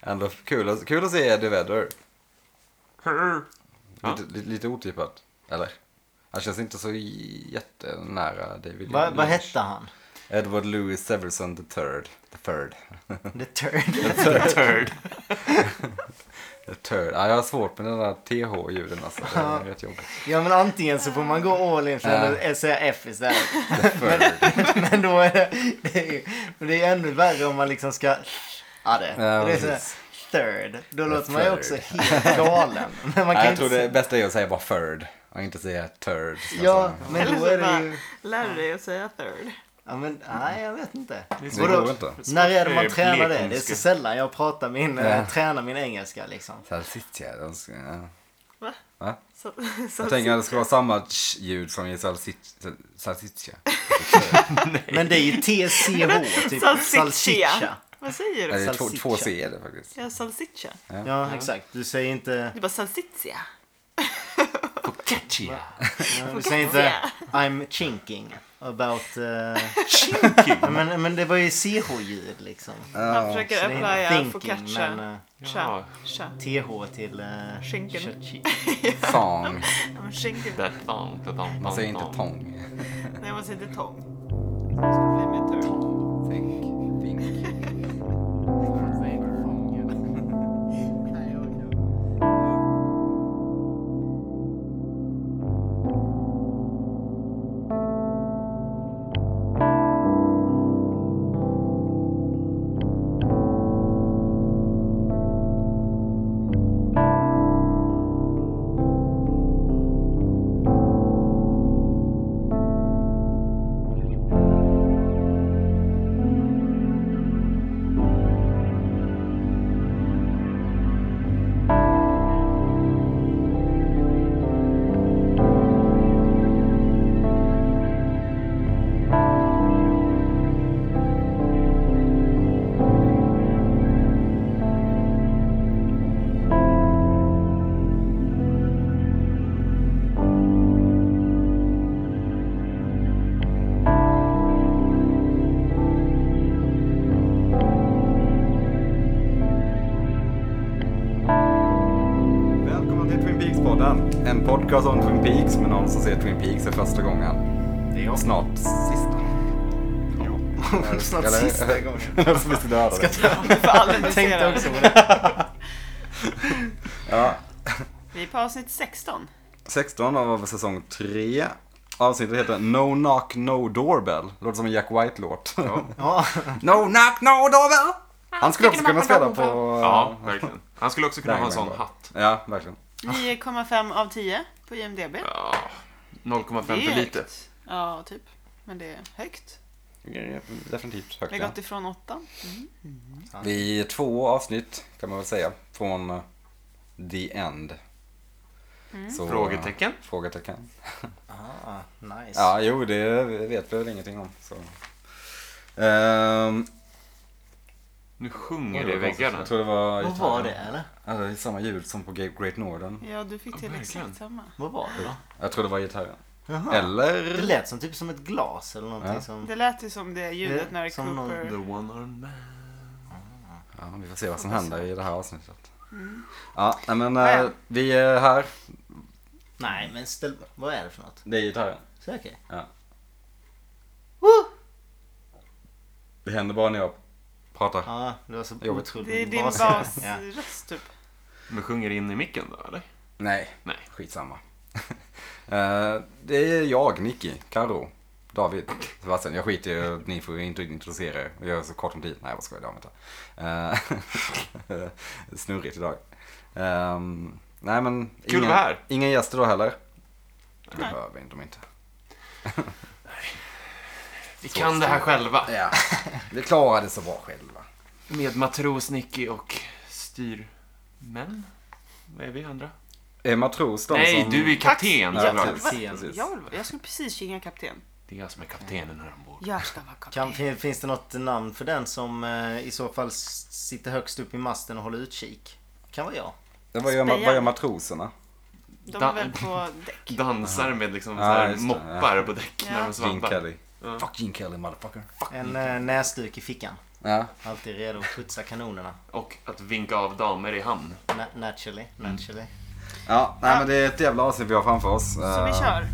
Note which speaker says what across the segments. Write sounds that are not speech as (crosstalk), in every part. Speaker 1: Ändå kul att, kul att se Eddie Vedder.
Speaker 2: Ja.
Speaker 1: Lite, lite, lite otippat, eller? Han känns inte så j- jättenära David
Speaker 3: Vad
Speaker 1: Lynch.
Speaker 3: vad hette han?
Speaker 1: Edward Louis Severson the third. The third.
Speaker 3: The Turd.
Speaker 2: Turd.
Speaker 1: The third. Ja, jag har svårt med den där TH-ljuden alltså. Det är rätt jobbigt.
Speaker 3: (laughs) (laughs) Ja men antingen så får man gå all in för
Speaker 1: Ja.
Speaker 3: eller säga F istället. (laughs)
Speaker 1: The third.
Speaker 3: Men då är det, det är ju, men det är ännu värre om man liksom ska... Ja det,
Speaker 1: Ja,
Speaker 3: det är sådär,
Speaker 1: precis.
Speaker 3: third. Då låter man ju också
Speaker 1: third. (laughs)
Speaker 3: helt galen. Men
Speaker 1: Nej,
Speaker 3: man kan ju
Speaker 1: jag
Speaker 3: inte
Speaker 1: tror det
Speaker 3: säga-
Speaker 1: bästa är att säga bara third och inte säga third. som jag
Speaker 3: Ja,
Speaker 1: sa.
Speaker 3: men
Speaker 4: Eller
Speaker 3: då
Speaker 4: så
Speaker 3: är
Speaker 4: Alltså, bara,
Speaker 3: det ju...
Speaker 4: lär du dig att säga third.
Speaker 3: Ja, men, nej, jag vet inte.
Speaker 1: Det går inte.
Speaker 3: När är det man
Speaker 2: Eh,
Speaker 3: tränar det? Det är
Speaker 2: blekingska.
Speaker 3: så sällan jag pratar min,
Speaker 1: Ja.
Speaker 3: eh, tränar min engelska liksom.
Speaker 1: Salsiccia. de ska- ja.
Speaker 4: Va?
Speaker 1: Va?
Speaker 4: Så, så
Speaker 1: Jag tänker att det ska vara samma tsch ljud som i salsiccia. salsiccia.
Speaker 3: Men det är
Speaker 1: (laughs)
Speaker 3: ju TCH, typ
Speaker 4: Salsiccia.
Speaker 3: salsiccia.
Speaker 4: Vad säger
Speaker 1: Nej,
Speaker 4: du?
Speaker 1: det är två,
Speaker 3: Salsiccia.
Speaker 1: två C är det faktiskt.
Speaker 4: Ja, salsiccia.
Speaker 3: Ja, exakt. Du säger inte...
Speaker 4: Det är bara salsiccia.
Speaker 2: Focaccia.
Speaker 3: ja, Du säger inte I'm chinking about... eh,
Speaker 2: Chinky.
Speaker 3: ja, men, men det var ju CH-ljud liksom.
Speaker 4: Man försöker
Speaker 3: Så det är
Speaker 4: applya
Speaker 3: thinking,
Speaker 4: focaccia.
Speaker 3: men, eh,
Speaker 4: Tja,
Speaker 2: Ja.
Speaker 4: tja.
Speaker 3: TH till... eh,
Speaker 4: Skinken.
Speaker 3: chachi.
Speaker 1: Song.
Speaker 4: Ja, men skinken.
Speaker 1: Man säger inte tång.
Speaker 4: Nej, man säger inte tång. Det ska bli mer tur.
Speaker 1: Tänk. Vink. Välkomna till Twin Peaks-podden. En podcast om Twin Peaks med någon som ser Twin Peaks för första gången.
Speaker 3: (laughs) Det är jag.
Speaker 1: Snart sista. Ja.
Speaker 3: (laughs)
Speaker 1: (laughs)
Speaker 3: Snart
Speaker 1: Eller-
Speaker 3: (laughs) sista gången.
Speaker 1: Någon som är så död av det.
Speaker 4: För alla intresserade.
Speaker 3: Tänkte också på det.
Speaker 1: Ja.
Speaker 4: Vi är på avsnitt 16.
Speaker 1: 16 av säsong 3. Avsnittet heter No Knock No Doorbell. Låter som en Jack White-låt.
Speaker 3: Ja,
Speaker 1: (laughs) no Knock No Doorbell! Han skulle också kunna spela på...
Speaker 2: Ja, verkligen. Han skulle också kunna ha en sån
Speaker 1: Dangman.
Speaker 2: hatt.
Speaker 1: Ja, verkligen.
Speaker 4: 9,5 av 10 på IMDB.
Speaker 2: Ja, 0,5
Speaker 4: Det är
Speaker 2: för lite.
Speaker 4: högt. Ja, typ. Men det är högt.
Speaker 1: Definitivt högt.
Speaker 4: Vi har gått ifrån Mm. 8.
Speaker 1: Vi är två avsnitt kan man väl säga. Från eh, The End. Så, eh,
Speaker 2: Frågetecken?
Speaker 1: Frågetecken.
Speaker 3: ah, nice.
Speaker 1: Ja, jo, det vet vi väl ingenting om. Så. Ehm,
Speaker 2: Nu sjunger det i väggarna.
Speaker 1: Jag tror det var...
Speaker 3: Vad var det eller?
Speaker 1: Ja, det är samma ljud som på Ge- Great Northern.
Speaker 4: Ja, du fick till
Speaker 2: verkligen.
Speaker 4: exakt samma.
Speaker 3: Vad var det då?
Speaker 1: Jag tror det var gitarren.
Speaker 3: Jaha. Det
Speaker 1: Eller?
Speaker 3: lät som typ som ett glas eller någonting
Speaker 1: Ja.
Speaker 3: som...
Speaker 4: Det lät ju som det ljudet
Speaker 3: Det-
Speaker 4: när
Speaker 3: som någon-
Speaker 2: The
Speaker 4: Cooper...
Speaker 2: one-armed man.
Speaker 1: Ja, vi får se vad som händer i det här avsnittet. Ja, nej, men eh,
Speaker 4: Ja, ja.
Speaker 1: vi är här.
Speaker 3: Nej men ställ... Vad är det för något?
Speaker 1: Det är gitarren.
Speaker 3: Säker?
Speaker 1: Ja. Det händer bara när jag pratar.
Speaker 3: Ja, det var så
Speaker 1: Jobbigt.
Speaker 3: otroligt
Speaker 4: Det är din
Speaker 3: basigt. (laughs) Ja.
Speaker 4: basröst typ.
Speaker 2: Men sjunger in i micken då, eller?
Speaker 1: Nej,
Speaker 2: Nej.
Speaker 1: skitsamma. (laughs) Eh, det är jag, Nicky, Karo, David, Sebastian. Jag skiter i att ni får inte introducera er. Jag har så kort om tid. Nej, vad ska jag göra med det? Eh, (laughs) Snurrigt idag. Ehm, nej, men
Speaker 2: Kul att vara här.
Speaker 1: ingen gäster då heller. Det
Speaker 4: Nej.
Speaker 1: behöver vi inte om inte.
Speaker 2: Vi kan det här själva.
Speaker 1: Ja, vi klarar det så bra själva.
Speaker 2: Med matros Nicky och styrmän. Vad är vi andra?
Speaker 1: Är matros de
Speaker 2: Nej,
Speaker 1: som...
Speaker 2: du är kapten
Speaker 1: Ja,
Speaker 2: såklart.
Speaker 1: precis.
Speaker 4: Va?
Speaker 1: precis.
Speaker 4: Jag, vill- jag skulle precis kinga kapten.
Speaker 2: Det är jag som är kaptenen här ombord.
Speaker 4: Jag ska vara
Speaker 3: Kan,
Speaker 4: kapten.
Speaker 3: fin- finns det något namn för den som eh, i så fall s- sitter högst upp i masten och håller utkik? Kan vara jag.
Speaker 1: Det var ju, vad
Speaker 4: Spejan.
Speaker 1: gör matroserna?
Speaker 4: De är väl på däck.
Speaker 2: Dansar med liksom
Speaker 1: Ja,
Speaker 2: så här
Speaker 1: just det,
Speaker 2: moppar på däck
Speaker 4: Ja.
Speaker 2: när de
Speaker 1: Gene
Speaker 2: svampar.
Speaker 1: Kelly. Fuck Gene Kelly, motherfucker.
Speaker 3: En eh, näsduk i fickan.
Speaker 1: Ja.
Speaker 3: Alltid redo att putsa kanonerna.
Speaker 2: Och att vinka av damer i hamn.
Speaker 3: Na- naturally, naturally.
Speaker 1: Ja, nej men det är ett jävla avsnitt vi har framför oss. Eh,
Speaker 5: Så vi kör.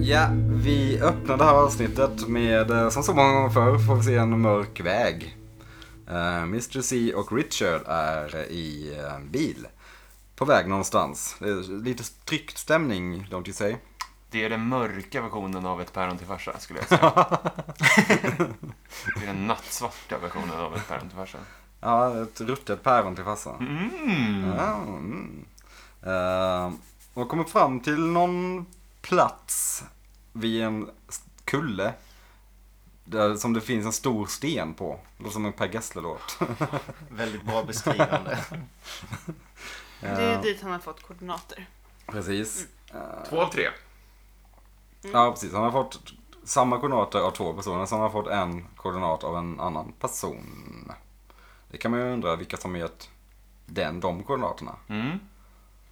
Speaker 1: Ja, vi öppnar det här avsnittet med, eh, som så många gånger förr, får vi se en mörk väg. Eh, Mr C och Richard är i eh, en bil. På väg någonstans. Det är lite tryckt stämning, don't you say?
Speaker 2: Det är den mörka versionen av ett päron till farsa, skulle
Speaker 1: (laughs)
Speaker 2: jag säga. det är den nattsvarta versionen av ett päron till farsa.
Speaker 1: Ja, ett ruttet päron till farsan.
Speaker 2: Mm.
Speaker 1: Ja, mm. Eh, och kommer fram till någon plats vid en s- kulle. Där, som det finns en stor sten på. Låter som en Per Gessle-låt. (laughs)
Speaker 3: Väldigt bra beskrivande.
Speaker 5: Det är dit han har fått koordinater.
Speaker 1: Precis.
Speaker 2: Två av tre.
Speaker 1: Ja, precis. Han har fått samma koordinater av två personer som har fått en koordinat av en annan person. Det kan man ju undra vilka som gett den de koordinaterna.
Speaker 2: Mm.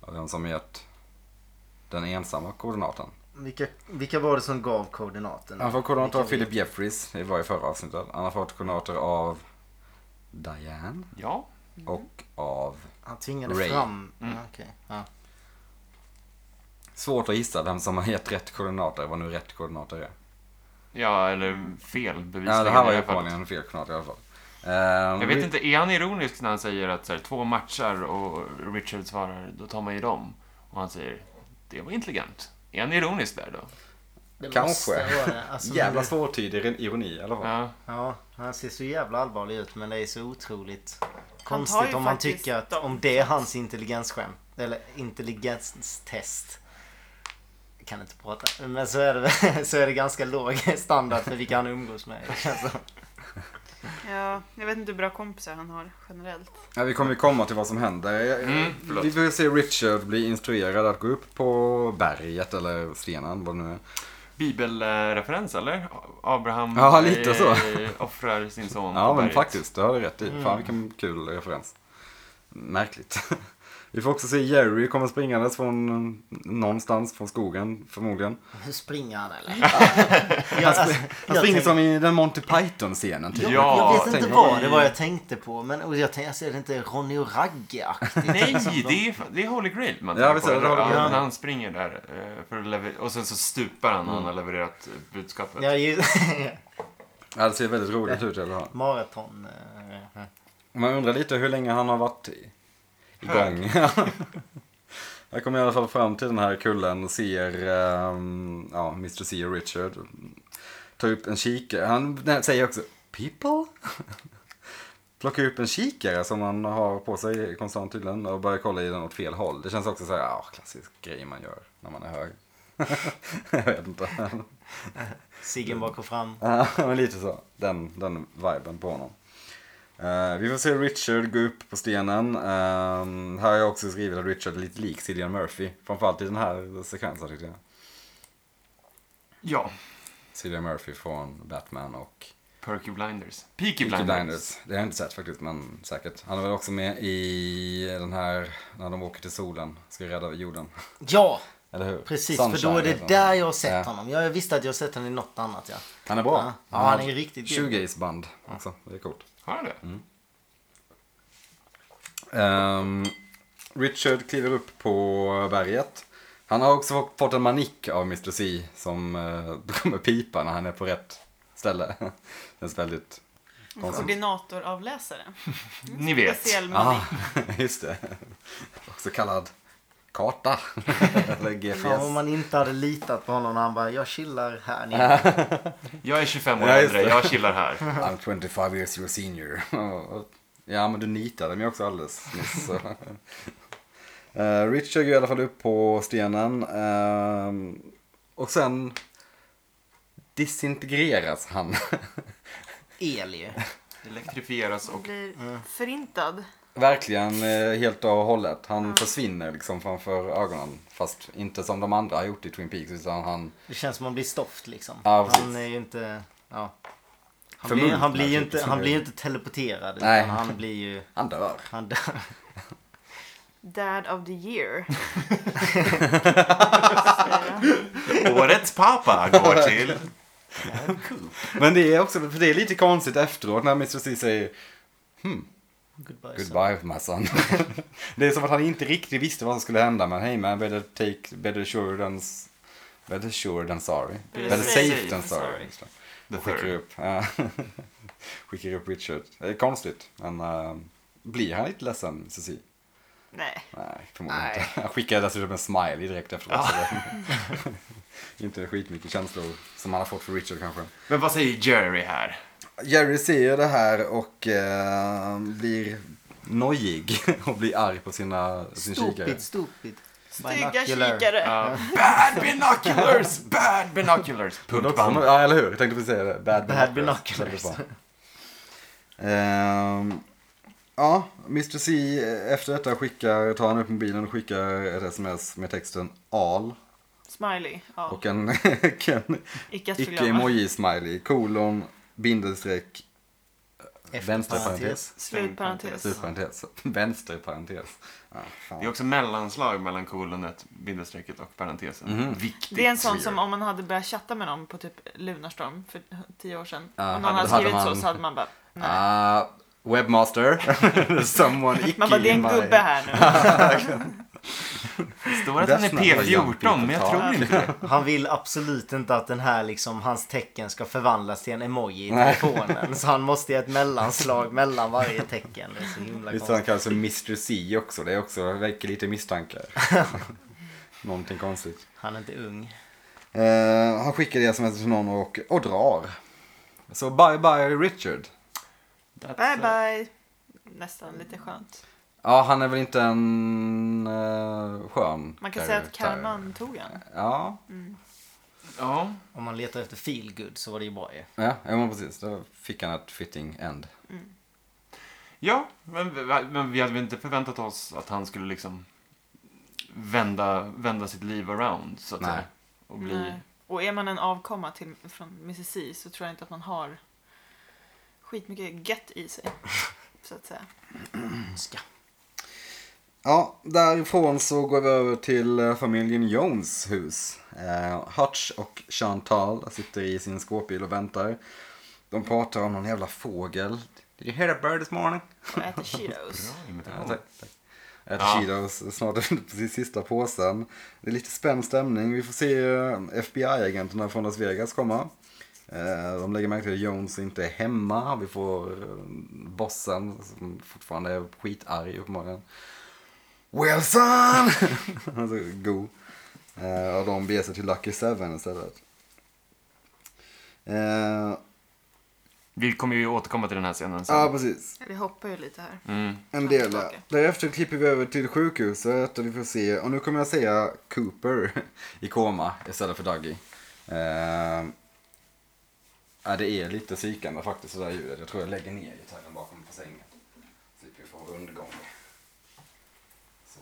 Speaker 1: Och vem som gett den ensamma koordinaten.
Speaker 3: (laughs) Vilka, vilka var det som gav koordinaterna?
Speaker 1: Han får koordinater av
Speaker 3: Vilka
Speaker 1: Philip Jeffries, det var i förra avsnittet. Han har fått koordinater av Diane
Speaker 2: Ja.
Speaker 1: och av...
Speaker 3: Han tvingade
Speaker 1: Ray.
Speaker 3: fram...
Speaker 2: Mm.
Speaker 3: Ah, okej. Ja.
Speaker 1: Svårt att gissa vem som har gett rätt koordinater, vad nu rätt koordinater är.
Speaker 2: Ja, eller fel bevisligen
Speaker 1: Ja, det här var
Speaker 2: i
Speaker 1: ju
Speaker 2: alla fall.
Speaker 1: uppenbarligen fel koordinater i alla fall. Ehm,
Speaker 2: Jag vet inte, är han ironisk när han säger att så här, två matchar och Richard svarar då tar man ju dem? Och han säger det var intelligent. Är han ironisk där då?
Speaker 3: Det
Speaker 1: Kanske.
Speaker 3: måste vara det.
Speaker 1: (laughs)
Speaker 3: Alltså,
Speaker 1: Jävla
Speaker 3: Jävla
Speaker 1: svårtydig ironi i alla fall.
Speaker 2: Ja.
Speaker 3: Ja, han ser så jävla allvarlig ut men det är så otroligt
Speaker 5: tar
Speaker 3: konstigt
Speaker 5: ju
Speaker 3: om man
Speaker 5: faktiskt
Speaker 3: tycker att
Speaker 5: dem.
Speaker 3: om det är hans intelligensskämt. Eller intelligenstest. Jag kan inte prata. Men så är det, (laughs) väl- så är det ganska låg standard för vilka han umgås med. Alltså. Det känns som.
Speaker 5: Ja, jag vet inte hur bra kompisar han har generellt.
Speaker 1: Ja, vi kommer ju komma till vad som händer. Jag-
Speaker 2: Mm, förlåt.
Speaker 1: vi får se Richard bli instruerad att gå upp på berget eller stenen, vad det nu är.
Speaker 2: Bibelreferens eller? Abraham
Speaker 1: Ja, lite så.
Speaker 2: eh, offrar sin son
Speaker 1: Ja,
Speaker 2: på
Speaker 1: men
Speaker 2: berget.
Speaker 1: faktiskt, det har du rätt i.
Speaker 3: Mm.
Speaker 1: Fan vilken kul referens. Märkligt. (laughs) Vi får också se Jerry kommer springandes från någonstans, från skogen förmodligen.
Speaker 3: Hur springer han eller? Ja, alltså,
Speaker 1: Han
Speaker 3: jag
Speaker 1: springer
Speaker 3: tänk-
Speaker 1: som i den Monty Python-scenen typ.
Speaker 3: jag,
Speaker 2: Ja,
Speaker 3: jag vet inte
Speaker 1: tänk-
Speaker 3: vad det var jag tänkte på. Men och jag tänkte, alltså, är det inte Ronny och
Speaker 2: (laughs)
Speaker 3: Ragge-aktigt?
Speaker 2: Nej, det är, det är Holy Grail man
Speaker 1: Ja,
Speaker 2: tänker
Speaker 1: visst
Speaker 2: på.
Speaker 1: är det Holy
Speaker 2: Ja,
Speaker 1: Grail.
Speaker 2: När han springer där eh, för att lever- och sen så stupar han när han har
Speaker 1: Mm.
Speaker 2: levererat eh, budskapet.
Speaker 3: Ja, ju- (laughs)
Speaker 1: Ja, det ser väldigt roligt ut i alla fall.
Speaker 3: Maraton. eh,
Speaker 1: Man undrar lite hur länge han har varit i- igång. (laughs) Jag kommer i alla fall fram till den här kullen och ser ehm, ja, Mr. C och Richard. Ta upp en kikare. Han nej, säger också people. (laughs) Plockar upp en kikare som han har på sig konstant tydligen och börjar kolla i den åt fel håll. Det känns också så här, ja, klassisk grej man gör när man är hög. (laughs) Jag vet inte.
Speaker 3: Siggen bak och fram.
Speaker 1: Ja, (laughs) men lite så. Den, den viben på honom. Eh, vi får se Richard gå upp på stenen. Ehm, här har jag också skrivit att Richard är lite lik Cillian Murphy. Framförallt i den här sekvensen tyckte jag.
Speaker 2: Ja.
Speaker 1: Cillian Murphy från Batman och
Speaker 2: Perky Blinders. Peaky,
Speaker 1: Peaky
Speaker 2: Blinders.
Speaker 1: Blinders. Det har jag inte sett faktiskt, men säkert. Han är väl också med i den här när de åker till solen, ska rädda jorden. (laughs)
Speaker 3: Ja!
Speaker 1: Eller hur?
Speaker 3: Precis,
Speaker 1: Sunshine
Speaker 3: för då är
Speaker 1: heter
Speaker 3: det
Speaker 1: han.
Speaker 3: där jag har sett
Speaker 1: Ja.
Speaker 3: honom. Jag visste att jag har sett honom i något annat ja.
Speaker 1: Han är bra.
Speaker 3: Ja, ja, han är riktigt grym.
Speaker 1: 20 band också, det är coolt.
Speaker 2: Har han det?
Speaker 1: Mm. Ehm, Richard kliver upp på berget. Han har också fått en manick av Mr. C som eh, (laughs) kommer pipa när han är på rätt ställe. (laughs) Känns väldigt konstigt.
Speaker 5: Koordinatoravläsare.
Speaker 2: Ni vet.
Speaker 5: Speciell
Speaker 1: Ah, (laughs)
Speaker 5: manik.
Speaker 1: just det. Också kallad karta. (laughs) Eller
Speaker 3: Fan om
Speaker 1: GPS.
Speaker 3: man inte hade litat på honom när han bara jag chillar här nere.
Speaker 2: Jag är 25 år
Speaker 1: Ja, just
Speaker 2: äldre,
Speaker 1: det.
Speaker 2: jag
Speaker 1: (laughs)
Speaker 2: chillar här.
Speaker 1: I'm 25 years your senior. (laughs) ja, men du nitade mig också alldeles nyss. så. (laughs) Eh, Richard går i alla fall upp på stenen. ehm, och sen disintegreras han. (laughs)
Speaker 3: El ju.
Speaker 2: Elektrifieras och
Speaker 5: Blir förintad.
Speaker 1: Verkligen eh, helt och hållet. Han försvinner liksom framför ögonen. Fast inte som de andra har gjort i Twin Peaks utan han...
Speaker 3: Det känns som man blir stoft liksom.
Speaker 1: Ja, precis.
Speaker 3: han är ju inte... Ja. Han,
Speaker 1: Förmultnad,
Speaker 3: blir, han, blir ju
Speaker 1: typ.
Speaker 3: inte, han blir ju inte teleporterad.
Speaker 1: Nej.
Speaker 3: Utan han blir ju...
Speaker 1: Han dör.
Speaker 3: Han dör.
Speaker 5: Dad of the year.
Speaker 6: Årets pappa går till...
Speaker 1: Men det är också, för det är lite konstigt efteråt när Mr. C säger
Speaker 3: Goodbye. son.
Speaker 1: Goodbye my son. Alltså. (laughs) det är som att han inte riktigt visste vad som skulle hända men hey man better take better sure than s- better sure than sorry. Better, safe than sorry. Just det.
Speaker 6: The
Speaker 1: Och Skickar
Speaker 6: third.
Speaker 1: upp, ja. (laughs) skickar upp Richard. Det är konstigt men eh, blir han lite ledsen Mr. C?
Speaker 5: Nej.
Speaker 1: Nej, förmodligen inte. (laughs) Han skickar dessutom en smiley direkt efteråt. så det- (laughs) inte skitmycket känslor som han har fått för Richard kanske.
Speaker 2: Men vad säger Jerry
Speaker 1: (laughs)
Speaker 2: här?
Speaker 1: Jerry ser ju det här och eh, blir nojig (laughs) och blir arg på sina, sin kikare.
Speaker 3: Stupid, stupid.
Speaker 5: Stygga
Speaker 3: Binocular.
Speaker 5: kikare.
Speaker 2: Ja. Uh, bad binoculars! Bad
Speaker 1: (laughs)
Speaker 2: binoculars!
Speaker 1: Men också-
Speaker 6: Puttband.
Speaker 1: Ja, eller hur? Jag tänkte precis säga det. Bad,
Speaker 3: (laughs) Bad
Speaker 1: Väldigt
Speaker 3: binoculars.
Speaker 1: bra. Ehm, ja, Mr C eh, efter detta skickar, tar han upp mobilen och skickar ett sms med texten AL
Speaker 5: Smiley. Ja.
Speaker 1: och en, (laughs) en
Speaker 5: Icke att förglömma.
Speaker 1: icke-emoji-smiley, kolon, bindelstreck,
Speaker 3: Efter
Speaker 1: Vänsterparentes.
Speaker 5: Slutparentes.
Speaker 1: Slutparentes. (laughs) Vänsterparentes. Ja, fan.
Speaker 2: Det är också mellanslag mellan kolonet, bindestrecket och parentesen.
Speaker 1: Mhm. Mm,
Speaker 2: Viktigt.
Speaker 5: Det är en sån
Speaker 1: Weird.
Speaker 5: som om man hade börjat chatta med någon på typ Lunarstorm för tio år sedan.
Speaker 1: Ja,
Speaker 5: Om
Speaker 1: hade-
Speaker 5: någon hade
Speaker 1: hade
Speaker 5: skrivit så
Speaker 1: man-
Speaker 5: så hade man bara nej.
Speaker 1: Ah, webmaster. (laughs) Someone icke
Speaker 5: man bara, det är en
Speaker 1: in my-
Speaker 5: gubbe här
Speaker 2: (laughs)
Speaker 5: nu.
Speaker 2: Det står att
Speaker 1: That's
Speaker 2: han är
Speaker 1: not what young people
Speaker 2: P14, men jag
Speaker 1: talk.
Speaker 2: tror inte det.
Speaker 3: Han vill absolut inte att den här liksom, hans tecken ska förvandlas till en emoji i telefonen. så han måste ge ett mellanslag mellan varje tecken. Det är så himla
Speaker 1: Visst han
Speaker 3: konstigt.
Speaker 1: kallas för Mr C också. Det är också, väcker lite
Speaker 5: (laughs)
Speaker 1: misstankar. Någonting konstigt.
Speaker 3: Han är inte ung.
Speaker 1: Eh, han skickar det sms till någon och, och drar. Så bye bye Richard.
Speaker 5: bye
Speaker 2: eh,
Speaker 5: bye. Nästan lite skönt.
Speaker 1: Ja, han är väl inte en eh, skön
Speaker 5: Man kan säga att
Speaker 1: karaktär.
Speaker 5: karman tog en.
Speaker 1: Ja,
Speaker 2: Ja,
Speaker 3: Om man letar efter feel good så var det ju bra ju.
Speaker 1: ja, ja men precis. Då fick han ett fitting end.
Speaker 2: ja men, men vi hade väl inte förväntat oss att han skulle liksom vända, vända sitt liv around, så att
Speaker 1: Nej.
Speaker 2: säga. Och bli...
Speaker 5: Nej. Och är man en avkomma till, från Mississippi så tror jag inte att man har skitmycket gött
Speaker 2: (laughs)
Speaker 5: i sig. Så att säga.
Speaker 3: Önska.
Speaker 1: Ja, därifrån så går vi över till eh, familjen Jones hus. Eh, Hutch och Chantal sitter i sin skåpbil och väntar. De pratar om någon jävla fågel. Did you hear that bird this morning?
Speaker 5: Och äter Cheetos.
Speaker 1: Ja,
Speaker 2: imitation.
Speaker 1: tack, tack. Äter
Speaker 2: Ja.
Speaker 1: Cheetos snart (laughs) precis sista påsen. Det är lite spänd stämning. Vi får se eh, FBI-agenterna från Las Vegas komma. Eh, De lägger märke till att Jones inte är hemma. Vi får eh, bossen som fortfarande är skitarg uppenbarligen. Wilson! (laughs) Han är så go. Eh, Och de beger sig till Lucky Seven istället. Eh,
Speaker 2: Vi kommer ju återkomma till den här scenen sen.
Speaker 1: Ja, precis.
Speaker 5: Vi hoppar ju lite här.
Speaker 2: Mm.
Speaker 1: En del. ja.
Speaker 5: Tillbaka.
Speaker 1: Därefter klipper vi över till sjukhuset och vi får se, och nu kommer jag säga Cooper (laughs) i koma istället för Dougie. Eh, ja, det är lite psykande faktiskt det där ljudet. Jag tror jag lägger ner gitarren bakom på sängen. Slipper vi få rundgång. Så,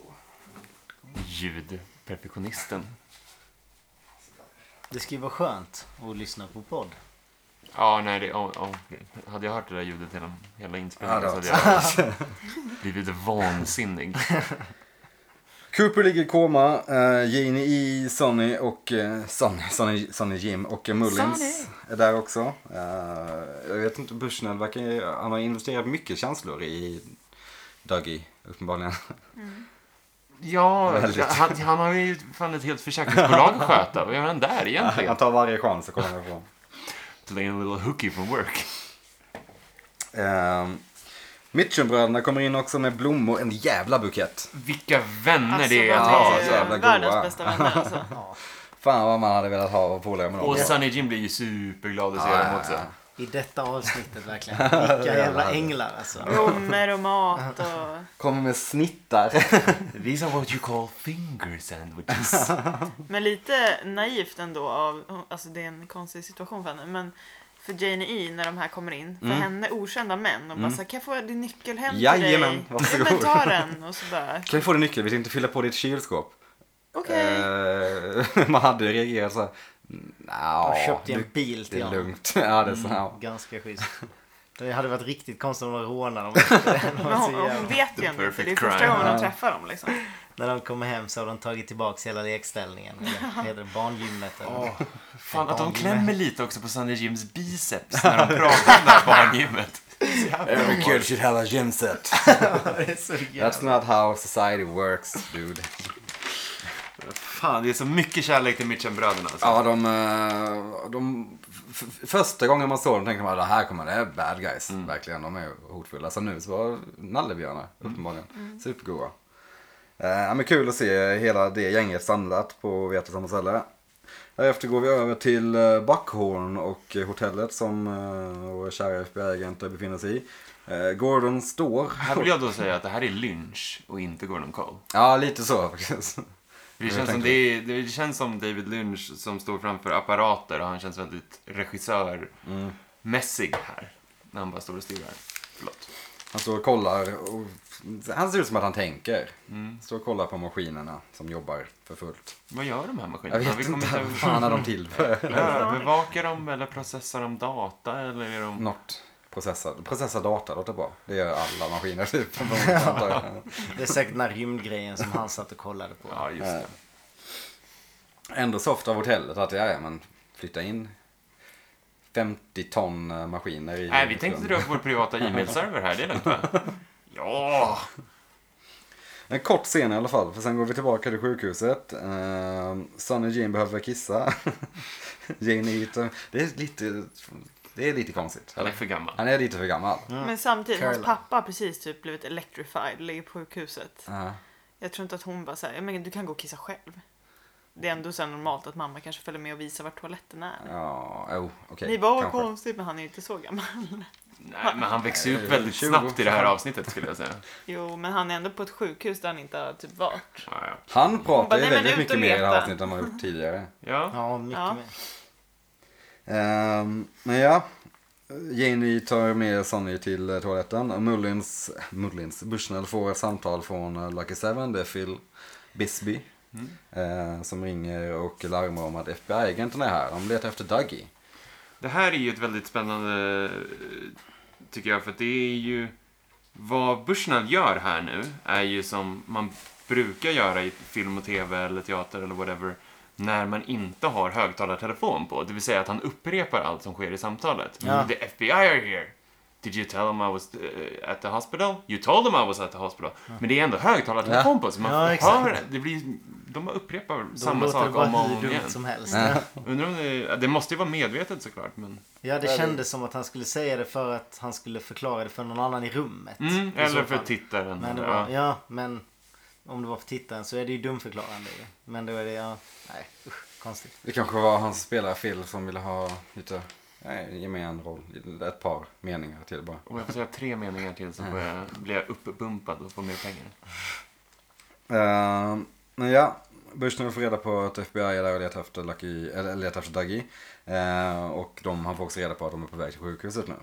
Speaker 2: Ljudperfektionisten.
Speaker 3: Det ska ju vara skönt att lyssna på podd.
Speaker 2: Ja, nej, det, ja, ja. hade jag hört det där ljudet hela, hela inspelningen
Speaker 1: Ja,
Speaker 2: så
Speaker 1: det
Speaker 2: hade jag blivit vansinnig.
Speaker 1: Cooper ligger i koma, eh, Gene E, Sonny och eh, Sonny, Sonny, Sonny Jim och eh, Mullins är där också. Eh, jag vet inte, Bushnell verkar ju- han har investerat mycket känslor i Dougie uppenbarligen.
Speaker 2: Ja,
Speaker 1: Väldigt.
Speaker 2: han, han har ju fan ett helt försäkringsbolag att sköta. Vad gör han
Speaker 1: (laughs)
Speaker 2: där egentligen?
Speaker 1: han tar varje chans att komma därifrån.
Speaker 2: Playing a little hooky from work.
Speaker 1: Eh, Mitchumbröderna kommer in också med blommor, en jävla bukett.
Speaker 2: Vilka vänner
Speaker 5: Alltså,
Speaker 2: det är att
Speaker 5: de
Speaker 2: ha.
Speaker 5: är
Speaker 1: så jävla goa.
Speaker 5: världens bästa vänner alltså.
Speaker 2: (laughs)
Speaker 1: Fan vad man hade velat ha och polare med dem.
Speaker 2: Och Sunny Jim blir ju superglad att se dem också.
Speaker 3: I detta avsnittet verkligen. Vilka jävla änglar alltså.
Speaker 5: Blommor och mat och...
Speaker 1: Kommer med snittar. (laughs)
Speaker 2: These are what you call finger sandwiches.
Speaker 5: Men lite naivt ändå av, alltså det är en konstig situation för henne, men för Janie E när de här kommer in. För
Speaker 1: Mm.
Speaker 5: henne okända män. Och bara så här, kan jag få din nyckel hem till
Speaker 1: Jajamän,
Speaker 5: dig?
Speaker 1: varsågod.
Speaker 5: Men ta den. Och så bara,
Speaker 1: Kan vi få din nyckel? Vi tänkte fylla på ditt kylskåp.
Speaker 5: okej.
Speaker 1: Eh, (laughs) man hade reagerat så här. "Mm,
Speaker 3: Jag
Speaker 1: Nja,
Speaker 3: köpte ju en bil
Speaker 1: det
Speaker 3: till
Speaker 1: är
Speaker 3: honom.
Speaker 1: lugnt. (laughs) Ja, det är så, ja.
Speaker 3: Ganska schysst. Det hade varit riktigt konstigt om de rånade dem. efter. De
Speaker 5: Men
Speaker 3: var så
Speaker 5: hon, hon
Speaker 3: jävla-
Speaker 5: vet ju
Speaker 6: The
Speaker 5: ändå inte. Det är
Speaker 6: perfect
Speaker 5: första
Speaker 6: crime.
Speaker 5: gången
Speaker 1: Ja.
Speaker 5: de träffar dem liksom.
Speaker 3: När de kommer hem så har de tagit tillbaka hela lekställningen. Eller vad heter det barngymmet? Eller?
Speaker 2: (laughs) Fan, att de
Speaker 3: Barngymmet.
Speaker 2: klämmer lite också på Sandy Jims biceps när de pratar om det här barngymmet. Så jävla
Speaker 1: Every kid should have a gym set.
Speaker 3: Det är så jävla-
Speaker 1: That's not how society works, dude.
Speaker 2: Fan, det är så mycket kärlek till Mitchenbröderna. Alltså.
Speaker 1: Ja, de... eh, de f- f- första gången man såg dem tänkte man att här kommer det bad guys. Verkligen, de är hotfulla. Så nu så var nallebjörnar uppenbarligen supergoda. Eh, ja, men kul att se hela det gänget samlat på vet samma ställe. Därefter går vi över till eh, Buckhorn och eh, hotellet som eh, vår kära FBI-agenter befinner sig i. Eh, Gordon står...
Speaker 2: Här vill jag då säga att det här är Lynch och inte Gordon Cole.
Speaker 1: Ja, lite så faktiskt.
Speaker 2: Det känns, som det, är, det känns som David Lynch som står framför apparater och han känns väldigt regissörmässig här. När han bara står och stirrar. Förlåt.
Speaker 1: Han står och kollar. Och, han ser ut som att han tänker.
Speaker 2: Mm.
Speaker 1: Står och kollar på maskinerna som jobbar för fullt.
Speaker 2: Vad gör de här maskinerna?
Speaker 1: Jag vet
Speaker 2: Vi kommer
Speaker 1: inte vad
Speaker 2: inte-
Speaker 1: fan är de till för.
Speaker 2: Övervakar de eller processar de data eller är de...
Speaker 1: Något. Processa, processa data låter bra. Det gör alla maskiner typ. Antar jag.
Speaker 3: Det är säkert den här rymdgrejen som han satt och kollade på.
Speaker 2: Ja, just det.
Speaker 1: Ändå soft av hotellet att ja, ja, men flytta in 50 ton eh, maskiner i...
Speaker 2: Nej, vi tänkte dra upp vår privata e-mail-server här, det är lugnt va? Ja!
Speaker 1: En kort scen i alla fall, för sen går vi tillbaka till sjukhuset. Uh, Sonny Jean behöver kissa. (laughs) Jane är lite... Det är lite... Det är lite konstigt.
Speaker 2: Han är för gammal.
Speaker 1: Han är lite för gammal.
Speaker 5: Men samtidigt, hans
Speaker 3: Caroline.
Speaker 5: pappa har precis typ blivit electrified, ligger på sjukhuset.
Speaker 1: Ja.
Speaker 5: Jag tror inte att hon bara såhär, men du kan gå och kissa själv. Det är ändå så här normalt att mamma kanske följer med och visar vart toaletten är.
Speaker 1: Ja, oh, okej.
Speaker 5: Ni bara, "Åh,
Speaker 1: kanske.
Speaker 5: konstigt, men han är ju inte så gammal.
Speaker 2: Nej, men han växer ju upp
Speaker 1: Nej,
Speaker 2: väldigt
Speaker 1: 20.
Speaker 2: snabbt i det här avsnittet skulle jag säga.
Speaker 5: Jo, men han är ändå på ett sjukhus där han inte har typ varit.
Speaker 2: Ja, ja.
Speaker 1: Han
Speaker 5: Hon bara,
Speaker 1: pratar ju
Speaker 5: "Nej, men
Speaker 1: väldigt
Speaker 5: ut och
Speaker 1: mycket mer i det här
Speaker 5: leta."
Speaker 1: avsnittet än vad han
Speaker 5: (laughs)
Speaker 1: gjort tidigare.
Speaker 2: ja.
Speaker 3: Ja, mycket
Speaker 5: Ja.
Speaker 3: mer.
Speaker 1: Ehm, men ja, Janie tar med Sonny till eh, toaletten. och Mullins, Mullins, Bushnell får ett samtal från eh, Lucky Seven. Det är Phil Bisbee. eh, som ringer och larmar om att FBI-agenterna är här. De letar efter Dougie.
Speaker 2: Det här är ju ett väldigt spännande, eh, tycker jag, för att det är ju... Vad Bushnell gör här nu är ju som man brukar göra i film och tv eller teater eller whatever när man inte har högtalartelefon på. Det vill säga att han upprepar allt som sker i samtalet. Mm,
Speaker 3: Ja.
Speaker 2: The FBI are here! Did you tell them I was eh, at the hospital? You told them I was at the hospital. Men det är ändå högtalartelefon på, så man
Speaker 3: Ja, exakt.
Speaker 2: hör det. blir, de upprepar
Speaker 3: Då
Speaker 2: samma
Speaker 3: låter det
Speaker 2: sak
Speaker 3: bara
Speaker 2: om och
Speaker 3: hur
Speaker 2: om
Speaker 3: dumt
Speaker 2: igen.
Speaker 3: som helst.
Speaker 1: Ja.
Speaker 2: Undrar om det, ja, det måste ju vara medvetet såklart, men...
Speaker 3: Ja, det kändes som att han skulle säga det för att han skulle förklara det för någon annan i rummet.
Speaker 2: Mm,
Speaker 3: I
Speaker 2: eller
Speaker 3: så
Speaker 2: för
Speaker 3: fall.
Speaker 2: tittaren.
Speaker 3: Men det
Speaker 2: eller-
Speaker 3: var,
Speaker 2: ja.
Speaker 3: ja, men om det var för tittaren så är det ju dumförklarande ju. Men då är det, ja, nej, usch, konstigt.
Speaker 1: Det kanske var han som spelar Phil som ville ha lite, nej, ge mig en roll. Ett par meningar till bara.
Speaker 2: Om jag får säga tre meningar till så får jag, blir jag uppbumpad och får mer pengar.
Speaker 1: Ehm, men ja, Bushnell får reda på att FBI är där och letar efter, Lucky, eller letar efter Dougie. Ehm, och de, han får också reda på att de är på väg till sjukhuset nu.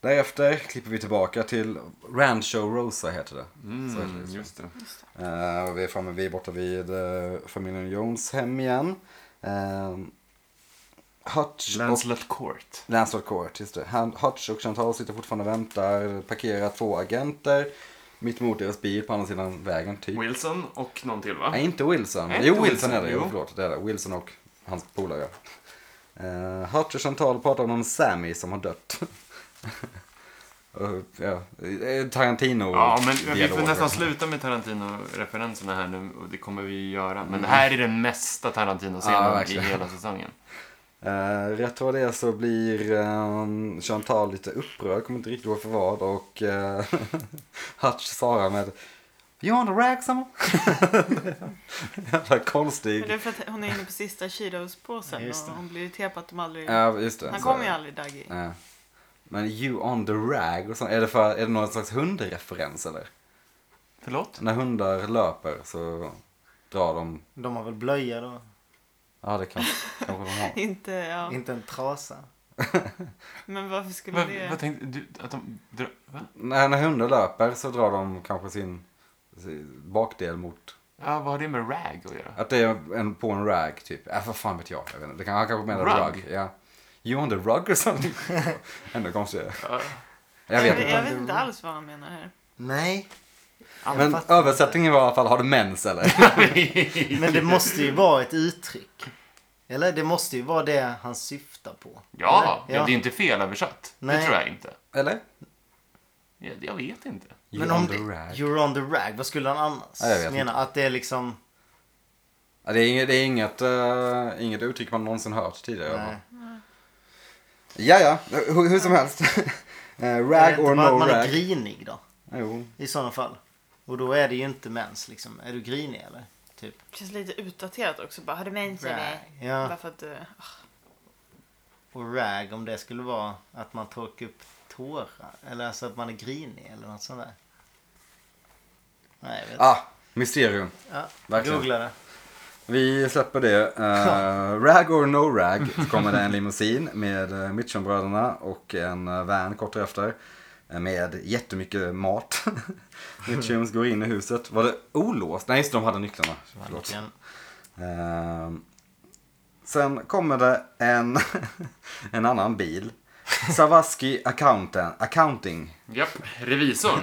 Speaker 1: Därefter klipper vi tillbaka till Rancho Rosa heter det. Så heter det.
Speaker 2: Mm, just det.
Speaker 1: Ehm, och vi är framme, vi är borta vid eh, familjen Jones hem igen. Um, Hutch och
Speaker 2: Lancelot Court.
Speaker 1: Lancelot Court, just det. Han, Hutch och Chantal sitter fortfarande och väntar, parkerar två agenter mitt emot deras bil på andra sidan vägen typ.
Speaker 2: Wilson och någon till va?
Speaker 1: Nej, inte Wilson.
Speaker 2: Nej,
Speaker 1: jo,
Speaker 2: inte
Speaker 1: Wilson,
Speaker 2: Wilson,
Speaker 1: är det. Jo,
Speaker 2: jo.
Speaker 1: förlåt. Det är det. Wilson och hans polare. Uh, Hutch och Chantal pratar om någon Sammy som har dött. (laughs) Och, ja, eh, Tarantino.
Speaker 2: Ja, men vi får
Speaker 1: dialog.
Speaker 2: nästan sluta med Tarantino-referenserna här nu och det kommer vi ju göra. Men det här är den mesta
Speaker 1: Mm. Ja,
Speaker 2: Tarantino-scenen i
Speaker 1: verkligen.
Speaker 2: hela säsongen.
Speaker 1: Eh, rätt vad det är så blir eh, Chantal lite upprörd, kommer inte riktigt ihåg för vad. Och eh, (laughs) Hutch svarar med You on the rag someone? (laughs) Jävla
Speaker 5: Men det
Speaker 1: konstig.
Speaker 5: är för att hon är inne på sista Cheetos-påsen
Speaker 3: Just det.
Speaker 5: och hon blir irriterad på att de aldrig...
Speaker 1: Ja, just det.
Speaker 5: han
Speaker 1: Så-
Speaker 5: kommer ju aldrig Daggy.
Speaker 1: Ja. Men you on the rag och sånt. Är det, för, är det någon slags hundreferens eller?
Speaker 2: Förlåt?
Speaker 1: När hundar löper så drar de...
Speaker 3: De har väl blöja då? (laughs)
Speaker 1: Ja, det kan, kanske de har.
Speaker 5: Inte, ja.
Speaker 3: Inte en trasa?
Speaker 5: Men varför skulle
Speaker 2: Vad,
Speaker 5: det...
Speaker 2: vad tänkte du? Att de drar... Va?
Speaker 1: När, när hundar löper så drar de kanske sin, sin bakdel mot...
Speaker 2: Ja, vad har det med rag att göra?
Speaker 1: Att det är en, på en rag typ. Äh, vad fan vet jag. jag vet inte. Det kan, han kanske menar rug.
Speaker 2: Rug?
Speaker 1: Ja. You on the rug or something? (laughs) Ändå konstigt.
Speaker 2: Ja.
Speaker 1: Jag vet inte.
Speaker 5: jag vet inte alls vad han menar här.
Speaker 3: Nej. Jag
Speaker 1: Men
Speaker 3: fattar inte.
Speaker 1: översättningen var i alla fall, har du mens eller? (laughs)
Speaker 3: Men det måste ju vara ett uttryck. Eller? Det måste ju vara det han syftar på.
Speaker 2: Ja,
Speaker 3: Eller?
Speaker 2: ja, det är inte fel översatt. Det
Speaker 3: Nej.
Speaker 2: tror jag inte.
Speaker 1: eller?
Speaker 2: Ja, Jag vet inte.
Speaker 1: You
Speaker 3: Men
Speaker 1: on
Speaker 3: om
Speaker 1: the
Speaker 3: det,
Speaker 1: rag.
Speaker 3: you're on the rag, vad skulle han annars
Speaker 1: Ja, jag vet
Speaker 3: mena? Att det är liksom...
Speaker 1: Ja, det är inget, det är inget, eh, inget uttryck man någonsin hört tidigare.
Speaker 3: Nej.
Speaker 1: Ja, ja, hur, hur som helst. (laughs) Eh,
Speaker 3: Är det
Speaker 1: rag
Speaker 3: inte
Speaker 1: or
Speaker 3: bara att
Speaker 1: no
Speaker 3: man är
Speaker 1: rag.
Speaker 3: grinig då?
Speaker 1: Jo.
Speaker 3: I sådana fall. Och då är det ju inte mens liksom. Är du grinig eller? Typ.
Speaker 5: Känns lite utdaterat också. Bara, har du mens
Speaker 3: Rag.
Speaker 5: eller? Bara
Speaker 3: Ja.
Speaker 5: för att... eh,
Speaker 3: Och rag om det skulle vara att man torkar upp tårar. Eller alltså att man är grinig eller något sånt där. Nej, jag vet
Speaker 1: Ah, mysterium.
Speaker 3: inte. Ja.
Speaker 1: verkligen.
Speaker 3: Googla det.
Speaker 1: Vi släpper det.
Speaker 3: (laughs)
Speaker 1: Eh, rag or no rag så kommer det en limousin med eh, Mitchumbröderna och en eh, van kort efter. eh, Med jättemycket mat. (laughs)
Speaker 3: (laughs)
Speaker 1: Mitchums går in i huset. Var det olåst? Nej, just det, de hade nycklarna. Förlåt. (laughs)
Speaker 3: Vilken-
Speaker 1: Ehm, sen kommer det en, (laughs) en annan bil. Savaski Accounting. accounting. (laughs)
Speaker 2: Japp, revisorn.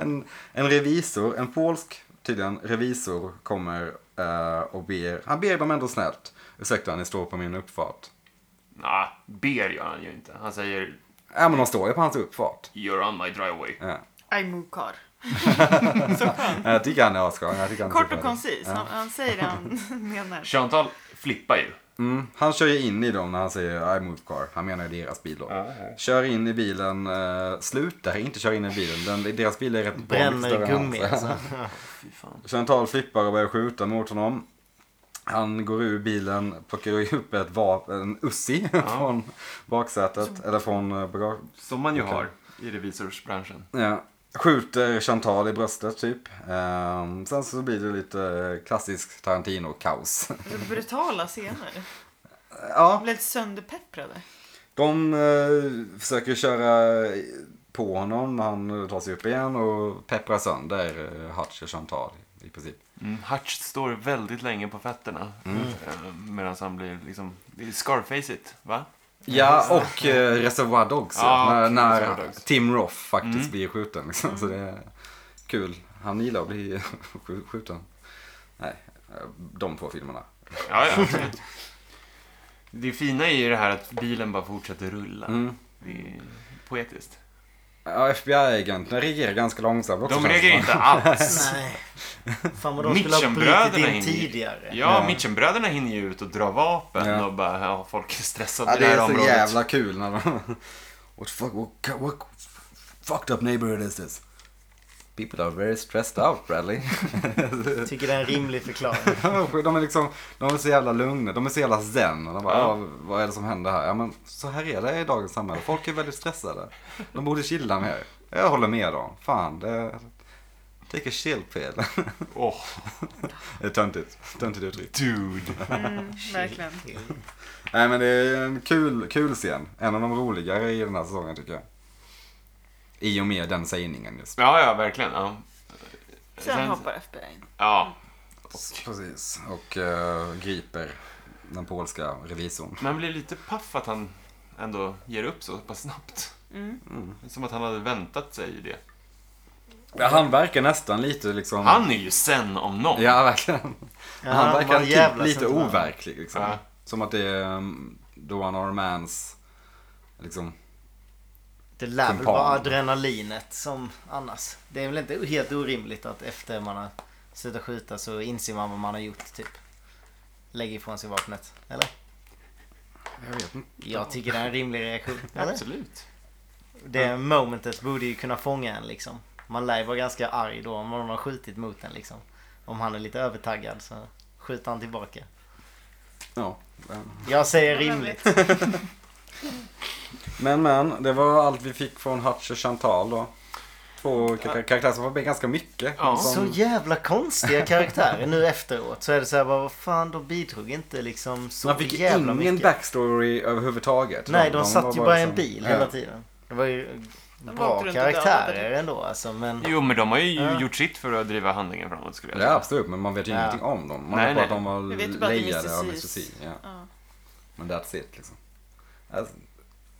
Speaker 1: en, en revisor, en polsk tydligen revisor kommer eh, och ber, han ber dem ändå snällt. Ursäkta, ni står på min uppfart.
Speaker 2: Nej, ber gör han ju inte. Han säger
Speaker 1: Ja, men de står ju på hans uppfart.
Speaker 2: You're on my driveway.
Speaker 1: Ja.
Speaker 5: I move car.
Speaker 1: Jag tycker han är asskön. Jag tycker han är
Speaker 5: Kort och
Speaker 1: superhärlig.
Speaker 5: koncis. Han, han säger det han menar.
Speaker 2: Chantal flippar ju.
Speaker 1: Mm, han kör ju in i dem när han säger I move car. Han menar ju deras bil då. Kör in i bilen, eh, slutar inte köra in i bilen. Den, deras bil är rätt bra mycket större
Speaker 3: Bränner
Speaker 1: än hans.
Speaker 3: gummi
Speaker 1: (laughs)
Speaker 3: alltså.
Speaker 2: Fy fan.
Speaker 1: Chantal flippar och börjar skjuta mot honom. Han går ur bilen, plockar upp ett vapen, en (laughs) Uzi från baksätet, eller från eh, bagage.
Speaker 2: Som man ju
Speaker 1: Okej.
Speaker 2: har i revisorsbranschen.
Speaker 1: Ja. Skjuter Chantal i bröstet typ. Ehm, sen så blir det lite eh, klassisk Tarantino-kaos. (laughs)
Speaker 5: Så Alltså, brutala scener.
Speaker 1: ja,
Speaker 5: De blev lite sönderpepprade.
Speaker 1: De eh, försöker köra på honom, han tar sig upp igen och pepprar sönder eh, Hutch och Chantal i princip.
Speaker 2: Mm, Hutch står väldigt länge på fötterna.
Speaker 1: Mm.
Speaker 2: eh, Medan han blir liksom... det är Scarface-igt, va?
Speaker 1: Ja, och eh, Reservoir Dogs ja,
Speaker 2: Ah,
Speaker 1: när,
Speaker 2: okej,
Speaker 1: när
Speaker 2: Reservoir Dogs. Mm.
Speaker 1: Tim Roth faktiskt blir skjuten. Liksom, så det är kul. Han gillar att bli (laughs) sk- skjuten. Nej, eh, de två filmerna.
Speaker 2: Ja, ja, absolut. Det fina är ju det här att bilen bara fortsätter rulla.
Speaker 1: Mm.
Speaker 2: Det är poetiskt.
Speaker 1: Ja, FBI-agenterna reagerar ganska långsamt också.
Speaker 2: De
Speaker 1: känns det
Speaker 2: reagerar
Speaker 1: som. (laughs)
Speaker 2: inte alls.
Speaker 3: Nej. Fan vad de skulle ha brutit
Speaker 2: Mitchenbröderna
Speaker 3: in
Speaker 2: hinner ju-
Speaker 3: tidigare.
Speaker 2: Ja,
Speaker 1: Ja.
Speaker 2: Mitchenbröderna hinner ju ut och dra vapen
Speaker 1: Ja.
Speaker 2: och bara, ja, folk är stressade
Speaker 1: Ja,
Speaker 2: i
Speaker 1: det
Speaker 2: det här
Speaker 1: är så
Speaker 2: området.
Speaker 1: jävla kul när de... (laughs) What, fuck, what, what fucked up neighborhood is this? People are very stressed out, Bradley.
Speaker 3: Tycker det är en rimlig förklaring.
Speaker 1: (laughs) de är liksom, de är så jävla lugna, de är så jävla zen. Och de bara,
Speaker 2: Ja.
Speaker 1: ja. vad är det som händer här? Ja, men så här är det i dagens samhälle. Folk är väldigt stressade. De borde chilla mer. Jag håller med dem. Fan, det... Take a chill pill.
Speaker 2: Åh,
Speaker 1: (laughs) Det är töntigt. Töntigt uttryck.
Speaker 2: dude.
Speaker 5: Mm, verkligen.
Speaker 1: Nej, men det är en kul, kul scen. En av de roligare i den här säsongen tycker jag. I och med den sägningen just.
Speaker 2: Ja, ja, verkligen. Ja.
Speaker 5: Sen hoppar FBI in.
Speaker 2: Ja.
Speaker 1: Precis. Och eh, griper den polska revisorn.
Speaker 2: Men han blir lite paff att han ändå ger upp så pass snabbt.
Speaker 5: Mm.
Speaker 2: Som att han hade väntat sig
Speaker 1: Mm.
Speaker 2: det.
Speaker 1: Ja, han verkar nästan lite liksom...
Speaker 2: Han är ju sen om någon.
Speaker 1: Ja, verkligen.
Speaker 3: Ja,
Speaker 1: han
Speaker 3: var
Speaker 1: verkar
Speaker 3: en
Speaker 1: typ
Speaker 3: jävla
Speaker 1: lite
Speaker 3: sentiment.
Speaker 1: overklig liksom.
Speaker 2: Ja.
Speaker 1: Som att det är um, Doan Armands liksom...
Speaker 3: Det lär väl
Speaker 1: Kumpan.
Speaker 3: vara adrenalinet som annars. Det är väl inte helt orimligt att efter man har slutat skjuta så inser man vad man har gjort typ. Lägger ifrån sig vapnet. Eller?
Speaker 1: Jag vet inte.
Speaker 3: Jag tycker det är en rimlig reaktion. Eller?
Speaker 2: Absolut.
Speaker 3: Det momentet borde ju kunna fånga en liksom. Man lär ju vara ganska arg då om någon har skjutit mot en liksom. Om han är lite övertaggad så skjuter han tillbaka.
Speaker 1: Ja. men-
Speaker 3: Jag säger
Speaker 5: Ja, men
Speaker 3: rimligt.
Speaker 1: Men men, det var allt vi fick från Hutch och Chantal då. två kar- karaktärer som får med ganska mycket.
Speaker 2: Ja.
Speaker 1: Som,
Speaker 3: Så jävla konstiga karaktärer nu efteråt. Så är det så här, bara, vad fan, de bidrog inte liksom så
Speaker 1: man fick
Speaker 3: jävla
Speaker 1: ingen
Speaker 3: mycket.
Speaker 1: backstory överhuvudtaget.
Speaker 3: Nej, de,
Speaker 1: var
Speaker 3: satt ju bara i en
Speaker 1: liksom-
Speaker 3: bil
Speaker 1: Ja.
Speaker 3: hela tiden. Det var ju
Speaker 5: De
Speaker 3: bra
Speaker 5: åkte runt och dödade typ.
Speaker 3: karaktärer ändå alltså, men...
Speaker 2: Jo, men de har ju
Speaker 3: Ja.
Speaker 2: gjort sitt för att driva handlingen framåt skulle jag
Speaker 1: Ja,
Speaker 2: säga.
Speaker 1: absolut, men man vet ju
Speaker 3: Ja.
Speaker 1: ingenting om dem. Man
Speaker 2: Nej,
Speaker 1: vet bara
Speaker 2: nej.
Speaker 1: att de var
Speaker 5: Vi vet ju bara att det är
Speaker 1: lejade av
Speaker 5: Mr.
Speaker 1: Mr. C.
Speaker 5: Cis.
Speaker 1: Ja.
Speaker 5: Ja.
Speaker 1: Men that's it liksom. Alltså,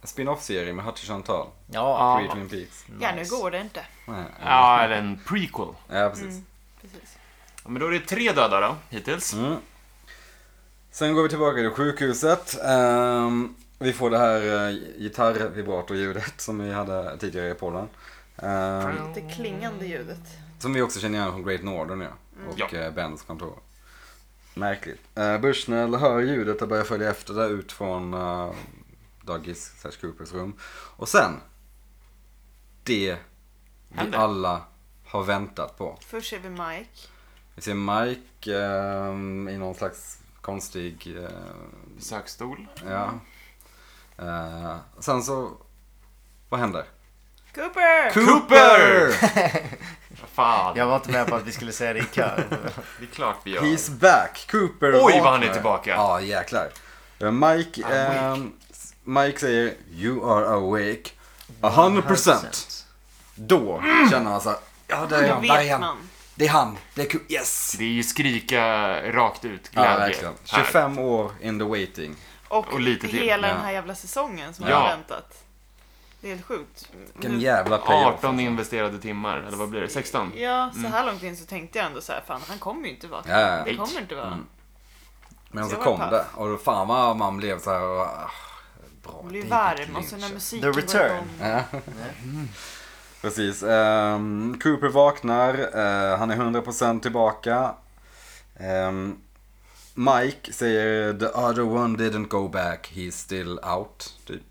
Speaker 1: en spin-off-serie med Hutch och Chantal.
Speaker 3: Ja,
Speaker 1: Free Twin Peaks.
Speaker 5: ja, nu går det inte.
Speaker 1: Nej,
Speaker 2: Ja, eller en prequel.
Speaker 1: ja, precis.
Speaker 5: Mm, precis.
Speaker 2: Ja, men då är det tre döda då, hittills.
Speaker 1: Mm. Sen går vi tillbaka till sjukhuset. Ehm, vi får det här uh, gitarrvibratorljudet som vi hade tidigare i podden. Ehm,
Speaker 5: Det klingande ljudet.
Speaker 1: Som vi också känner igen från Great Northern ja. Och
Speaker 2: Mm. Ja.
Speaker 1: eh, Bens kontor. Märkligt. Uh, Bushnell hör ljudet och börjar följa efter det ut från uh, Dougis slash Coopers rum. Och sen. Det vi
Speaker 2: Händer.
Speaker 1: alla har väntat på.
Speaker 5: Först ser vi Mike.
Speaker 1: Vi ser Mike ehm, i någon slags konstig eh,
Speaker 2: Besöksstol.
Speaker 1: Ja. Eh, sen så, vad händer?
Speaker 5: Cooper!
Speaker 1: Cooper!
Speaker 2: Fan,
Speaker 3: (laughs) jag var inte med på att vi skulle säga det i kör.
Speaker 2: det är klart vi gör.
Speaker 1: He's back! Cooper
Speaker 2: Oj, vad
Speaker 1: vaknar.
Speaker 2: han är tillbaka.
Speaker 1: Ja, jäklar. Eh, Mike, ehm, Mike säger You are awake. A hundred percent. Då känner han så här, ja där är
Speaker 5: Då
Speaker 1: han, där är
Speaker 5: vet
Speaker 1: han.
Speaker 5: man.
Speaker 1: Det är han, det är Cooper, yes!
Speaker 2: Det är ju skrika rakt ut
Speaker 1: Ja,
Speaker 2: glädje.
Speaker 1: verkligen.
Speaker 2: Här.
Speaker 1: 25 år in the waiting.
Speaker 5: Och,
Speaker 2: Och lite till.
Speaker 5: hela
Speaker 1: Ja.
Speaker 5: den här jävla säsongen som
Speaker 2: Ja.
Speaker 5: har väntat. Det är helt sjukt. Mm.
Speaker 1: Vilken jävla playoff.
Speaker 2: 18 investerade timmar, eller vad blir det? 16?
Speaker 5: Ja, så här långt in så tänkte jag ändå så här, fan han kommer ju inte vara
Speaker 1: Ja, ja.
Speaker 5: Det kommer inte vara
Speaker 1: Mm. Men
Speaker 5: Så
Speaker 1: så
Speaker 5: jag
Speaker 1: kom
Speaker 5: var paff.
Speaker 1: det. Och då fan vad man blev så här, ah, bra.
Speaker 5: Han blir
Speaker 1: David
Speaker 5: varm och
Speaker 1: Lynch,
Speaker 5: så när
Speaker 1: alltså.
Speaker 5: musiken
Speaker 3: The
Speaker 5: går
Speaker 3: Return.
Speaker 5: igång.
Speaker 1: Ja. Precis. Ehm, Cooper vaknar. eh, han är 100% tillbaka. Ehm, Mike säger the other one didn't go back. He's still out. Typ.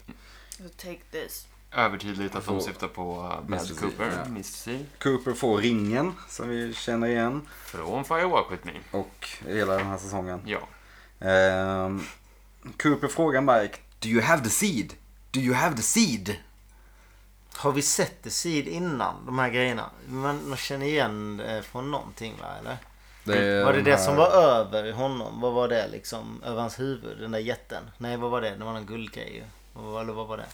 Speaker 5: So take this.
Speaker 2: Övertydligt att de
Speaker 1: Alltså,
Speaker 2: syftar på uh,
Speaker 1: Mr.
Speaker 2: Bess
Speaker 1: C,
Speaker 2: Cooper,
Speaker 1: ja.
Speaker 2: Mr. C.
Speaker 1: Cooper får ringen som vi känner igen.
Speaker 2: Från Fire Walk With Me.
Speaker 1: Och hela den här säsongen.
Speaker 2: Ja.
Speaker 1: Ehm, Cooper frågar Mike. Do you have the seed? Do you have the seed?
Speaker 3: Har vi sett The Seed innan, de här grejerna? Man, man känner igen det från någonting va, eller?
Speaker 1: är
Speaker 3: Mm. var det
Speaker 1: den
Speaker 3: det
Speaker 1: här-
Speaker 3: som var över honom? Vad var det liksom? Över hans huvud? Den där jätten? Nej, vad var det? Det var någon guldgrej ju. Vad var- Eller vad var det?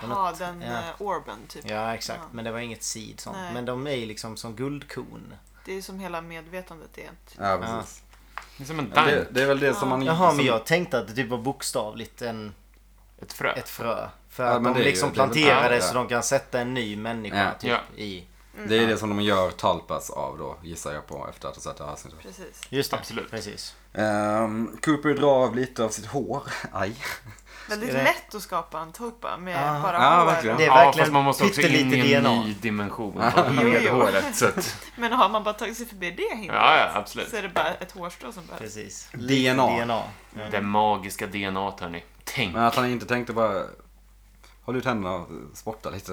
Speaker 3: Det var
Speaker 5: Ha den
Speaker 3: ja.
Speaker 5: eh, orben typ.
Speaker 3: Ja, exakt.
Speaker 5: Ja.
Speaker 3: Men det var inget seed sånt.
Speaker 5: Nej.
Speaker 3: Men de är ju liksom som guldkorn.
Speaker 5: Det är som hela medvetandet är. ett-
Speaker 1: Ja, precis.
Speaker 2: Det är som en
Speaker 1: Ja, det,
Speaker 2: dank,
Speaker 1: det är väl det som man...
Speaker 3: Jaha, men
Speaker 1: Mm. som-
Speaker 3: jag tänkte att det typ var bokstavligt en,
Speaker 2: ett frö.
Speaker 3: ett frö. För
Speaker 1: Ja,
Speaker 3: att
Speaker 1: men
Speaker 3: de
Speaker 1: det är ju-
Speaker 3: liksom
Speaker 1: det är väl-
Speaker 3: planterar det
Speaker 1: ja.
Speaker 3: så de kan sätta en ny människa
Speaker 1: Ja.
Speaker 3: typ
Speaker 2: Ja.
Speaker 3: i...
Speaker 1: Det
Speaker 2: Mm.
Speaker 1: är det som de gör Talpas av då, gissar jag på efter att ha sett det här avsnittet.
Speaker 5: Precis.
Speaker 3: Just det,
Speaker 2: Absolut.
Speaker 3: precis.
Speaker 1: Ehm, Cooper drar av lite av sitt hår. Aj.
Speaker 5: Väldigt
Speaker 3: Är det-
Speaker 5: lätt att skapa en tulpa med
Speaker 3: Ja.
Speaker 5: bara
Speaker 1: Ja,
Speaker 5: hår.
Speaker 1: verkligen.
Speaker 3: Det är
Speaker 2: ja,
Speaker 3: verkligen
Speaker 2: fast man måste också in
Speaker 3: pyttelite
Speaker 2: i en
Speaker 3: DNA.
Speaker 2: ny dimension med
Speaker 5: jo.
Speaker 2: håret.
Speaker 3: (laughs)
Speaker 2: Så att,
Speaker 5: Men har man bara tagit sig förbi det hindret
Speaker 2: ja, ja, absolut.
Speaker 5: så är det bara ett hårstrå som behövs.
Speaker 3: precis.
Speaker 1: DNA.
Speaker 3: DNA.
Speaker 2: Det magiska DNA, t hörni. Tänk.
Speaker 1: Men att han inte tänkte bara... Håll ut händerna och spotta
Speaker 2: (laughs)
Speaker 1: lite.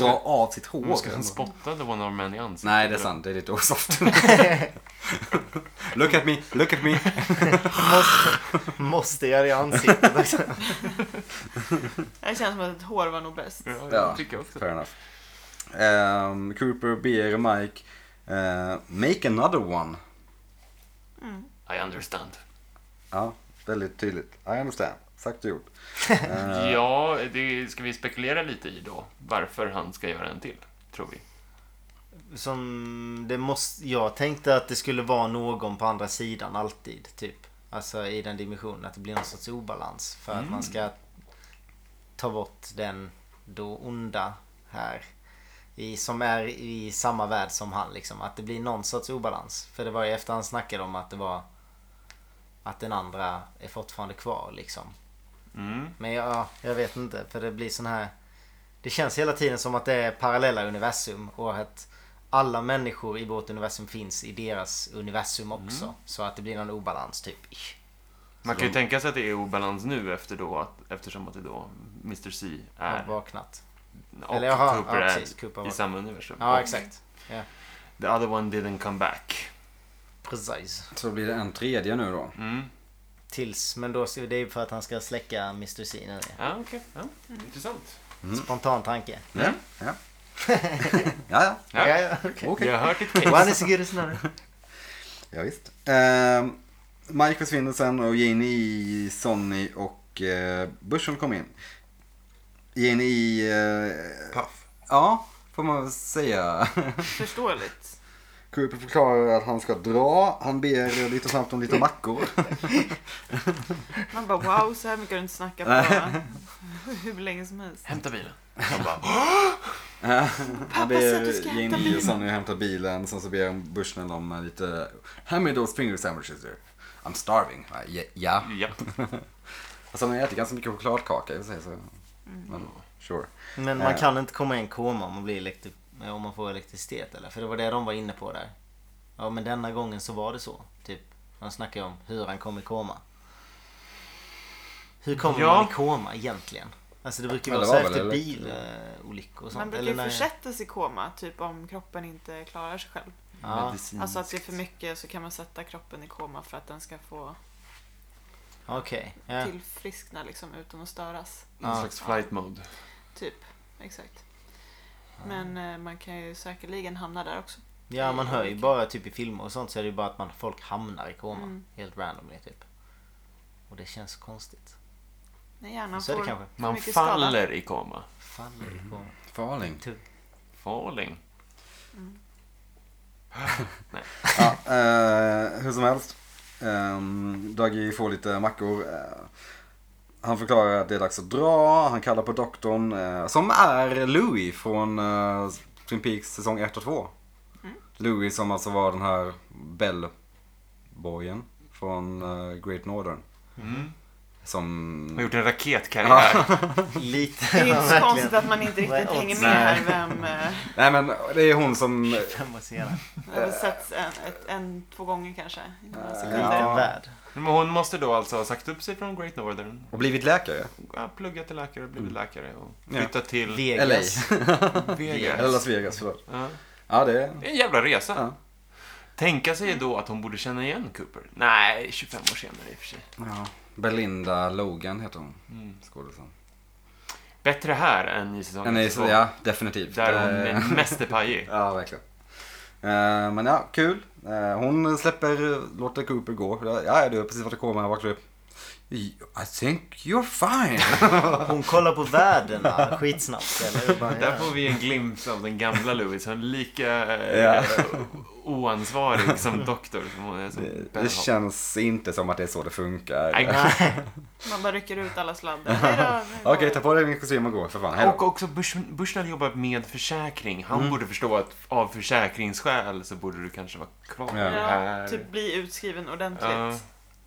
Speaker 1: Dra av sitt hår.
Speaker 2: Hon ska spotta The One Arm Man i ansiktet.
Speaker 1: Nej, det är sant. Det är lite osoft. (laughs) look at me, look at me.
Speaker 3: Måste göra det i ansiktet också.
Speaker 5: Det känns som att ett hår var nog bäst.
Speaker 2: Ja,
Speaker 1: Ja,
Speaker 2: det tycker jag också.
Speaker 1: fair enough. Ehm, Cooper ber Mike eh, make another one.
Speaker 2: I understand.
Speaker 1: Ja, väldigt tydligt. I understand. Sagt och
Speaker 2: (laughs)
Speaker 1: gjort. Ehm, Eh.
Speaker 2: Ja, det ska vi spekulera lite i då. Varför han ska göra en till, tror vi.
Speaker 3: Som det måste... Jag tänkte att det skulle vara någon på andra sidan alltid, typ. Alltså i den dimensionen, att det blir någon sorts obalans. För att man ska ta bort den då onda här. I, som är i samma värld som han liksom. Att det blir någon sorts obalans. För det var ju efter han snackade om att det var... Att den andra är fortfarande kvar liksom.
Speaker 2: Mm.
Speaker 3: Men jag, jag vet inte för det blir sån här... Det känns hela tiden som att det är parallella universum och att alla människor i vårt universum finns i deras universum också. Så att det blir någon obalans typ. Ish.
Speaker 2: Man kan ju tänka sig att det är obalans nu efter då, att, eftersom att det då Mr C
Speaker 3: Har
Speaker 2: är
Speaker 3: vaknat.
Speaker 2: och
Speaker 3: Eller jaha,
Speaker 2: Cooper
Speaker 3: ja,
Speaker 2: är
Speaker 3: precis, Cooper var-
Speaker 2: i samma universum.
Speaker 3: Ja exakt.
Speaker 2: The other one didn't come back.
Speaker 3: Precis.
Speaker 1: Så blir det en tredje nu då.
Speaker 2: Mm.
Speaker 3: Tills, men då det är ju för att han ska släcka Mr. C nu.
Speaker 5: Mm.
Speaker 2: Ja, okej. Ja. Intressant.
Speaker 3: Spontan tanke.
Speaker 1: Ja, (laughs) ja. Ja, ja.
Speaker 2: Ja.
Speaker 3: Ja, ja, okej.
Speaker 1: Okej.
Speaker 2: Jag har hört ditt
Speaker 3: (laughs)
Speaker 2: case.
Speaker 3: One is as good as another.
Speaker 1: Ja, visst. Eh, Mike försvinner sen och Janie, Sonny och eh, Bushel kommer in. Janie, eh,
Speaker 6: Paff.
Speaker 1: ja, får man väl säga. (laughs)
Speaker 5: Förståeligt.
Speaker 1: Cooper förklarar att han ska dra. Han ber lite snabbt om lite (laughs) mackor.
Speaker 3: (laughs)
Speaker 5: Man bara wow, så här mycket har du inte snackat på (laughs) hur länge som helst.
Speaker 2: Hämta bilen.
Speaker 6: Han bara,
Speaker 3: (laughs)
Speaker 5: Pappa
Speaker 1: Han
Speaker 5: sa att du
Speaker 1: ber
Speaker 5: ska hämta
Speaker 1: Janie och
Speaker 5: bilen.
Speaker 1: Sonny hämta bilen. Sen så ber han Bushnell om lite, hand me those finger sandwiches there. I'm starving. Ja, Ja. ja.
Speaker 2: Ja.
Speaker 1: Alltså han äter ganska mycket chokladkaka i och för sig. Så. Men, sure.
Speaker 3: Men
Speaker 1: Eh.
Speaker 3: man kan inte komma i en koma om man, blir elektri- om man får elektricitet eller? För det var det de var inne på där. Ja men denna gången så var det så. Typ. Han snackar ju om hur han kom i koma. Hur kommer
Speaker 2: Ja.
Speaker 3: man i koma egentligen? Alltså det brukar ju
Speaker 1: Ja, det
Speaker 3: vara så
Speaker 1: var
Speaker 3: efter
Speaker 1: väl
Speaker 3: bilolyckor och sånt.
Speaker 5: Man brukar
Speaker 3: eller
Speaker 5: ju
Speaker 3: när-
Speaker 5: försättas i koma, typ om kroppen inte klarar sig själv.
Speaker 3: Ja,
Speaker 1: Medicin.
Speaker 5: Alltså att det är för mycket så kan man sätta kroppen i koma för att den ska få
Speaker 3: okej. Ja.
Speaker 5: tillfriskna liksom utan att störas.
Speaker 2: Någon slags flight mode.
Speaker 5: Typ, exakt. Men eh, man kan ju säkerligen hamna där också.
Speaker 3: ja man hör ju bara typ i filmer och sånt så är det ju bara att man, folk hamnar i koma.
Speaker 5: Mm.
Speaker 3: Helt randomly typ. Och det känns konstigt.
Speaker 5: När hjärnan
Speaker 3: Så är det
Speaker 5: får
Speaker 3: kanske.
Speaker 5: för
Speaker 2: Man
Speaker 5: mycket
Speaker 2: faller
Speaker 5: skada.
Speaker 2: i koma.
Speaker 3: Faller i
Speaker 1: Mm.
Speaker 3: koma.
Speaker 1: Farling. typ.
Speaker 2: Falling.
Speaker 1: Ja, eh, hur som helst. Um, Dagi får lite mackor. Eh, han förklarar att det är dags att dra. Han kallar på doktorn. eh, som är Louis från eh, Twin Peaks säsong 1 och 2. Louis som alltså var den här Bell-boyen från eh, Great Northern.
Speaker 3: Mm.
Speaker 2: Mm. Har
Speaker 1: Som...
Speaker 2: gjort en raketkarriär.
Speaker 3: Lite.
Speaker 5: Det är
Speaker 3: ja,
Speaker 5: inte så
Speaker 3: (laughs) verkligen.
Speaker 5: konstigt att man inte
Speaker 3: Vad är
Speaker 5: riktigt hänger
Speaker 3: oddsen?
Speaker 5: med här vem eh,
Speaker 1: Nej men det är hon som...
Speaker 3: Fem år senare.
Speaker 5: har
Speaker 2: Eh.
Speaker 5: sett en, ett, en, två gånger kanske. i några
Speaker 3: En
Speaker 5: sekunder.
Speaker 3: liten värld.
Speaker 2: (laughs) Men hon måste då alltså ha sagt upp sig från Great Northern.
Speaker 1: Och blivit läkare.
Speaker 2: Ja, pluggat till läkare och blivit
Speaker 3: Mm.
Speaker 2: läkare. Och
Speaker 1: Ja.
Speaker 2: flyttat till
Speaker 3: Vegas.
Speaker 1: LA.
Speaker 3: (laughs)
Speaker 1: Eller
Speaker 2: Vegas.
Speaker 1: Las Vegas, förlåt.
Speaker 2: Ja.
Speaker 1: Ja det är...
Speaker 2: Det är en jävla resa.
Speaker 1: Ja.
Speaker 2: Tänka sig då att hon borde känna igen Cooper. Nej, 25 år senare i och för sig.
Speaker 1: Ja. Belinda Logan heter hon.
Speaker 2: Mm.
Speaker 1: Skådisen.
Speaker 2: Bättre här än i säsong
Speaker 1: Ja, nej,
Speaker 2: två,
Speaker 1: så, ja, definitivt.
Speaker 2: Där hon
Speaker 1: Eh,
Speaker 2: är mästerpajig.
Speaker 1: (laughs) Ja, verkligen. Eh, Men ja, kul. Eh, Hon släpper, låter Cooper gå. Ja, du har precis varit i koma, jag vaknade upp. I think you're fine.
Speaker 2: (laughs)
Speaker 3: Hon kollar på värdena skitsnabbt eller? Och Bara,
Speaker 2: (laughs) Där
Speaker 3: ja.
Speaker 2: får vi en glimt av den gamla Louis. Hon är lika eh,
Speaker 1: Ja. (laughs)
Speaker 2: oansvarig som doktor som hon är som
Speaker 1: Det-
Speaker 2: Bell.
Speaker 1: Det känns inte som att det är så det funkar.
Speaker 2: Nej.
Speaker 5: Man bara rycker ut alla
Speaker 2: (laughs)
Speaker 5: sladdar. Hejdå, nu går
Speaker 1: Okej, ta
Speaker 5: vi.
Speaker 1: på dig din kostym och gå för fan. Hej
Speaker 2: Och
Speaker 1: då. Mm.
Speaker 2: också Bush- Bushnell jobbar med försäkring. Han borde förstå att av försäkringsskäl så borde du kanske vara kvar
Speaker 1: Ja.
Speaker 5: ja,
Speaker 2: här.
Speaker 5: typ bli utskriven ordentligt.
Speaker 2: Eh. Ja.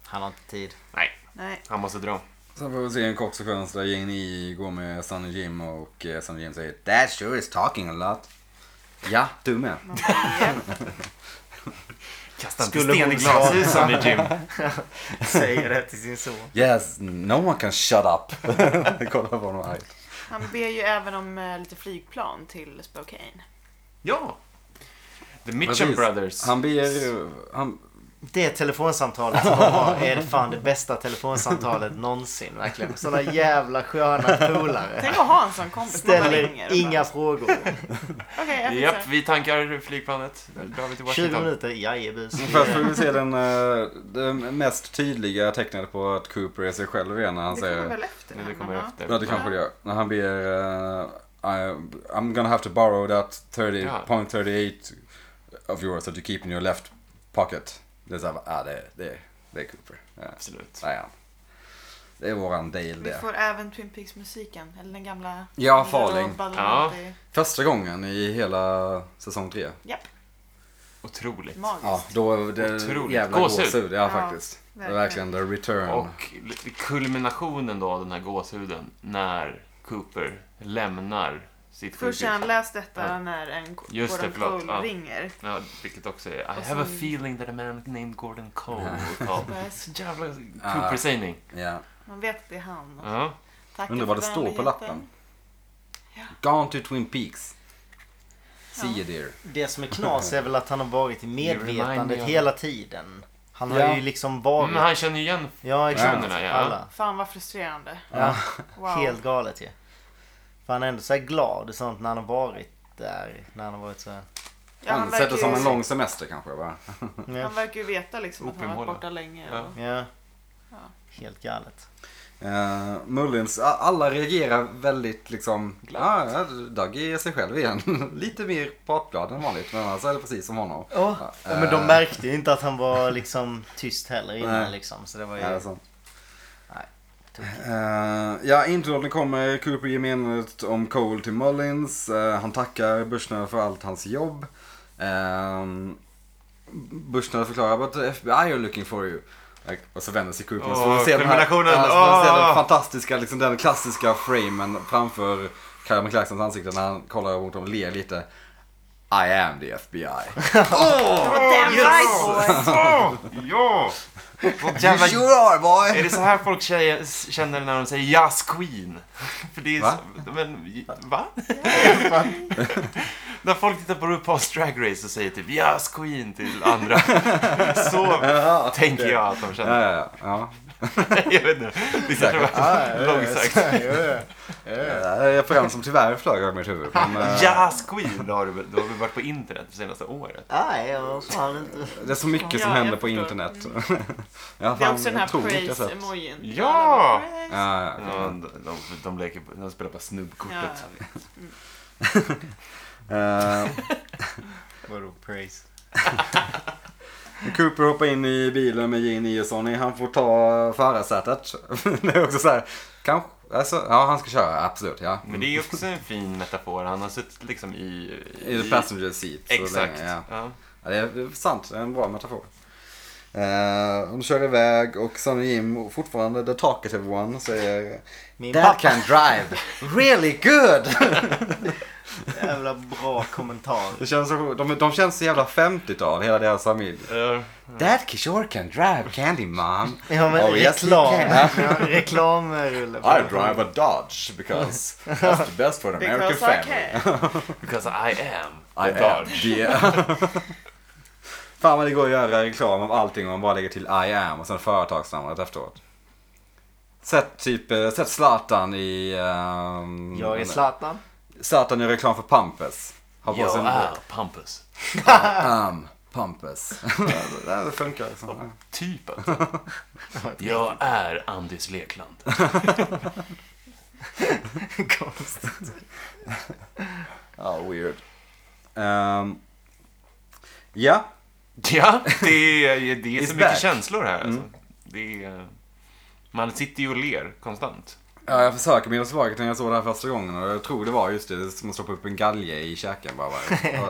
Speaker 3: Han har inte tid.
Speaker 2: nej,
Speaker 5: Nej,
Speaker 2: han måste dra.
Speaker 1: Sen får vi se en kort sekvens där Janie går med Sunny Jim och eh, Sunny Jim säger That sure is talking a lot. Ja, du med.
Speaker 5: man bara, "Japp."
Speaker 2: Kasta inte
Speaker 3: Skulle
Speaker 2: sten i
Speaker 3: hon svara?
Speaker 2: glashusen i Jim.
Speaker 3: (laughs)
Speaker 2: (laughs)
Speaker 3: Säger det till sin son.
Speaker 1: Yes, no one can shut up. (laughs) Kolla på honom argt.
Speaker 5: Han ber ju även om eh, lite flygplan till Spokane.
Speaker 2: Ja! The Mitchum
Speaker 1: Precis.
Speaker 2: Brothers.
Speaker 1: Han ber... Han,
Speaker 3: Det telefonsamtalet som de har är fan det bästa telefonsamtalet någonsin verkligen. Sådana jävla sköna polare.
Speaker 5: Tänk att ha en sån kompis. Man bara ringer
Speaker 3: Ställer
Speaker 5: och
Speaker 3: inga
Speaker 5: bara,
Speaker 3: frågor.
Speaker 5: Okej, jag fixar
Speaker 2: Japp,
Speaker 5: det."
Speaker 2: vi tankar flygplanet. Nu drar vi till
Speaker 3: 20
Speaker 2: Washington.
Speaker 3: minuter, jajebus.
Speaker 1: Först får vi se den, eh, det mest tydliga tecknet på att Cooper är sig själv igen när han
Speaker 5: Det kommer
Speaker 1: säger...
Speaker 5: väl efter?
Speaker 2: Nu, Det
Speaker 5: men,
Speaker 2: kommer
Speaker 5: ja.
Speaker 2: efter.
Speaker 1: Ja, det kanske det gör. När han ber... eh, I, I'm gonna have to borrow that 30.38
Speaker 2: Ja.
Speaker 1: of yours that you keep in your left pocket. Det är såhär, ah, det, det, det är Cooper. Ja,
Speaker 2: Absolut.
Speaker 1: där är han. Det är våran Dale
Speaker 5: Vi
Speaker 1: det.
Speaker 5: får även Twin Peaks-musiken, eller den gamla...
Speaker 1: Ja, Farling.
Speaker 5: Ja.
Speaker 1: Första gången i hela säsong tre.
Speaker 5: Japp,
Speaker 2: Otroligt.
Speaker 5: magiskt.
Speaker 1: Ja, då är det
Speaker 2: Otroligt.
Speaker 1: jävla
Speaker 2: Gåshud.
Speaker 1: gåshud. Ja,
Speaker 5: Ja,
Speaker 1: faktiskt. Det är
Speaker 5: verkligen.
Speaker 1: verkligen the return.
Speaker 2: Och l- kulminationen då, den här gåshuden, när Cooper lämnar sitt
Speaker 5: Först
Speaker 2: sjukhus.
Speaker 5: har han läst detta
Speaker 2: Ja.
Speaker 5: när en
Speaker 2: Just det,
Speaker 5: Gordon
Speaker 2: förlåt,
Speaker 5: Cole
Speaker 2: ja.
Speaker 5: ringer.
Speaker 2: Ja, vilket också är I
Speaker 5: Och
Speaker 2: have a
Speaker 5: sen-
Speaker 2: feeling that a man named Gordon Cole will
Speaker 5: (laughs)
Speaker 2: call.
Speaker 5: Börjar-
Speaker 2: Så jävla Cooper-sägning.
Speaker 1: ja.
Speaker 5: Man vet att det är han.
Speaker 2: Ja.
Speaker 5: Tack
Speaker 1: Undrar vad det står på lappen.
Speaker 5: Ja.
Speaker 1: Gone to Twin Peaks. See you dear.
Speaker 3: Det som är knas är väl att han har varit i medvetandet hela tiden. Han har
Speaker 1: Ja.
Speaker 3: ju liksom
Speaker 2: Men
Speaker 3: varit...
Speaker 2: Mm, han känner ju
Speaker 1: (laughs)
Speaker 2: igen
Speaker 3: Ja exakt.
Speaker 2: Personerna, ja.
Speaker 3: Alla.
Speaker 5: Fan vad frustrerande.
Speaker 3: Ja.
Speaker 5: Wow.
Speaker 3: Helt galet ju. För han är ändå så här glad och sånt när han har varit där när han har varit så här.
Speaker 5: Ja, han, verkar
Speaker 1: Sätter som en
Speaker 5: ju,
Speaker 1: lång semester kanske va?
Speaker 3: Ja,
Speaker 5: Mm. han verkar ju veta liksom att han har varit
Speaker 7: Opiumhåla.
Speaker 5: borta länge.
Speaker 7: Ja.
Speaker 5: Och,
Speaker 3: ja.
Speaker 5: Ja.
Speaker 3: Helt galet.
Speaker 1: Eh, Mullins, a- alla reagerar väldigt liksom, ah, ja, Dougie är sig själv igen. (laughs) Lite mer pratglad än vanligt, men annars är det precis som honom.
Speaker 3: Ja, men de märkte ju inte att han var liksom tyst heller innan
Speaker 1: Eh. Nej.
Speaker 3: liksom. Så det var ju...
Speaker 1: Ja, alltså. det är sant.
Speaker 3: Nej,
Speaker 1: Eh, ja, introlåten kommer. Cooper ger menet om Cole till Mullins. Eh, han tackar Bushnell för allt hans jobb. Um, Bushnell förklarar att the FBI are looking for you. Like, Och så vänder sig Cooper och så får man
Speaker 2: Åh,
Speaker 1: se den här,
Speaker 2: kulminationen.
Speaker 1: ja, så får man se den
Speaker 2: Åh!
Speaker 1: fantastiska, liksom den klassiska framen framför Kyle Clarksons ansikte när han kollar mot dem och ler lite. I am the FBI.
Speaker 5: Det var damn right
Speaker 2: (laughs)
Speaker 5: boy!
Speaker 2: Åh,
Speaker 1: (laughs)
Speaker 2: ja! Folk jävla...
Speaker 1: You sure are boy!
Speaker 2: Är det så här folk tjejer, s- känner när de säger jazz queen? (laughs) För det är
Speaker 1: Va?
Speaker 2: Så, men, va? (laughs) när folk tittar på RuPaul's Drag Race och säger typ jazz queen
Speaker 1: (laughs)
Speaker 2: till andra. så
Speaker 1: Ja,
Speaker 2: tänker jag att de
Speaker 1: ja,
Speaker 2: känner.
Speaker 1: ja, ja.
Speaker 2: (laughs) jag vet inte. Det kanske var långsökt.
Speaker 1: Det är en program som tyvärr flög över mitt huvud. Men, eh,
Speaker 2: Jazz Queen, då har, du, då har vi varit på internet det senaste året.
Speaker 3: Nej, jag var fan inte...
Speaker 1: Det är så mycket som
Speaker 5: Ja, jag
Speaker 1: händer på
Speaker 5: förstår. Mm.
Speaker 1: internet. (laughs) Jag
Speaker 5: Det är också den här
Speaker 1: otroligt mycket sett.
Speaker 5: praise-emojin.
Speaker 2: Ja!
Speaker 5: Praise.
Speaker 1: Ja, ja,
Speaker 2: Ja, de, de, de, leker, på- de spelar på snubbkortet.
Speaker 5: Ja,
Speaker 1: Eh,
Speaker 3: Vadå praise?
Speaker 1: Cooper hoppar in i bilen med Gene och Sonny. Han får ta förarsätet. (laughs) Det är också så här, kanske, alltså, ja han ska köra, absolut. Ja.
Speaker 2: Men det är också en fin metafor. Han har suttit liksom i...
Speaker 1: I the passenger seat. så
Speaker 2: Exakt.
Speaker 1: länge, ja.
Speaker 2: ja.
Speaker 1: Ja, det är det är sant, det är en bra metafor. Eh, hon kör iväg och Sonny och Jim fortfarande the talkative one säger
Speaker 3: Min
Speaker 1: That
Speaker 3: pappa.
Speaker 1: can drive really
Speaker 3: (laughs)
Speaker 1: good!
Speaker 3: Jävla bra kommentar.
Speaker 1: Det känns så, de, de känns så jävla 50-tal, hela deras familj.
Speaker 2: Ja. Eh,
Speaker 1: Dad sure can drive candy mom.
Speaker 3: (laughs) Ja men
Speaker 1: Oh, yes,
Speaker 3: reklam.
Speaker 1: you can.
Speaker 3: Ja, reklamrulle.
Speaker 1: a Dodge because that's the best
Speaker 3: (laughs)
Speaker 1: for an
Speaker 5: Because I can.
Speaker 2: Because I am
Speaker 1: I
Speaker 2: the
Speaker 1: am.
Speaker 2: Dodge.
Speaker 1: (laughs) Fan vad det går att göra reklam om allting om man bara lägger till I am och sen företagsnamnet efteråt. Sätt typ, eh, sätt Zlatan i... ehm,
Speaker 3: Jag är Zlatan.
Speaker 1: Zlatan gör reklam för Pampers. Har på sig
Speaker 2: Jag
Speaker 1: en
Speaker 2: (laughs) är Pampus.
Speaker 1: am Pampers. (laughs) det här funkar liksom. (laughs)
Speaker 2: Typ alltså. Jag är Andys Lekland.
Speaker 3: Konstigt.
Speaker 1: Ja, weird. Ehm, ja,
Speaker 2: Ja, det är, det är
Speaker 1: It's
Speaker 2: så mycket
Speaker 1: back. Mm.
Speaker 2: känslor här. Alltså. Det är, man sitter ju och ler konstant.
Speaker 1: Ja, jag försöker minnas tillbaka till när jag såg det här första gången och jag tror det var just det som att stoppa upp en galge i käken bara. bara.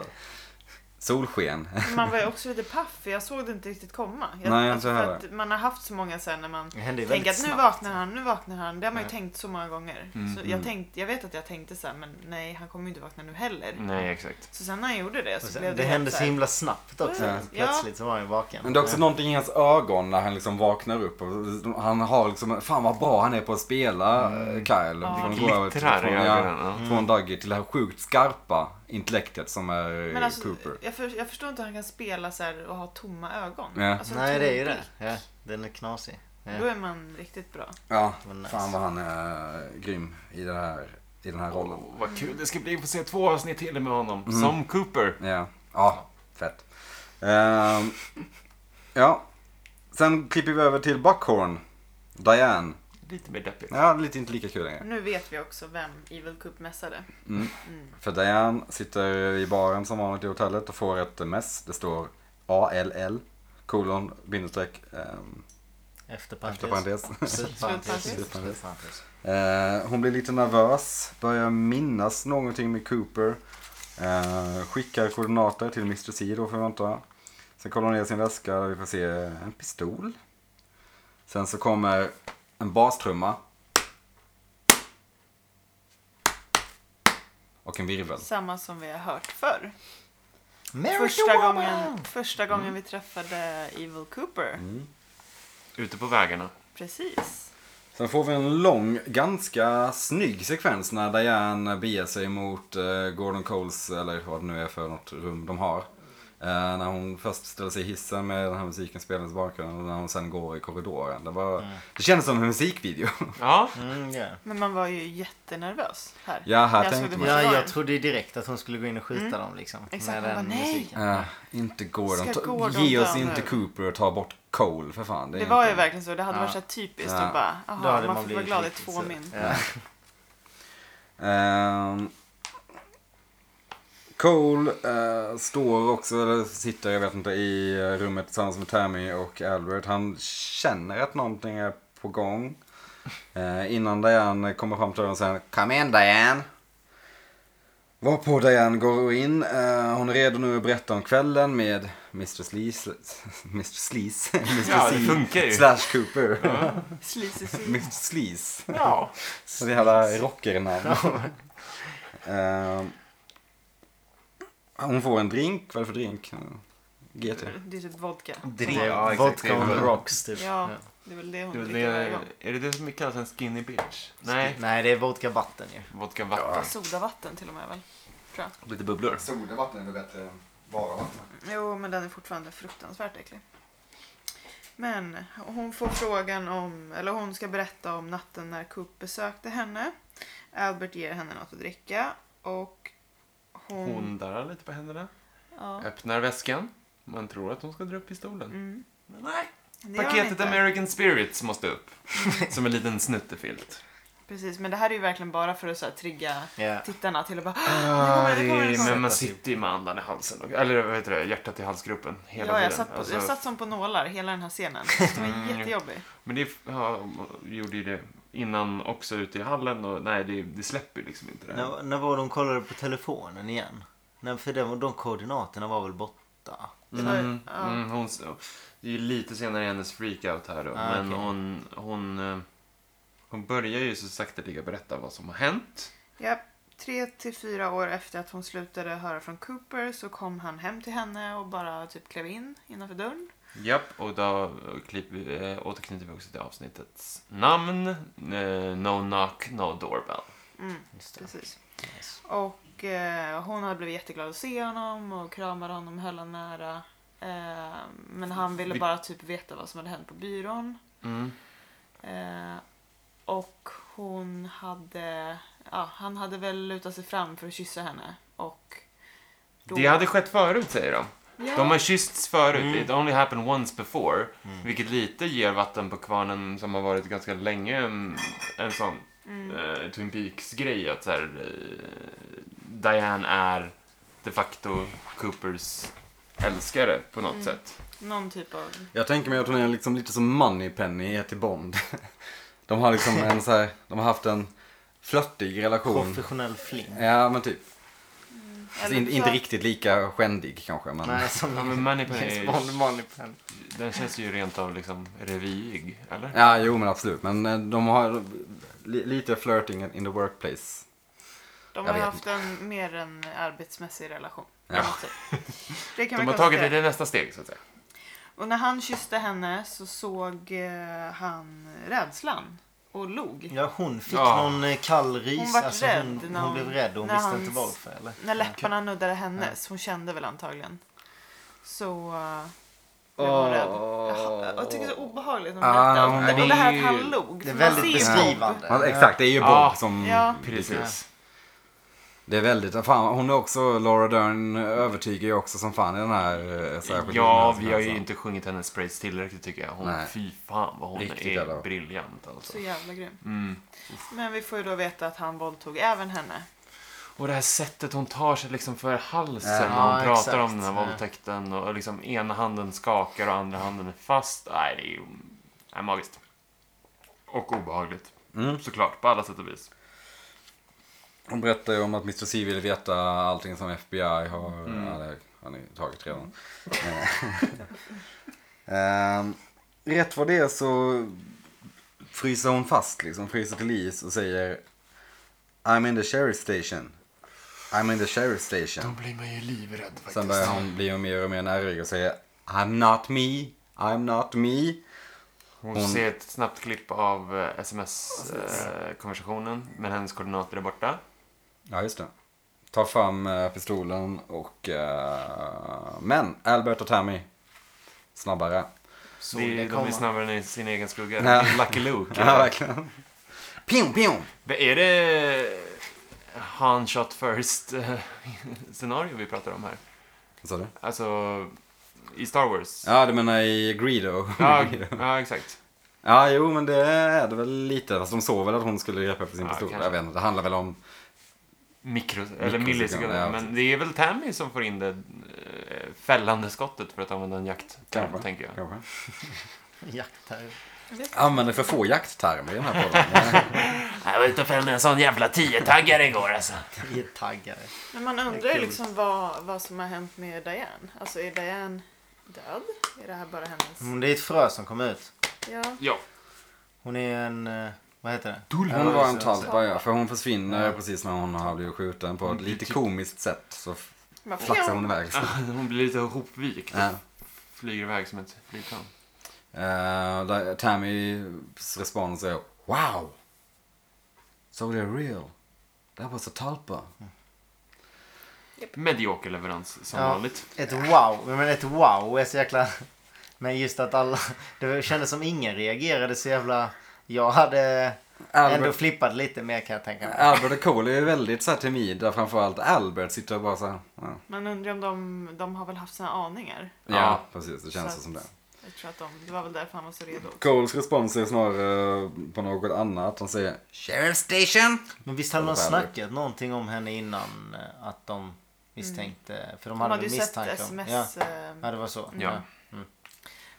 Speaker 1: Solsken.
Speaker 5: Men Man var ju också lite paff, för jag såg det inte riktigt komma.
Speaker 1: Nej, jag
Speaker 5: alltså,
Speaker 1: inte
Speaker 5: för
Speaker 1: heller.
Speaker 5: att man har haft så många sen när man
Speaker 3: Det hände ju
Speaker 5: tänker
Speaker 3: väldigt
Speaker 5: att nu
Speaker 3: snabbt.
Speaker 5: vaknar han, nu vaknar han. Det har man ju tänkt så många gånger. så jag,
Speaker 1: mm.
Speaker 5: tänkte, jag vet att jag tänkte så här, men nej, han kommer ju inte vakna nu heller.
Speaker 2: Nej, exakt.
Speaker 5: Så sen när han gjorde det
Speaker 3: Och
Speaker 5: så
Speaker 3: sen,
Speaker 5: blev det
Speaker 3: Det
Speaker 5: helt
Speaker 3: hände så
Speaker 5: här-
Speaker 3: himla snabbt också.
Speaker 5: Ja.
Speaker 3: Plötsligt så var han ju vaken.
Speaker 1: Men det är också någonting i hans ögon när han liksom vaknar upp. Och han har liksom, fan vad bra han är på att spela eh, Kyle.
Speaker 5: Ja.
Speaker 1: Från-
Speaker 2: Det
Speaker 1: går över till-
Speaker 2: glittrar i
Speaker 1: från- ja,
Speaker 2: ögonen,
Speaker 1: Från Dougie till det här sjukt skarpa intellektet som är
Speaker 5: Men alltså,
Speaker 1: Cooper.
Speaker 5: jag, för, jag förstår inte hur han kan spela så här och ha tomma ögon.
Speaker 1: Ja.
Speaker 5: Alltså,
Speaker 3: Nej
Speaker 5: tom
Speaker 3: det är ju det.
Speaker 5: blick.
Speaker 3: Ja, den är knasig.
Speaker 5: Då
Speaker 3: Ja.
Speaker 5: är man riktigt bra.
Speaker 1: Ja,
Speaker 3: Men nice.
Speaker 1: fan vad han är eh, grym i den här, i den här rollen.
Speaker 2: Åh, vad kul det ska bli att få se två avsnitt till med honom.
Speaker 1: Mm.
Speaker 2: Som Cooper.
Speaker 1: Ja, ja fett. Ehm, ja, sen klipper vi över till Buckhorn. Diane.
Speaker 2: Lite mer deppigt.
Speaker 1: Ja, lite inte lika kul längre.
Speaker 5: Nu vet vi också vem Evil Cup mässade.
Speaker 1: För Diane sitter i baren som vanligt i hotellet och får ett mess. Det står ALL, kolon, bindestreck, ehm,
Speaker 3: Efter
Speaker 1: efter
Speaker 3: parentes.
Speaker 1: parentes.
Speaker 5: Slutparentes.
Speaker 1: Slutparentes.
Speaker 3: Slutparentes.
Speaker 1: Eh, hon blir lite nervös, börjar minnas någonting med Cooper. Eh, skickar koordinater till Mr. C då får vi anta. Sen kollar hon ner sin väska där vi får se en pistol. Sen så kommer en bastrumma. Och en virvel.
Speaker 5: Samma som vi har hört förr.
Speaker 3: Mary
Speaker 5: Första
Speaker 3: Joanna!
Speaker 5: gången, första
Speaker 1: Mm.
Speaker 5: gången vi träffade Evil Cooper.
Speaker 2: Ute på vägarna.
Speaker 5: Precis.
Speaker 1: Sen får vi en lång, ganska snygg sekvens när Diane beger sig mot eh, Gordon Coles, eller vad det nu är för något rum de har. Eh, när hon först ställer sig i hissen med den här musiken spelandes i bakgrunden och när hon sen går i korridoren. Det, var, det kändes som en musikvideo.
Speaker 2: Ja,
Speaker 3: Mm, ja.
Speaker 5: Men man var ju jättenervös här.
Speaker 1: Ja, här
Speaker 5: När jag såg
Speaker 1: tänkte
Speaker 5: det
Speaker 1: man.
Speaker 5: på
Speaker 3: ja,
Speaker 5: förhören.
Speaker 3: jag trodde ju direkt att hon skulle gå in och skjuta dem liksom.
Speaker 5: Exakt,
Speaker 3: med den
Speaker 5: man bara, nej.
Speaker 3: musiken.
Speaker 1: (laughs) Eh, inte Gordon.
Speaker 5: Ska
Speaker 1: Ta,
Speaker 5: Gordon
Speaker 1: ge
Speaker 5: dö
Speaker 1: oss
Speaker 5: nu?
Speaker 1: inte Cooper och ta bort Cole för fan. Det, är
Speaker 5: Det var
Speaker 1: inte-
Speaker 5: ju verkligen så. Det hade
Speaker 1: Ja.
Speaker 5: varit så här typiskt
Speaker 1: Ja.
Speaker 5: och bara,
Speaker 3: Då
Speaker 5: aha,
Speaker 3: hade
Speaker 5: man,
Speaker 3: man
Speaker 5: får vara
Speaker 3: blivit
Speaker 5: glad i
Speaker 3: riktigt
Speaker 5: två
Speaker 3: sur. (laughs)
Speaker 5: min.
Speaker 3: Ja.
Speaker 1: Ehm, Cole eh, står också, eller sitter, jag vet inte, i eh, rummet tillsammans med Tammy och Albert. Han känner att någonting är på gång. Eh, innan Diane kommer fram till honom och säger Come in Diane! Varpå Diane går in. Eh, hon är redo nu att berätta om kvällen med Mr. Sleaze. (laughs) Mr. Sleaze? (laughs) Mr.
Speaker 6: Ja, det
Speaker 1: Sleaze
Speaker 6: funkar ju.
Speaker 1: Slash Cooper. (laughs)
Speaker 5: Sleazy
Speaker 1: Mr. Sleaze.
Speaker 6: Ja.
Speaker 1: Så jävla
Speaker 5: (laughs)
Speaker 1: rockernamn. Ehm, hon får en drink. Vad är det för drink? GT.
Speaker 5: Det är typ vodka.
Speaker 6: Det, ja, exakt. Det
Speaker 3: Vodka
Speaker 6: är
Speaker 3: on the
Speaker 6: väl-
Speaker 3: rocks typ.
Speaker 5: Ja, det är väl det hon
Speaker 2: det, är väl
Speaker 5: dricker varje
Speaker 2: det,
Speaker 5: gång.
Speaker 2: är det det som kallas en skinny bitch? Nej,
Speaker 3: Nej, det är vodka vatten ju.
Speaker 2: vodka vatten.
Speaker 5: Sodavatten till och med väl?
Speaker 6: Lite bubblor.
Speaker 1: Sodavatten är väl bättre än bara vatten?
Speaker 5: Jo, men den är fortfarande fruktansvärt äcklig. Men hon får frågan om, eller hon ska berätta om natten när Coop besökte henne. Albert ger henne något att dricka och hon...
Speaker 2: Hon darrar lite på händerna.
Speaker 5: Eh. Ja.
Speaker 2: Öppnar väskan. Man tror att hon ska dra upp pistolen.
Speaker 5: Mm.
Speaker 2: Men nej,
Speaker 5: Det gör hon
Speaker 2: paketet
Speaker 5: inte.
Speaker 2: American Spirits måste
Speaker 5: (laughs)
Speaker 2: upp. Som en liten snuttefilt.
Speaker 5: Precis, men det här är ju verkligen bara för att så här, trigga
Speaker 3: Ja.
Speaker 5: tittarna till att bara
Speaker 2: Ah,
Speaker 5: det kommer, det kommer.
Speaker 2: men man sitter ju med andan i halsen. och- Eller vad heter det? Hjärtat i halsgropen. Hela
Speaker 5: Ja, jag
Speaker 2: tiden.
Speaker 5: satt, på,
Speaker 2: Alltså,
Speaker 5: jag satt som på nålar hela den här scenen. Det var
Speaker 2: Mm.
Speaker 5: jättejobbig.
Speaker 2: Men det ja, gjorde ju det innan också ute i hallen. Och, nej, det, det släpper ju liksom inte det. här.
Speaker 3: När, när var de kollade på telefonen igen? Nej, för de, de koordinaterna var väl borta?
Speaker 2: Mm,
Speaker 5: Ja.
Speaker 2: mm, hon, det är ju lite senare i hennes freakout här då.
Speaker 3: Ah,
Speaker 2: men
Speaker 3: okej.
Speaker 2: hon, hon, eh, hon börjar ju så sakteliga berätta vad som har hänt.
Speaker 5: Ja, tre till fyra år efter att hon slutade höra från Cooper så kom han hem till henne och bara typ klev in innanför dörren.
Speaker 2: Japp, och då klipp, eh, återknyter vi också till avsnittets namn. Eh, no knock, no doorbell.
Speaker 5: Mm,
Speaker 3: Just det.
Speaker 5: precis.
Speaker 3: Nice.
Speaker 5: Och eh, hon hade blivit jätteglad att se honom och kramade honom, höll honom nära. Eh, men han ville
Speaker 2: Vi-
Speaker 5: bara typ veta vad som hade hänt på byrån.
Speaker 2: Mm.
Speaker 5: Eh, och hon hade, ja, han hade väl lutat sig fram för att kyssa henne. Och då-
Speaker 2: Det hade skett förut, säger de.
Speaker 5: Ja.
Speaker 2: De har kyssts förut. It only happened once before. Vilket lite ger vatten på kvarnen som har varit ganska länge. En, en sån eh, Twin Peaks-grej. Att så här, eh, Diane är de facto Coopers älskare på något sätt.
Speaker 5: Någon typ av...
Speaker 2: Alltså,
Speaker 1: Jag tänker mig att hon är liksom lite som Moneypenny är till Bond. (laughs) De har liksom en så här, de har haft en flörtig relation.
Speaker 3: Professionell fling.
Speaker 1: Ja, men typ. Så
Speaker 5: Eller
Speaker 1: in,
Speaker 5: så-
Speaker 1: inte riktigt lika skändig kanske. Men...
Speaker 3: Nej, som
Speaker 2: Ja,
Speaker 3: (laughs)
Speaker 2: men Moneypenny,
Speaker 3: James Bond, Moneypenny.
Speaker 2: den känns ju rent av liksom revyig, eller?
Speaker 1: Ja, jo men absolut. Men eh, de har li, lite flirting in the workplace.
Speaker 5: De
Speaker 1: Jag
Speaker 5: har
Speaker 1: vet
Speaker 5: haft en mer en arbetsmässig relation.
Speaker 1: Ja.
Speaker 5: Alltså, Det kan
Speaker 2: De
Speaker 5: man
Speaker 2: har tagit det
Speaker 5: konstatera.
Speaker 2: till nästa steg, så att säga.
Speaker 5: Och när han kysste henne så såg eh, han rädslan och log.
Speaker 3: Ja, hon fick
Speaker 2: Ja.
Speaker 3: någon eh, kall rys.
Speaker 5: Hon vart
Speaker 3: alltså,
Speaker 5: rädd
Speaker 3: hon,
Speaker 5: när
Speaker 3: hon
Speaker 5: hon-
Speaker 3: blev rädd och hon
Speaker 5: när
Speaker 3: visste
Speaker 5: hans-
Speaker 3: inte varför. Eller?
Speaker 5: När läpparna nuddade hennes, hon kände väl antagligen. Så eh, blev hon rädd. Jaha, Jag tycker det är så obehagligt när hon
Speaker 1: Ah,
Speaker 5: berättar
Speaker 1: hon-
Speaker 5: allt det.
Speaker 2: det är
Speaker 5: Och det här
Speaker 2: ju-
Speaker 5: att han log.
Speaker 3: Det är
Speaker 5: för
Speaker 3: väldigt
Speaker 5: man ser ju Bob.
Speaker 3: beskrivande.
Speaker 1: Ja, exakt, det är ju Bob
Speaker 2: Ja.
Speaker 1: som...
Speaker 5: Ja.
Speaker 2: Precis.
Speaker 1: Det är väldigt, fan hon är också, Laura Dern övertygar ju också som fan i den här eh, särskilt
Speaker 2: Ja,
Speaker 1: den här
Speaker 2: vi har ju
Speaker 1: scenen. alltså.
Speaker 2: inte sjungit hennes praise tillräckligt tycker jag. Hon,
Speaker 1: Nej.
Speaker 2: fy fan vad hon
Speaker 1: Riktigt
Speaker 2: är
Speaker 1: jävla-
Speaker 2: briljant alltså.
Speaker 5: Så jävla grym.
Speaker 2: Mm.
Speaker 5: Men vi får ju då veta att han våldtog även henne.
Speaker 2: Och det här sättet hon tar sig liksom för halsen
Speaker 1: Ja,
Speaker 2: när hon pratar
Speaker 3: exakt.
Speaker 2: om den här
Speaker 3: Ja.
Speaker 2: våldtäkten och liksom ena handen skakar och andra handen är fast. Nej, det är ju nej, magiskt. Och obehagligt.
Speaker 1: Mm.
Speaker 2: Såklart, på alla sätt och vis.
Speaker 1: Hon berättar ju om att Mr. C vill veta allting som FBI har,
Speaker 2: Mm.
Speaker 1: ja, det har ni tagit redan. Eh, (laughs) Ehm, rätt vad det är så fryser hon fast liksom, fryser till is och säger I'm in the sheriff station. I'm in the sheriff station.
Speaker 2: blir man ju livrädd
Speaker 1: Sen börjar hon bli mer och mer nervig och säger I'm not me, I'm not me.
Speaker 2: Hon,
Speaker 1: Hon-
Speaker 2: ser ett snabbt klipp av eh, sms-konversationen, men hennes koordinater är borta.
Speaker 1: Ja, just det. tar fram eh, pistolen och... eh, men Albert och Tammy. Snabbare.
Speaker 2: Det
Speaker 3: Solen
Speaker 2: är, de är
Speaker 3: kommer. (laughs)
Speaker 2: snabbare än i sin egen skugga.
Speaker 1: Ja.
Speaker 2: Lucky Luke.
Speaker 1: Ja, verkligen. Pjong, pjong.
Speaker 2: Är det han shot first eh, scenario vi pratar om här?
Speaker 1: Vad sa du?
Speaker 2: Alltså, i Star Wars?
Speaker 1: Ja, du menar i Greedo?
Speaker 2: ja,
Speaker 1: (laughs)
Speaker 2: ja, exakt.
Speaker 1: Ja, jo, men det är det väl lite. Fast de såg väl att hon skulle greppa efter sin
Speaker 2: Ja,
Speaker 1: pistol.
Speaker 2: kanske.
Speaker 1: Jag vet inte, det handlar väl om...
Speaker 2: Mikro, eller
Speaker 1: Mikrosekunder,
Speaker 2: millisekunder.
Speaker 1: ja.
Speaker 2: Men det är väl Tammy som får in det eh, fällande skottet för att använda en jaktterm,
Speaker 1: Kanske.
Speaker 2: tänker jag.
Speaker 1: Kanske.
Speaker 3: Jakt här.
Speaker 1: Använder för få jakttermer i den här podden.
Speaker 2: Jag var ute och fällde en sån jävla tiotaggare igår alltså.
Speaker 3: I ett taggare.
Speaker 5: Men man undrar ju liksom vad, vad som har hänt med Diane. Alltså är Diane död? Är det här bara hennes...
Speaker 3: Mm, Det är ett frö som kom ut.
Speaker 5: Ja.
Speaker 2: Ja, (laughs)
Speaker 3: Hon är en... eh, Vad heter det?
Speaker 1: Hon var en
Speaker 3: Så-
Speaker 1: talpa, ja. För hon försvinner
Speaker 3: Ja.
Speaker 1: precis när hon har blivit skjuten på ett lite komiskt sätt. Så
Speaker 5: Man
Speaker 1: flaxar hon iväg.
Speaker 2: hon blir lite hopvikt och
Speaker 1: Ja.
Speaker 2: flyger iväg som ett flygplan.
Speaker 1: Eh, där- Tammys respons är Wow! So they're real. That was a talpa.
Speaker 2: Medioker leverans, som
Speaker 3: Ja.
Speaker 2: vanligt.
Speaker 3: Ett wow. Men ett wow är så jäkla... Men just att alla... Det kändes som ingen reagerade så jävla... Jag hade ändå
Speaker 1: Albert,
Speaker 3: flippat lite mer kan jag tänka mig.
Speaker 1: Albert och Cole är väldigt så här timida. Framförallt Albert sitter och bara så här. Ja,
Speaker 5: Man undrar om de, de har väl haft sina aningar.
Speaker 1: ja precis. Det känns
Speaker 5: Så att-
Speaker 1: som det.
Speaker 5: Jag tror att de, det var väl därför han var så redo.
Speaker 1: Coles respons är snarare eh, på något annat. Han säger Sheriff Station.
Speaker 3: Men visst hade de
Speaker 1: Albert.
Speaker 3: snackat någonting om henne innan eh, att de misstänkte... För de
Speaker 5: De
Speaker 3: hade,
Speaker 5: hade
Speaker 3: väl
Speaker 5: ju sett
Speaker 3: misstanke om...
Speaker 5: sms.
Speaker 3: Ja.
Speaker 5: eh,
Speaker 3: ja, det var så.
Speaker 2: Ja.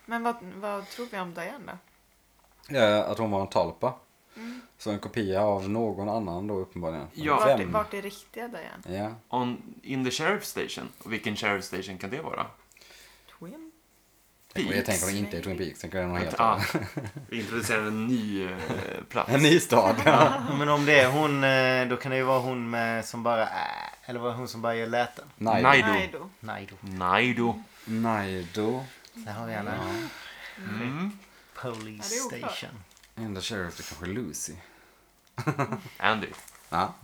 Speaker 5: Men vad, vad tror vi om Diane då?
Speaker 1: Ja, att hon var en talpa. Så en kopia av någon annan då uppenbarligen.
Speaker 2: Ja.
Speaker 5: Vart, är-
Speaker 1: Vem?
Speaker 5: vart är riktiga Diane?
Speaker 1: Ja.
Speaker 2: On, in the sheriff station. Och vilken sheriff station kan det vara?
Speaker 5: Twin?
Speaker 1: Tänk om- Jag
Speaker 2: Peaks.
Speaker 1: tänker om det inte är Twin Peaks. Tänker jag något helt
Speaker 2: Ah,
Speaker 1: annat. (laughs)
Speaker 2: vi introducerar en ny eh, plats.
Speaker 1: En ny stad. Ja.
Speaker 3: Ja, Men om det är hon, eh, då kan det ju vara hon med, som bara... äh, Eller var det hon som bara gör läten?
Speaker 1: Nej.
Speaker 2: Nej. Ido.
Speaker 5: Nej då.
Speaker 3: Nej
Speaker 2: Naido.
Speaker 3: då.
Speaker 1: Naido
Speaker 3: Där har vi henne.
Speaker 2: Mm.
Speaker 3: Police
Speaker 5: Ja, det är oklart.
Speaker 3: station.
Speaker 1: Enda sheriff är kanske Lucy.
Speaker 2: Andy.
Speaker 1: Ja.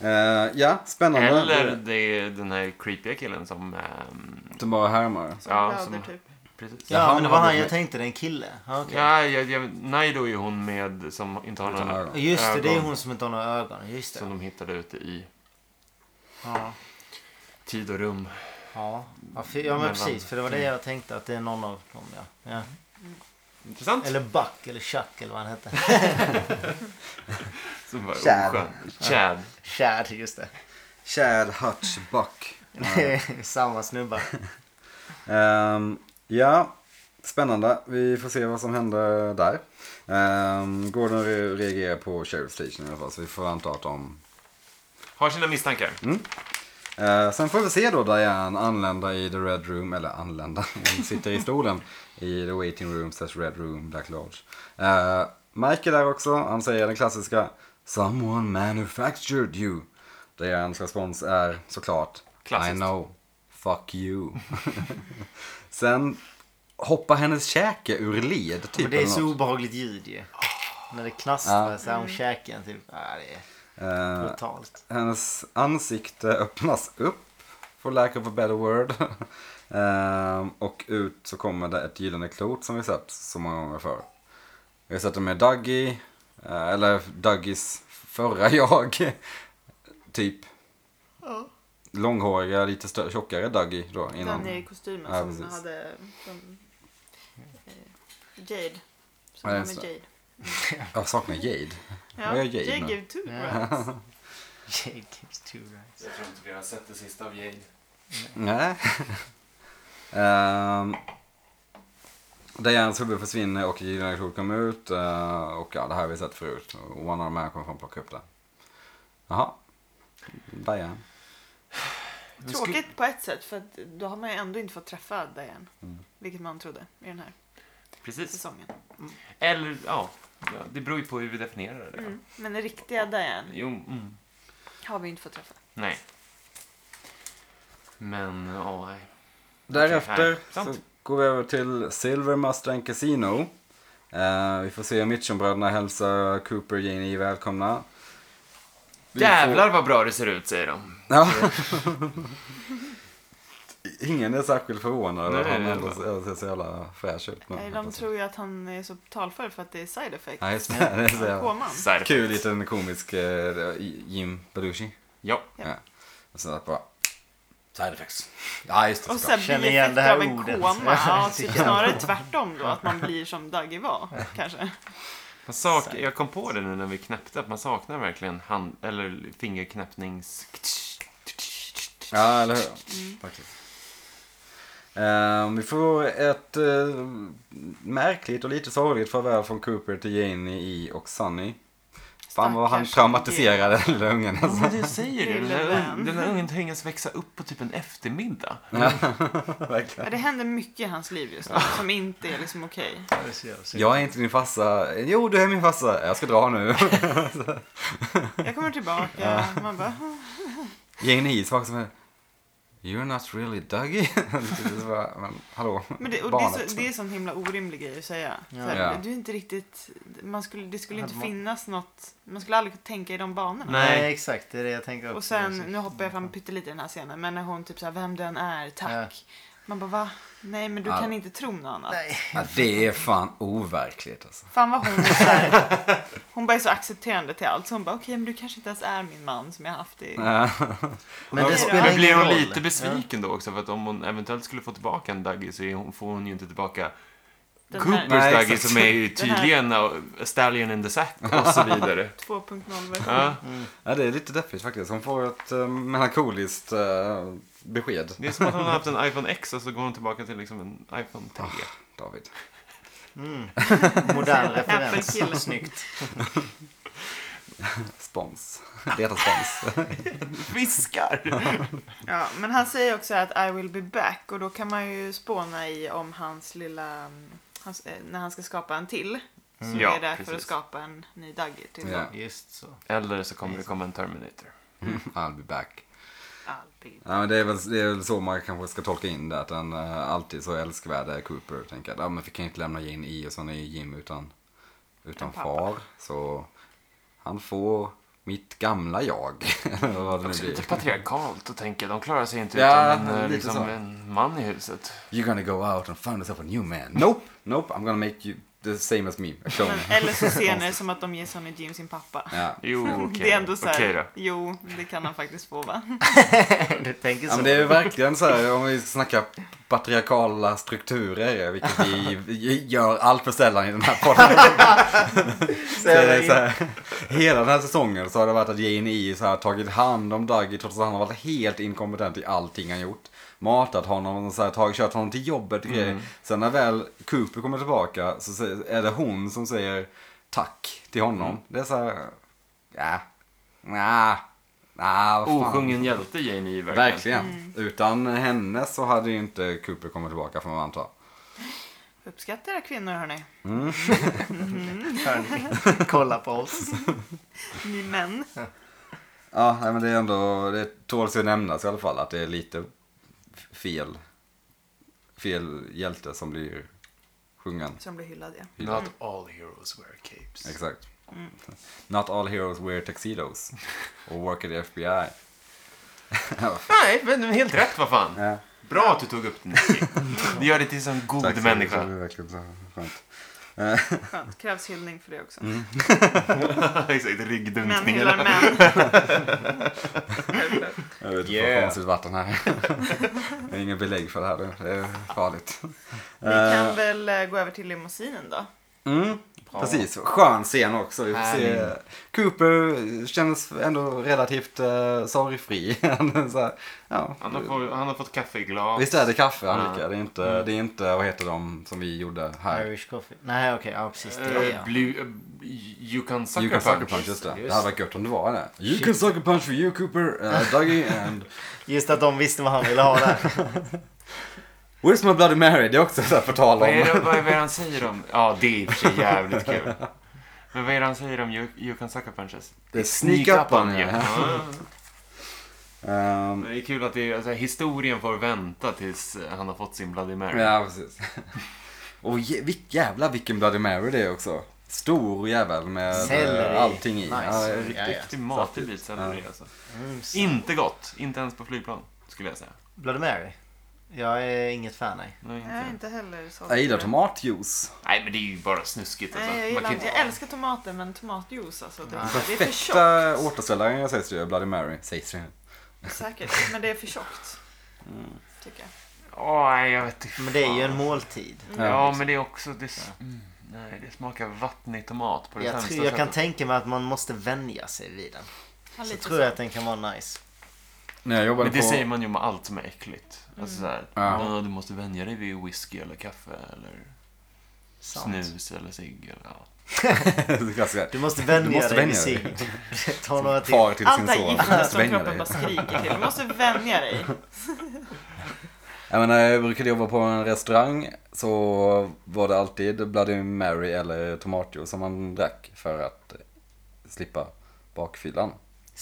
Speaker 1: Eh, ja, spännande.
Speaker 2: Eller det är den här creepiga killen som... ehm,
Speaker 1: De bara härmar.
Speaker 5: Som
Speaker 2: Ja,
Speaker 5: blöder
Speaker 2: som-
Speaker 5: typ.
Speaker 2: precis.
Speaker 3: Ja,
Speaker 1: Jaha,
Speaker 3: men det
Speaker 1: men
Speaker 3: var
Speaker 1: han
Speaker 3: han
Speaker 1: var-
Speaker 3: jag tänkte, det är en kille. Ja, okej.
Speaker 2: Ja, ja, ja, Naido är hon med som inte har
Speaker 1: Utan
Speaker 2: några
Speaker 1: ögon.
Speaker 2: ögon.
Speaker 3: Just det, det är hon som inte har några ögon. Just
Speaker 2: Som
Speaker 3: det.
Speaker 2: de hittade ute i
Speaker 3: Ja,
Speaker 2: tid och rum.
Speaker 3: ja. ja, för, ja men
Speaker 2: Mellan-
Speaker 3: precis. För det var det jag tänkte, att det är någon av dem ja. ja.
Speaker 2: Intressant.
Speaker 3: Eller Buck eller Chuck eller vad han hette.
Speaker 2: Som var
Speaker 1: Chad.
Speaker 2: oskön. Chad.
Speaker 3: (laughs) Chad, just det.
Speaker 1: Chad Hutch Buck.
Speaker 3: Det är Samma snubbar.
Speaker 1: Ehm, ja, spännande. Vi får se vad som händer där. Um, Gordon re- reagerar på Sheriff Station i alla fall, så vi får anta att de...
Speaker 2: Har sina misstankar.
Speaker 1: Eh, sen får vi se då Diane anlända i The Red Room, eller anlända, (laughs) hon sitter i stolen i The Waiting Room slash Red Room, Black Lodge. Eh, Mike är där också, han säger den klassiska Someone manufactured you. Dianes respons är såklart I
Speaker 2: Klassiskt.
Speaker 1: know, fuck you. (laughs) sen hoppar hennes käke ur led typ.
Speaker 3: Men det är
Speaker 1: eller
Speaker 3: så
Speaker 1: något.
Speaker 3: obehagligt ljud ju. När det knastrar så här om käken typ. Ja, det är
Speaker 1: Eh,
Speaker 3: brutalt.
Speaker 1: Hennes ansikte öppnas upp, for lack of a better word. (laughs) Ehm, och ut så kommer det ett gyllene klot som vi sett så många gånger förr. Vi har sett det med Dougie, eh, eller Dougies förra jag, (laughs) typ. Långhåriga, lite större, tjockare Dougie då innan.
Speaker 5: Den i kostymen
Speaker 1: Ja,
Speaker 5: som
Speaker 1: precis.
Speaker 5: hade... Som, eh, Jade.
Speaker 1: Ja,
Speaker 5: Som var
Speaker 1: just
Speaker 5: med
Speaker 1: det.
Speaker 5: Jade.
Speaker 1: Jag saknar Jade. Vad
Speaker 5: Ja,
Speaker 1: gör Jade
Speaker 5: Jade
Speaker 1: nu?
Speaker 5: gave two rats.
Speaker 3: (laughs) Jade gives two rights.
Speaker 2: Jag tror inte vi har sett det sista av Jade.
Speaker 1: Nej. (laughs) Ehm, Dianes huvud försvinner och Gyllene Klot kommer ut. eh, och ja, det här har vi sett förut. Och One Arm Man kommer fram och plocka upp det. Jaha. Diane.
Speaker 5: Tråkigt på ett sätt för att då har man ju ändå inte fått träffa Diane. Vilket man trodde i den här
Speaker 2: Precis.
Speaker 5: säsongen.
Speaker 3: Mm.
Speaker 2: Eller, ja. ja. Det beror ju på hur vi definierar det.
Speaker 5: Mm. Men den riktiga Diane
Speaker 2: Jo, mm.
Speaker 5: har vi inte fått träffa.
Speaker 2: nej. Men, ja, nej.
Speaker 1: Därefter
Speaker 2: Okej, här.
Speaker 1: så
Speaker 2: Sant.
Speaker 1: går vi över till Silver Mustang Casino. Eh, vi får se Mitchumbröderna hälsa Cooper och Janie välkomna. E Vi får-
Speaker 2: Jävlar vad bra det ser ut, säger de.
Speaker 1: Ja. (laughs) Ingen är särskilt förvånad över att
Speaker 2: Nej,
Speaker 1: han
Speaker 2: det är
Speaker 1: ändå
Speaker 2: bra.
Speaker 1: ser ser så jävla fräsch ut. nu.
Speaker 5: Nej, de tror ju att han är så talför för att det är side effect.
Speaker 1: Ja, just det. (laughs) det är så jävla...
Speaker 5: Koman.
Speaker 2: Så här.
Speaker 1: Kul liten komisk eh, Jim Belushi.
Speaker 2: Ja.
Speaker 1: Ja. Och sen att bara... Side effects. Ja, just det.
Speaker 5: Och
Speaker 1: såklart.
Speaker 5: sen
Speaker 3: Känner igen det här
Speaker 5: bieffekter av en
Speaker 3: ordet.
Speaker 5: koma. Ja, typ snarare tvärtom då, att man blir som Dagge var, kanske.
Speaker 2: Man sak, jag kom på det nu när vi knäppte, att man saknar verkligen hand, eller fingerknäppnings...
Speaker 1: Ja, eller hur?
Speaker 5: Mm.
Speaker 1: Faktiskt. Ehm, vi får ett eh, märkligt och lite sorgligt farväl från Cooper till Janie, E och Sunny. Fan vad han
Speaker 5: Stackars
Speaker 1: traumatiserade (laughs) lilla ungen. Alltså.
Speaker 2: Men du säger det, den
Speaker 5: Lille
Speaker 2: här,
Speaker 5: vän.
Speaker 2: den här ungen tvingas växa upp på typ en eftermiddag.
Speaker 1: Ja, verkligen.
Speaker 5: Ja, det händer mycket i hans liv just nu som inte är liksom okej.
Speaker 1: Jag är inte din farsa. Jo, du är min farsa. Jag ska dra nu. (laughs)
Speaker 5: Jag kommer tillbaka, man bara...
Speaker 1: Janie E svarar som är... You're not really Dougie. (laughs) Det är bara, Men, hallå,
Speaker 5: Men det, och det, är
Speaker 1: barnet.
Speaker 5: så, det är en sån himla orimlig grej att säga.
Speaker 3: liksom. Ja.
Speaker 5: Såhär,
Speaker 1: Ja.
Speaker 5: Du är inte riktigt, man skulle, det skulle inte
Speaker 3: Hade man-
Speaker 5: finnas något, man skulle aldrig tänka i de banorna.
Speaker 2: Nej.
Speaker 3: Nej. exakt. Det är det jag tänker också.
Speaker 5: Och sen, nu hoppar jag fram
Speaker 3: Mm.
Speaker 5: pyttelite i den här scenen, men när hon typ såhär, vem den är, tack. Man bara, va? Nej, men du
Speaker 1: Ja.
Speaker 5: kan inte tro något annat.
Speaker 3: Nej.
Speaker 1: Ja, det är fan overkligt alltså.
Speaker 5: Fan vad hon är såhär,
Speaker 3: (laughs)
Speaker 5: hon bara är så accepterande till allt. Så hon bara, okej, men du kanske inte ens är min man som jag haft i...
Speaker 1: Ja.
Speaker 3: Men
Speaker 5: Ja,
Speaker 3: det
Speaker 5: men
Speaker 3: spelar
Speaker 2: Men blir
Speaker 3: ingen
Speaker 2: hon
Speaker 3: roll.
Speaker 2: lite besviken då också? För att om hon eventuellt skulle få tillbaka en Dougie så är hon, får hon ju inte tillbaka
Speaker 5: Den
Speaker 2: Coopers
Speaker 5: här
Speaker 1: Nej,
Speaker 2: Dougie
Speaker 1: exakt.
Speaker 2: som är ju
Speaker 5: Den här-
Speaker 2: tydligen a stallion in the sack och så vidare.
Speaker 5: 2.0-versionen.
Speaker 2: Ja,
Speaker 1: Ja, det är lite deppigt faktiskt. Hon får ett eh, melankoliskt eh, besked.
Speaker 2: det är som att hon har haft en iPhone X och så går hon tillbaka till liksom en iPhone 3.
Speaker 1: Ah, David.
Speaker 5: (laughs)
Speaker 3: Modern
Speaker 5: Apple-kille.
Speaker 3: referens. Snyggt.
Speaker 1: Spons. (laughs) Leta spons.
Speaker 2: Fiskar!
Speaker 5: Ja, men han säger också att I will be back och då kan man ju spåna i om hans lilla, mm, hans, eh, när han ska skapa en till. Så
Speaker 2: Mm.
Speaker 5: är
Speaker 2: Ja,
Speaker 5: det för att
Speaker 2: precis.
Speaker 5: skapa en ny typ. Dougie till
Speaker 1: Ja.
Speaker 5: yeah.
Speaker 3: Just så.
Speaker 2: Eller så kommer det komma en Terminator.
Speaker 5: Mm.
Speaker 1: I'll be back.
Speaker 5: Albin.
Speaker 1: Ja, men det, är väl, det är väl så man kanske ska tolka in det. Att den eh, alltid så älskvärde Cooper tänker att ja, men vi kan inte lämna Jane i och så är Jim utan, utan
Speaker 5: En pappa.
Speaker 1: far. Så han får mitt gamla jag. (laughs) Eller vad det nu
Speaker 2: Också lite
Speaker 1: blir.
Speaker 2: patriarkalt att tänka. De klarar sig inte
Speaker 1: Ja,
Speaker 2: utan en, eh,
Speaker 1: lite så.
Speaker 2: liksom, en man i huset.
Speaker 1: You're gonna go out and find yourself a new man. Nope, nope, I'm gonna make you the same as me. A clone.
Speaker 5: (laughs) Men, eller så ser ni det som att de ger Sonny Jim sin pappa.
Speaker 1: Ja.
Speaker 2: Jo, okej.
Speaker 5: (laughs) det är ändå så här,
Speaker 2: Okej då.
Speaker 5: jo, det kan han faktiskt få va?
Speaker 3: (laughs) Du tänker
Speaker 1: Ja,
Speaker 3: så.
Speaker 1: men det är ju verkligen så här, om vi snackar patriarkala strukturer, vilket
Speaker 5: (laughs)
Speaker 1: vi gör allt för sällan i den här podden. Så det är så här, hela den här (laughs) säsongen så har det varit att Jane E så här, tagit hand om Dougie trots att han har varit helt inkompetent i allting han gjort. Matat honom och så här, tagit, kört honom till jobbet och grejer. Sen när väl Cooper kommer tillbaka så säger- är det hon som säger tack till honom. Det är så här, ja, nja, nja, vad fan.
Speaker 2: Osjungen hjälte Jane Iver.
Speaker 1: Verkligen. Utan henne så hade ju inte Cooper kommit tillbaka får man anta.
Speaker 5: Uppskatta era kvinnor hörni,
Speaker 3: Hörni, (laughs) Kolla
Speaker 1: (laughs)
Speaker 3: på oss.
Speaker 5: ni män.
Speaker 1: Ja, nej, men det är ändå, det tåls ju nämnas i alla fall att det är lite f- fel, fel hjälte som blir sjungen.
Speaker 5: Som blir hyllad ja.
Speaker 6: Not all heroes wear capes.
Speaker 1: Exakt. Not all heroes wear tuxedos. Or work at the FBI.
Speaker 2: Nej, men helt rätt vad fan.
Speaker 1: Ja.
Speaker 2: Bra att du
Speaker 1: (laughs)
Speaker 2: tog upp det Nicky. Du gör det till en god
Speaker 1: Tack så mycket,
Speaker 2: människa.
Speaker 1: det är verkligen så skönt.
Speaker 5: Skönt, krävs hyllning för det också.
Speaker 2: Mm. (laughs) Exakt,
Speaker 5: Män
Speaker 2: ryggdunkning.
Speaker 5: hyllar
Speaker 2: (laughs)
Speaker 5: män.
Speaker 1: Jag vet inte
Speaker 6: Yeah.
Speaker 1: yeah. konstigt vatten här. (laughs) Jag har ingen belägg för det här. nu. Det är farligt.
Speaker 5: Vi kan väl eh, gå över till limousinen då.
Speaker 1: Mm, precis. Skön scen också. Vi får se. Cooper känns ändå relativt uh, sorgfri. (laughs) Han är så här, ja.
Speaker 2: Han har, fått, han har fått kaffe i glas.
Speaker 1: Visst är det kaffe han dricker?
Speaker 2: Ja.
Speaker 1: Det, är inte, det är inte, vad heter de som vi gjorde här?
Speaker 3: Irish coffee. Nej, okej. ja, precis. Det är
Speaker 2: Eh,
Speaker 3: jag.
Speaker 2: Blue, eh, you can sucker
Speaker 1: You can sucker
Speaker 2: punch.
Speaker 1: punch, just det.
Speaker 3: Just
Speaker 1: Det hade varit gött om det var det. You can sucker punch for you Cooper, uh, Dougie and...
Speaker 3: Just att de visste vad han ville ha där.
Speaker 1: Where's my bloody Mary? Det är också så här på tal
Speaker 2: Vad är,
Speaker 1: om.
Speaker 2: det, vad är det han säger om... Ja, det är i och för sig jävligt kul. Men vad är det han säger om you, you can sucker punches?
Speaker 1: Det är sneak up on
Speaker 2: you.
Speaker 1: you.
Speaker 2: Ja.
Speaker 1: (laughs) Ehm,
Speaker 2: Men Det är kul att det, är- alltså, historien får vänta tills han har fått sin Bloody Mary.
Speaker 1: (laughs) Ja, precis. Och jä- vilk, jävlar vilken Bloody Mary det är också. Stor jävel med eh,
Speaker 3: Selleri.
Speaker 1: allting i.
Speaker 3: Nice.
Speaker 1: Ja, riktigt.
Speaker 3: Ja, ja.
Speaker 8: Riktigt matig bit selleri alltså.
Speaker 3: (laughs) Mm, så-
Speaker 2: Inte gott. Inte ens på flygplan, skulle jag säga.
Speaker 3: Bloody Mary? Jag är inget fan nej.
Speaker 2: Nej, inte.
Speaker 5: Jag är inte heller så.
Speaker 1: Jag gillar tomatjuice.
Speaker 2: Nej, men det är ju bara snuskigt alltså.
Speaker 5: Nej, jag,
Speaker 2: Man
Speaker 5: gillar
Speaker 2: kan
Speaker 5: inte.
Speaker 2: inte...
Speaker 5: jag älskar tomater men tomatjuice alltså.
Speaker 2: Mm.
Speaker 5: Det, det är för tjockt.
Speaker 2: eh,
Speaker 1: Perfekta återställaren jag sägs det ju, Bloody Mary. Sägs det ju.
Speaker 5: Säkert. Men det är för tjockt.
Speaker 2: Mm.
Speaker 5: Tycker jag.
Speaker 2: Åh, nej, jag vet inte.
Speaker 3: Men det är ju en
Speaker 2: fan.
Speaker 3: måltid.
Speaker 2: Ja, men det är också... Det... s- Mm, nej, det smakar vattnig tomat på det
Speaker 3: Jag,
Speaker 2: sämsta
Speaker 3: tror, jag kan
Speaker 2: sättet.
Speaker 3: tänka mig att man måste vänja sig vid den.
Speaker 5: Han
Speaker 3: Så
Speaker 5: lite
Speaker 3: tror jag att den kan vara nice.
Speaker 1: När jag jobbade
Speaker 2: Men det
Speaker 1: på...
Speaker 2: säger man ju med allt som är äckligt.
Speaker 5: Mm.
Speaker 2: Alltså såhär,
Speaker 1: Ja.
Speaker 2: "Åh, du måste vänja dig vid whisky eller kaffe eller snus eller cigg eller ja.
Speaker 1: (laughs) Det klassiska.
Speaker 3: Du måste vänja
Speaker 1: Du måste
Speaker 3: dig
Speaker 1: vänja
Speaker 3: vid sig. (laughs) Ta några till.
Speaker 1: Far till
Speaker 5: Allt
Speaker 1: sin
Speaker 5: det här
Speaker 1: son.
Speaker 5: giftet som
Speaker 1: Svänga
Speaker 5: kroppen
Speaker 1: dig.
Speaker 5: bara skriker till. Du måste vänja dig.
Speaker 1: Jag menar, eh, jag brukade jobba på en restaurang så var det alltid Bloody Mary eller tomatjuice som man drack för att slippa bakfyllan.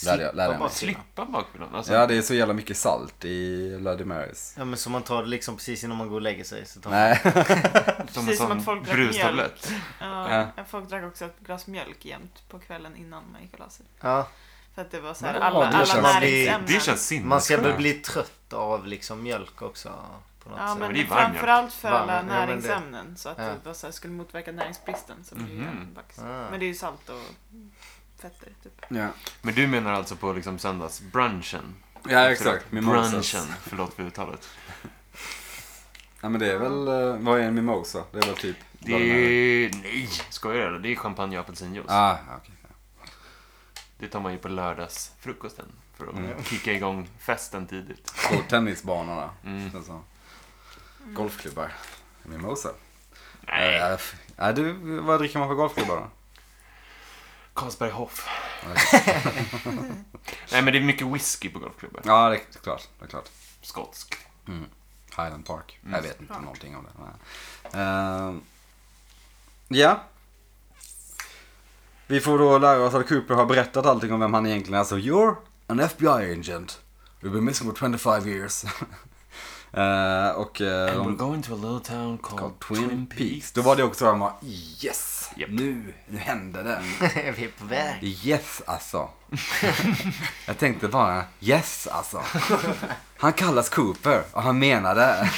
Speaker 1: Lärde jag, lärde jag mig.
Speaker 3: Slippa
Speaker 2: Slippa bakfyllan. Alltså,
Speaker 1: Ja, det är så jävla mycket salt i Bloody Marys.
Speaker 3: Ja men så man tar det liksom precis innan man går och lägger sig. Så tar
Speaker 1: (laughs)
Speaker 3: man...
Speaker 1: Nej,
Speaker 2: som en
Speaker 5: precis som
Speaker 2: sån
Speaker 5: att folk drack
Speaker 2: brustablett.
Speaker 5: Ja,
Speaker 1: Ja.
Speaker 5: Folk drack också ett glas mjölk jämt på kvällen innan man gick och la sig.
Speaker 3: Ja,
Speaker 5: För att det var så här,
Speaker 1: Ja,
Speaker 5: alla,
Speaker 1: det
Speaker 5: alla
Speaker 1: känns-
Speaker 5: näringsämnen.
Speaker 2: Det känns sinnessjukt.
Speaker 3: man ska väl bli trött av liksom mjölk också. På något
Speaker 5: Ja,
Speaker 3: sätt.
Speaker 5: men
Speaker 2: det är varm
Speaker 5: framförallt för
Speaker 3: Varm,
Speaker 5: alla
Speaker 3: ja, men det-
Speaker 5: näringsämnen. Så att
Speaker 3: Ja.
Speaker 5: det var så här, skulle motverka näringsbristen. Så blir det
Speaker 2: Mhm.
Speaker 5: ju en bax.
Speaker 3: Ah.
Speaker 5: Men det är ju salt och fetter. Typ.
Speaker 1: ja.
Speaker 2: Men du menar alltså på liksom söndagsbrunchen?
Speaker 1: ja exakt.
Speaker 2: Brunchen. Förlåt för uttalet.
Speaker 1: Ja, men det är väl, eh, vad är en mimosa? Det är väl typ
Speaker 2: Det är... Nej! Skojar du eller? Det är champagne och apelsinjuice.
Speaker 1: Ah, okej.
Speaker 2: Det tar man ju på lördagsfrukosten. För att
Speaker 1: Mm.
Speaker 2: kicka igång festen tidigt.
Speaker 1: På tennisbanorna.
Speaker 2: Mm.
Speaker 1: känns som. Golfklubbar. Mimosa.
Speaker 2: Nej.
Speaker 1: Eh, f- Ja, du, vad dricker man på golfklubbar då? (laughs)
Speaker 2: Carlsberg Hoff. Nej men det är mycket whisky på golfklubbar.
Speaker 1: Ja, det är klart. Det är klart.
Speaker 2: Skotsk.
Speaker 1: Highland Park.
Speaker 2: Mm.
Speaker 1: Jag vet inte någonting om det. Nej. Ehm, ja. Vi får då lära oss att Cooper har berättat allting om vem han egentligen är. Så you're an FBI agent. You've been missing for 25 years. (laughs) Eh, och eh,
Speaker 2: And we're
Speaker 1: de
Speaker 2: going to a little town called,
Speaker 1: called Twin Peaks. Då var det också de var yes, nu, nu hände det.
Speaker 3: (laughs) Vi är på väg.
Speaker 1: Yes alltså. Jag tänkte bara, yes alltså. Han kallas Cooper och han menar det.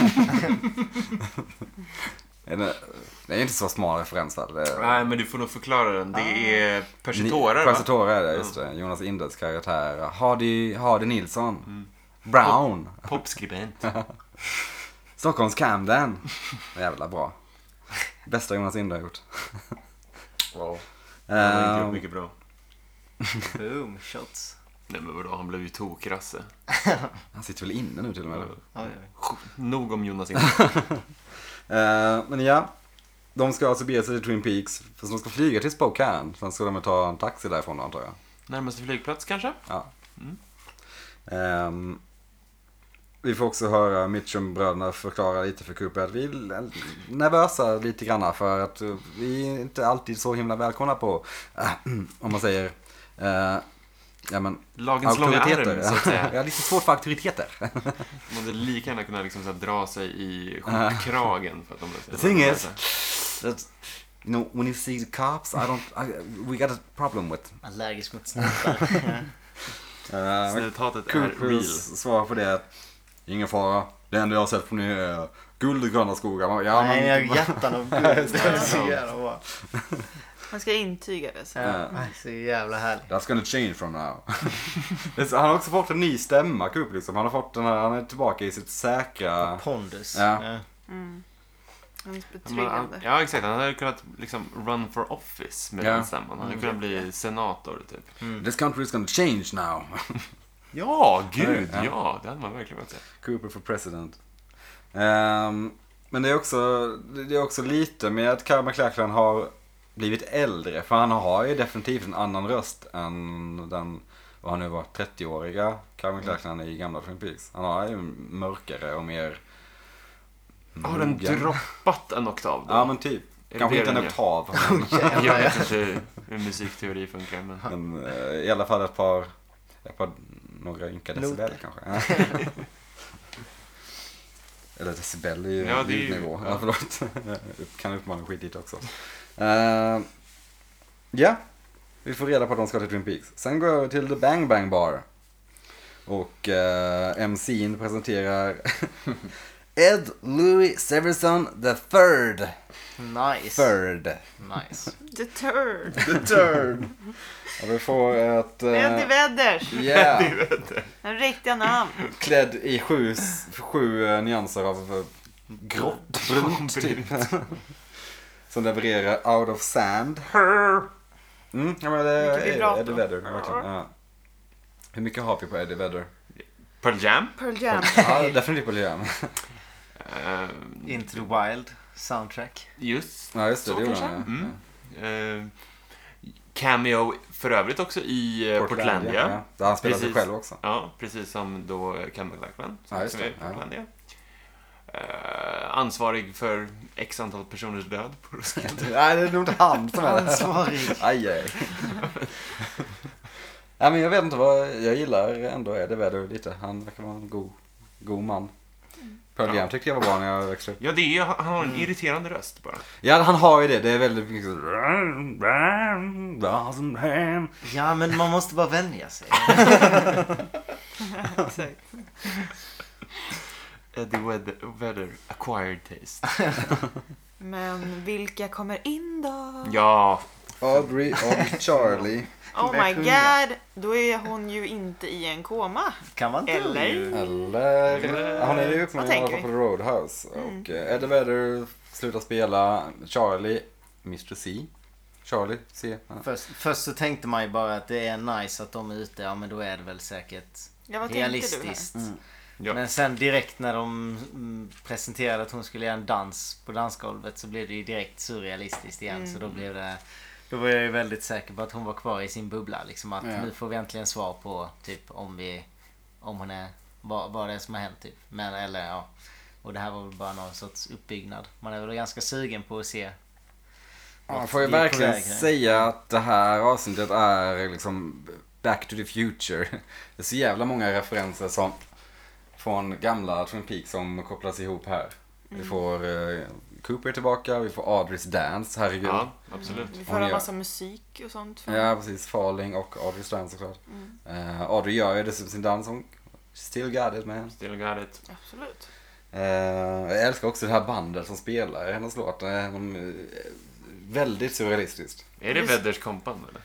Speaker 1: Är Det det är inte så smal referens va? Det är-
Speaker 2: Nej men du får nog förklara den. Det är Persitorer va?
Speaker 1: Persitora är det, just det. Jonas Indes karaktär. Hardy, Hardy Nilsson.
Speaker 2: Mm.
Speaker 1: Brown.
Speaker 2: Popskribent.
Speaker 1: Stockholms Camden. Jävla bra. Bästa Jonas Inde har gjort.
Speaker 2: Wow. Han har inte
Speaker 1: Ehm,
Speaker 2: gjort mycket bra.
Speaker 3: Boom, shots.
Speaker 2: Nej men vadå, han blev ju tokrasse.
Speaker 1: han sitter väl inne nu till och med?
Speaker 3: Oj,
Speaker 2: Nog om
Speaker 1: (laughs)
Speaker 2: Jonas Inge.
Speaker 1: Eh, men ja, de ska alltså bege sig till Twin Peaks. För de ska flyga till Spokane. Sen ska de ta en taxi därifrån då, antar jag.
Speaker 2: Närmaste flygplats kanske?
Speaker 1: Ja.
Speaker 2: Mm.
Speaker 1: Ehm, vi får också höra Mitchum-bröderna förklara lite för Cooper att vi är nervösa lite granna för att eh, vi är inte alltid så himla välkomna på, (clears throat) eh, om man säger, eh, ja men,
Speaker 2: Lagens långa arm så att säga.
Speaker 1: (laughs) jag har lite svårt för auktoriteter.
Speaker 2: De hade lika gärna kunnat liksom så här dra sig i skjortkragen för att de blev så
Speaker 1: The thing is, that, you know, when you see the cops, I don't, I, we got a problem with
Speaker 3: Allergisk mot snus.
Speaker 1: Uh,
Speaker 2: Snuthatet är real.
Speaker 1: Coopers svar på det är att ingen fara. Det enda jag har sett från er är guld och gröna skogar. Man bara, Ja,
Speaker 3: Nej, jag
Speaker 1: men,
Speaker 3: har
Speaker 1: (laughs)
Speaker 3: hjärtan av guld. Det är så jävla bra.
Speaker 5: Man ska intyga det. Så.
Speaker 1: Ja.
Speaker 3: Nej, Så jävla härligt.
Speaker 1: that's gonna change from now. (laughs) Det är så- han har också fått en ny stämma, Cooper. Liksom. Han, har fått den här, han är tillbaka i sitt säkra...
Speaker 3: Pondus.
Speaker 1: Ja.
Speaker 3: Ja.
Speaker 5: Mm. Det känns
Speaker 2: Men han-
Speaker 5: betryggande.
Speaker 2: Ja, exakt. Han hade kunnat liksom run for office med
Speaker 1: Ja. Mm.
Speaker 2: den stämman. Han hade kunnat bli senator, typ.
Speaker 1: This country is gonna change now.
Speaker 2: Ja, gud,
Speaker 1: Ja.
Speaker 2: ja. Det hade man verkligen velat säga.
Speaker 1: Cooper for president. Ehm, men det är, också, det är också lite med att Karl McLachlan har blivit äldre. För han har ju definitivt en annan röst än den, vad han nu var, 30-åriga Karl
Speaker 2: Mm.
Speaker 1: McLachlan i gamla Twin Peaks. Han har ju mörkare och mer...
Speaker 2: Har den droppat en oktav då?
Speaker 1: Mm. Ja men typ.
Speaker 2: det
Speaker 1: Kanske
Speaker 2: det
Speaker 1: inte en
Speaker 2: den gör?
Speaker 1: oktav.
Speaker 3: (laughs)
Speaker 2: Jag vet inte hur musikteori funkar, men...
Speaker 1: Men, men eh, i alla fall ett par, ett par några ynka
Speaker 3: Noter.
Speaker 1: decibel kanske. (laughs) Eller decibel är ju
Speaker 2: Ja, det är
Speaker 1: (laughs)
Speaker 2: ju-
Speaker 1: ljudnivå. Ja.
Speaker 2: ja.
Speaker 1: förlåt. kan uppmana skit dit också. Eh, Ja, vi får reda på att de ska till Twin Peaks. Sen går jag över till The Bang Bang Bar. Och eh, MC'n presenterar (laughs) Ed Louis Severson the third.
Speaker 3: Nice.
Speaker 1: Third.
Speaker 3: Nice.
Speaker 5: The turd.
Speaker 1: The third. Och vi får ett... eh,
Speaker 5: Eddie Vedders.
Speaker 1: yeah,
Speaker 2: (laughs)
Speaker 5: Den riktiga namn.
Speaker 1: klädd i sju, sju eh, nyanser av eh, grått, brunt typ. (laughs) Som levererar Out of Sand. Mm, ja, men det
Speaker 5: Mycket
Speaker 1: är
Speaker 5: vibrato.
Speaker 1: Eddie Vedder. Verkligen. Ja. Hur mycket har vi på Eddie Vedder?
Speaker 6: Pearl Jam?
Speaker 5: Pearl Jam.
Speaker 1: (laughs) Ja, (laughs) definitivt på Liam.
Speaker 6: Eh,
Speaker 3: Into the Wild soundtrack.
Speaker 6: just.
Speaker 1: Ja, just det.
Speaker 6: Så
Speaker 1: det gjorde
Speaker 6: kanske?
Speaker 1: han, ja.
Speaker 6: Mm. Eh, cameo för övrigt också i
Speaker 1: Ja.
Speaker 6: eh, Portlandia.
Speaker 1: Ja, Där han spelar sig
Speaker 6: Precis.
Speaker 1: själv också.
Speaker 6: Ja, precis som då Campbell Blackman. som
Speaker 1: Ja, just
Speaker 6: är
Speaker 1: det. Ja.
Speaker 6: Portlandia. Eh, ansvarig för x antal personers död på
Speaker 1: (laughs)
Speaker 6: Roskilde.
Speaker 1: (laughs) Nej, det är nog inte han som är det.
Speaker 3: Ansvarig.
Speaker 1: (laughs) Aj, aj. Nej, men jag vet inte vad... Jag gillar ändå Eddie Vedder lite. Han verkar vara en god, god man.
Speaker 6: Mm.
Speaker 1: Pearl Jam tyckte jag var bra när jag växte upp.
Speaker 6: Ja, det är, han har en
Speaker 1: Mm.
Speaker 6: irriterande röst bara.
Speaker 1: Ja, han har ju det. Det är väldigt mycket alltså, så...
Speaker 3: Ja, men man måste bara vänja
Speaker 1: (laughs)
Speaker 3: sig.
Speaker 5: (laughs) Exakt.
Speaker 1: Eh,
Speaker 6: Eddie Wedder, Vedder, acquired (laughs) taste.
Speaker 5: Men vilka kommer in då?
Speaker 6: Ja,
Speaker 1: Audrey och Charlie.
Speaker 5: Oh my
Speaker 3: Vem sjunger?
Speaker 5: god. Då är hon ju inte i en koma.
Speaker 3: Kan man inte?
Speaker 5: Eller?
Speaker 1: Eller... Hon är ju uppmanad
Speaker 5: Vad tänker
Speaker 1: i alla fall
Speaker 5: vi? Mm.
Speaker 1: på Roadhouse. Och eh, Eddie Vedder slutar spela Charlie, Mr C. Charlie C. Ja.
Speaker 3: Först, först så tänkte man ju bara att det är nice att de är ute. Ja, men då är det väl säkert
Speaker 5: Ja, vad tänkte du här?
Speaker 3: realistiskt.
Speaker 6: Ja.
Speaker 3: Men sen direkt när de mm, presenterade att hon skulle göra en dans på dansgolvet så blev det ju direkt surrealistiskt igen. Så då
Speaker 5: Mm.
Speaker 3: blev det... Då var jag ju väldigt säker på att hon var kvar i sin bubbla. Liksom att
Speaker 1: Ja.
Speaker 3: nu får vi äntligen svar på typ om vi... Om hon är... Vad, vad det är som har hänt typ. Men eller ja. Och det här var väl bara någon sorts uppbyggnad. Man är väl ganska sugen på att se.
Speaker 1: Ja, Man får ju
Speaker 3: Vi är på
Speaker 1: verkligen
Speaker 3: väg här.
Speaker 1: säga att det här avsnittet är liksom back to the future. (laughs) Det är så jävla många referenser som från gamla Twin Peaks som kopplas ihop här. Vi får eh, Cooper tillbaka, vi får Audreys Dance, herregud.
Speaker 6: ja absolut.
Speaker 5: Vi
Speaker 1: Hon
Speaker 5: får höra
Speaker 1: gör-
Speaker 5: massa musik och sånt. från-
Speaker 1: Ja, precis. Falling och Audrey Strand såklart. Eh, Audrey gör ju dessutom sin dans. Hon still got it man.
Speaker 6: Still got it.
Speaker 5: Absolut.
Speaker 1: Eh, jag älskar också det här bandet som spelar hennes låt. Eh, de, eh, väldigt surrealistiskt.
Speaker 6: Är det
Speaker 5: Just-
Speaker 6: Vedders kompan eller?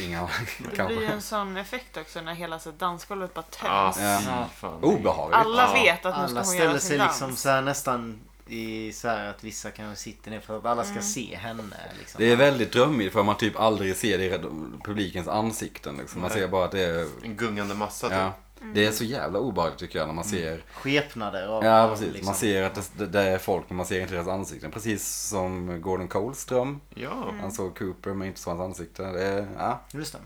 Speaker 1: Inga
Speaker 5: Det blir ju
Speaker 1: kanske. Ah,
Speaker 5: en sån effekt också när hela så här dansgolvet bara
Speaker 6: Ja,
Speaker 5: töms.
Speaker 1: Ja.
Speaker 6: Ah,
Speaker 1: Oh,
Speaker 6: fy fan.
Speaker 1: Obehagligt.
Speaker 5: Alla
Speaker 6: Ja.
Speaker 5: vet att nu ska
Speaker 3: Alla
Speaker 5: hon göra
Speaker 3: ställer
Speaker 5: sin
Speaker 3: sig
Speaker 5: dans.
Speaker 3: liksom så här nästan i så här att vissa kanske sitter ner för att alla ska
Speaker 5: Mm.
Speaker 3: se henne. Liksom.
Speaker 1: Det är väldigt drömmigt för man typ aldrig ser det i red- publikens ansikten. Liksom. Man
Speaker 6: Nej.
Speaker 1: ser bara att det är...
Speaker 6: En gungande massa typ.
Speaker 1: Ja, det är så jävla obehagligt tycker jag när man ser...
Speaker 3: Skepnader av
Speaker 1: Ja, precis.
Speaker 3: liksom.
Speaker 1: Man ser att det, det- det är folk men man ser inte deras ansikten. Precis som Gordon Coleström.
Speaker 6: Ja,
Speaker 5: Mm.
Speaker 1: Han såg Cooper men inte såg hans ansikte. Det är, ja. (laughs)
Speaker 3: Just det.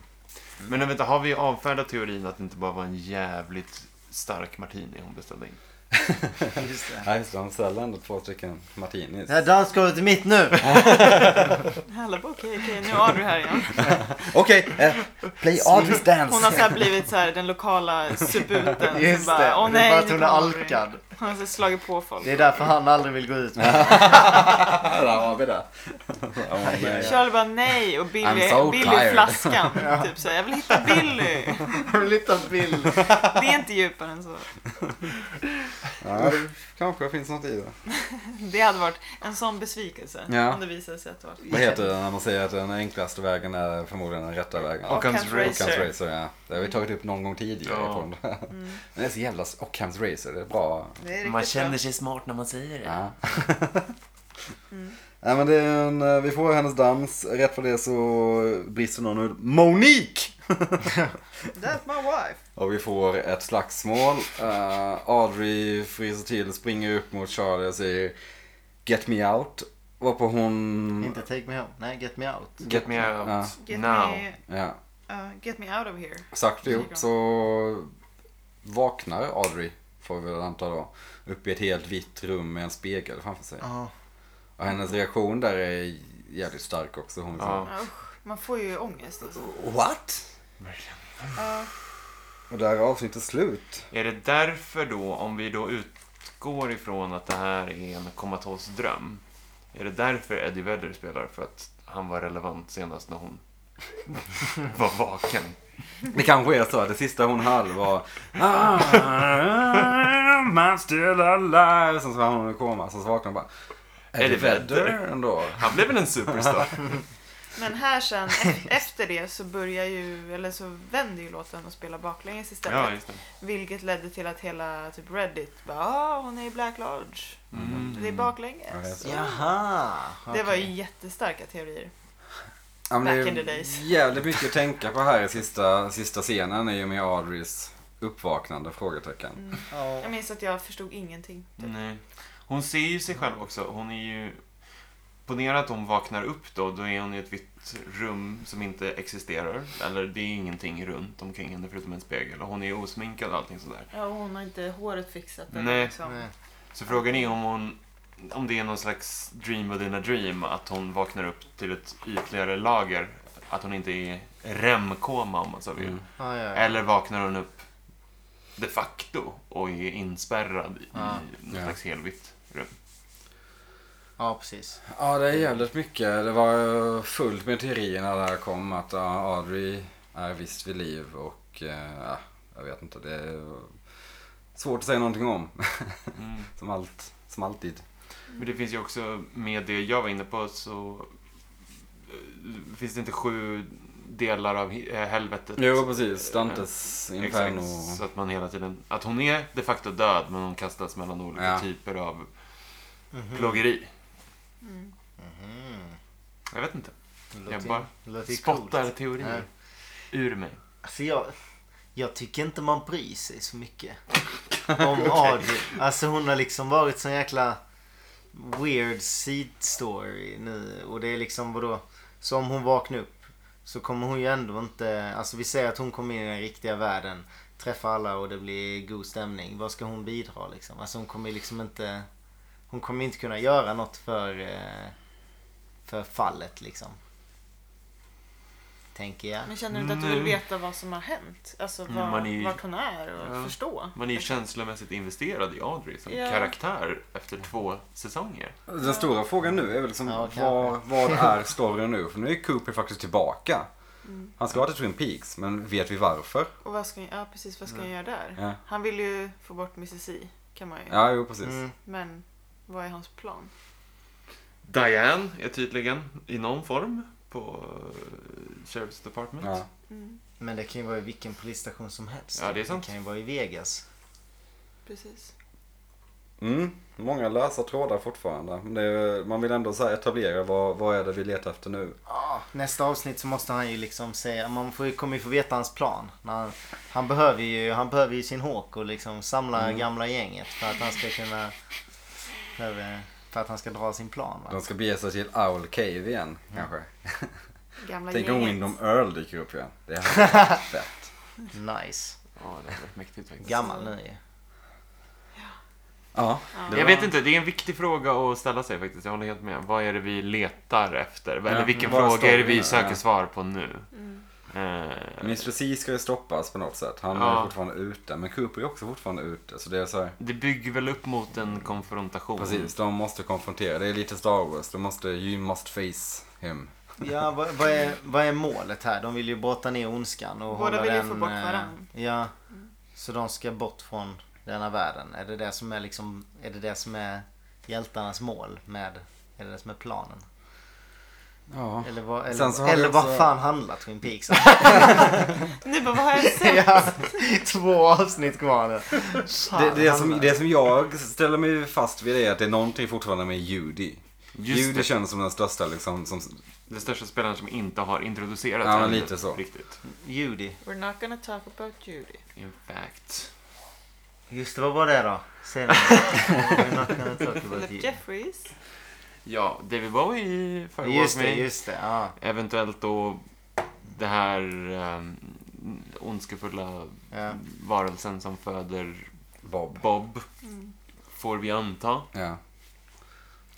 Speaker 6: men vänta, har vi avfärdat teorin att det inte bara var en jävligt stark martini hon beställde in?
Speaker 3: Just det.
Speaker 1: Ja, just det. Han ställde ändå två stycken martinis.
Speaker 3: Det här dansgolvet
Speaker 1: (laughs)
Speaker 3: är mitt nu!
Speaker 5: Alla bara okej, okej, nu har du
Speaker 3: (laughs)
Speaker 5: här igen.
Speaker 1: Okej, eh, play Audrey's
Speaker 5: Hon har
Speaker 1: dance.
Speaker 5: så här blivit så här den lokala suputen.
Speaker 3: Just
Speaker 5: som
Speaker 3: det.
Speaker 5: bara, Åh,
Speaker 3: det är
Speaker 5: nej,
Speaker 3: bara att
Speaker 5: nu
Speaker 3: hon är
Speaker 5: kommer Audrey."
Speaker 3: alkad.
Speaker 5: Hon har så här slagit på folk.
Speaker 3: Det är därför han aldrig vill gå
Speaker 1: (laughs)
Speaker 3: ut. med-
Speaker 1: Ja, (laughs) Där har vi det. Åh, nej.
Speaker 5: Charlie bara nej och Billy,
Speaker 1: I'm so
Speaker 5: Billy
Speaker 1: tired.
Speaker 5: flaskan. Typ så här, jag vill hitta Billy.
Speaker 3: (laughs) Han vill inte ha
Speaker 5: (laughs)
Speaker 3: bild.
Speaker 5: Det är inte djupare än så.
Speaker 1: Ja, det kanske finns något i det.
Speaker 5: Det hade varit en sån besvikelse
Speaker 1: Ja.
Speaker 5: om det visade sig att det var.
Speaker 1: Vad heter det när man säger att den enklaste vägen är förmodligen den rätta vägen?
Speaker 5: Ockhams
Speaker 6: Occam's Razor.
Speaker 1: Ockhams Racer, ja. Det har vi tagit upp någon gång tidigare.
Speaker 6: Ja.
Speaker 1: På den. Men det är så jävla... Ockhams Racer, det är bra.
Speaker 5: Det är riktigt
Speaker 6: Man
Speaker 5: bra.
Speaker 6: känner sig smart när man säger det.
Speaker 1: Ja. Nej, men det är en, eh, vi får hennes dans. Rätt för det så brister någon ur Monique! (laughs)
Speaker 5: That's my wife.
Speaker 1: Och vi får ett slagsmål. Eh, Audrey fryser till, springer upp mot Charlie och säger Get me out. Varpå hon...
Speaker 3: Mm. Inte take me home. Nej, get me out.
Speaker 6: Get me out
Speaker 1: Ja.
Speaker 5: Get,
Speaker 6: now.
Speaker 5: me,
Speaker 1: Ja.
Speaker 5: uh, get me out of here.
Speaker 1: Sagt och gjort så vaknar Audrey, får vi väl anta då, upp i ett helt vitt rum med en spegel framför sig.
Speaker 3: Ja.
Speaker 1: Och hennes reaktion där är jävligt stark också. Hon liksom,
Speaker 6: Ja.
Speaker 5: Ja, Usch, man får ju ångest. Alltså.
Speaker 1: What?
Speaker 5: Ja.
Speaker 1: Och där är avsnittet slut.
Speaker 6: Är det därför då, om vi då utgår ifrån att det här är en komatos dröm, är det därför Eddie Vedder spelar? För att
Speaker 2: han var relevant senast när hon (laughs) var vaken.
Speaker 1: Det kanske är så att det sista hon hörde var "Ah, Man still alive. Sen så var hon i koma. Sen så vaknade hon bara. Är det väder ändå?
Speaker 2: Han blev väl en superstar?
Speaker 5: Men här sen, e- efter det så börjar ju, eller så vänder ju låten och spelar baklänges istället.
Speaker 2: ja, just det.
Speaker 5: Vilket ledde till att hela typ Reddit bara, ah, hon är i Black Lodge. Det är
Speaker 1: Ja, jag
Speaker 5: baklänges.
Speaker 1: ser.
Speaker 3: Jaha.
Speaker 5: Det var
Speaker 3: okej.
Speaker 5: ju jättestarka teorier.
Speaker 1: Ja, men det
Speaker 5: Back in the
Speaker 1: är
Speaker 5: days.
Speaker 1: jävligt mycket att tänka på här i sista, sista scenen är ju med Audreys uppvaknande frågetecken.
Speaker 3: Ja.
Speaker 5: Mm. Jag minns att jag förstod ingenting. Typ.
Speaker 2: Nej. Hon ser ju sig själv också. Hon är ju... Ponera att hon vaknar upp då, då är hon i ett vitt rum som inte existerar. Eller det är ingenting runt omkring henne förutom en spegel. Och hon är osminkad och allting sådär.
Speaker 5: Ja, och hon har inte håret fixat. eller
Speaker 2: Nej.
Speaker 5: liksom.
Speaker 3: Nej.
Speaker 2: Så frågan är om hon... Om det är någon slags dream within a dream, att hon vaknar upp till ett ytligare lager. Att hon inte är i REM-koma om man så vill.
Speaker 1: Mm.
Speaker 3: Ja, ja, ja.
Speaker 2: Eller vaknar hon upp de facto och är inspärrad i
Speaker 3: Ja.
Speaker 2: något
Speaker 1: Ja.
Speaker 2: slags helvitt rum.
Speaker 3: ja, precis.
Speaker 1: Ja, det är jävligt mycket. Det var eh, fullt med teorier när det här kom att ja, Audrey är visst vid liv och eh, ja, jag vet inte. Det är svårt att säga någonting om. (laughs)
Speaker 2: Mm.
Speaker 1: Som, allt, som alltid.
Speaker 2: Men det finns ju också, med det jag var inne på, så eh, finns det inte sju delar av he- eh, helvetet?
Speaker 1: Jo, precis. Dantes Inferno.
Speaker 2: Exakt, så att man hela tiden... Att hon är de facto död, men hon kastas mellan olika
Speaker 1: Ja.
Speaker 2: typer av Mhm. plågeri.
Speaker 5: Mm.
Speaker 3: Mhm.
Speaker 2: Jag vet inte.
Speaker 3: Låter-
Speaker 2: Jag bara
Speaker 3: låter ju
Speaker 2: Spottar
Speaker 3: coolt.
Speaker 2: teorier
Speaker 3: Ja.
Speaker 2: ur mig.
Speaker 3: Alltså jag, jag tycker inte man bryr sig så mycket om Audrey. Alltså hon har liksom varit sån jäkla weird seed story nu. Och det är liksom vadå? Så om hon vaknar upp så kommer hon ju ändå inte... Alltså vi säger att hon kommer in i den riktiga världen. Träffar alla och det blir god stämning. Vad ska hon bidra liksom? Alltså hon kommer liksom inte... Hon kommer inte kunna göra något för... eh, För fallet liksom. Tänker jag.
Speaker 5: Men känner du inte att du vill
Speaker 2: Mm.
Speaker 5: veta vad som har hänt? Alltså
Speaker 2: Mm,
Speaker 5: vad,
Speaker 2: man är ju-
Speaker 5: vart hon är och
Speaker 2: Ja.
Speaker 5: förstå?
Speaker 2: Man är ju känslomässigt investerad i Audrey som
Speaker 5: Ja.
Speaker 2: karaktär efter två säsonger.
Speaker 1: Den stora frågan nu är väl liksom,
Speaker 3: Ja, kanske.
Speaker 1: vad, vad är storyn nu? För nu är Cooper faktiskt tillbaka.
Speaker 5: Mm.
Speaker 1: Han ska till Twin Peaks, men vet vi varför?
Speaker 5: Och vad ska, ja, precis, vad ska han göra där?
Speaker 1: Ja,
Speaker 5: Han vill ju få bort Mississippi, kan man ju.
Speaker 1: ja jo precis.
Speaker 3: Mm.
Speaker 5: Men vad är hans plan?
Speaker 2: Diane är tydligen i någon form på eh, Sheriff's Department.
Speaker 1: Ja.
Speaker 5: Mm,
Speaker 3: Men det kan ju vara i vilken polisstation som helst.
Speaker 2: Ja, det är sant.
Speaker 3: kan ju vara i Vegas.
Speaker 5: precis.
Speaker 1: Mm, många lösa trådar fortfarande. Men det är, man vill ändå så här etablera vad, vad är det vi letar efter nu.
Speaker 3: Nästa avsnitt så måste han ju liksom säga, man får ju, kommer ju få veta hans plan. När Han, han, behöver ju, han behöver ju sin håk och liksom samla
Speaker 2: Mm.
Speaker 3: gamla gänget för att han ska kunna... För, för att han ska dra sin plan va?
Speaker 1: De ska bege sig till Owl Cave igen kanske.
Speaker 5: Gamla
Speaker 1: Tänk om
Speaker 5: gänget.
Speaker 1: Windom Earl dyker upp igen. Det hade varit fett.
Speaker 3: Nice.
Speaker 2: Ja, det hade varit mäktigt faktiskt.
Speaker 3: Gammal nu ju.
Speaker 1: Ja.
Speaker 5: Ja.
Speaker 1: det
Speaker 2: Jag
Speaker 1: var-
Speaker 2: vet inte, det är en viktig fråga att ställa sig faktiskt. Jag håller helt med. Vad är det vi letar efter?
Speaker 1: Ja,
Speaker 2: Eller vilken
Speaker 1: vad
Speaker 2: fråga är det
Speaker 1: står vi
Speaker 2: vi
Speaker 1: med?
Speaker 2: söker
Speaker 1: Ja.
Speaker 2: svar på nu? Eh,
Speaker 1: Mr C ska ju stoppas på något sätt. Han
Speaker 2: Ja.
Speaker 1: är fortfarande ute. Men Cooper är också fortfarande ute. Så det är så här.
Speaker 2: det bygger väl upp mot en konfrontation.
Speaker 1: Precis, de måste konfrontera. Det är lite Star Wars. De måste, you must face him.
Speaker 3: Ja, vad, vad, är, vad är målet här? De vill ju brotta ner ondskan och
Speaker 5: Båda
Speaker 3: hålla
Speaker 5: vill ju
Speaker 3: den...
Speaker 5: få bort
Speaker 3: eh,
Speaker 5: varann.
Speaker 3: Ja. Så de ska bort från denna världen. Är det det som är liksom... Är det det som är hjältarnas mål med... Är det det som är planen?
Speaker 1: Ja.
Speaker 3: Eller vad, eller,
Speaker 1: Sen så har vi
Speaker 3: eller vad
Speaker 1: också-
Speaker 3: fan handlar Twin Peaks om?
Speaker 5: Nu bara, vad har jag
Speaker 3: (laughs)
Speaker 5: sett?
Speaker 3: Ja, Två avsnitt kvar nu.
Speaker 1: Det,
Speaker 3: Fan,
Speaker 1: det, som,
Speaker 3: handlar-
Speaker 1: det som jag ställer mig fast vid är att det är någonting fortfarande med Judy.
Speaker 2: Just
Speaker 1: Judy
Speaker 2: det.
Speaker 1: känns som den största liksom. Som,
Speaker 2: Den största spelaren som inte har introducerat
Speaker 1: Ja, men
Speaker 2: henne
Speaker 1: lite så.
Speaker 2: Riktigt.
Speaker 3: Judy.
Speaker 5: We're not gonna talk about Judy.
Speaker 2: In fact.
Speaker 3: Just det, vad var det då?
Speaker 1: (laughs)
Speaker 3: Säg något. We're not gonna talk about
Speaker 5: Philip
Speaker 3: Judy.
Speaker 5: Jeffries.
Speaker 2: Ja, David Bowie i Firewalk
Speaker 3: Just
Speaker 2: Me.
Speaker 3: det, just det. Ja,
Speaker 2: Eventuellt då det här um, ondskefulla
Speaker 3: ja.
Speaker 2: varelsen som föder
Speaker 1: Bob.
Speaker 2: Bob,
Speaker 5: Mm.
Speaker 2: får vi anta.
Speaker 1: Ja.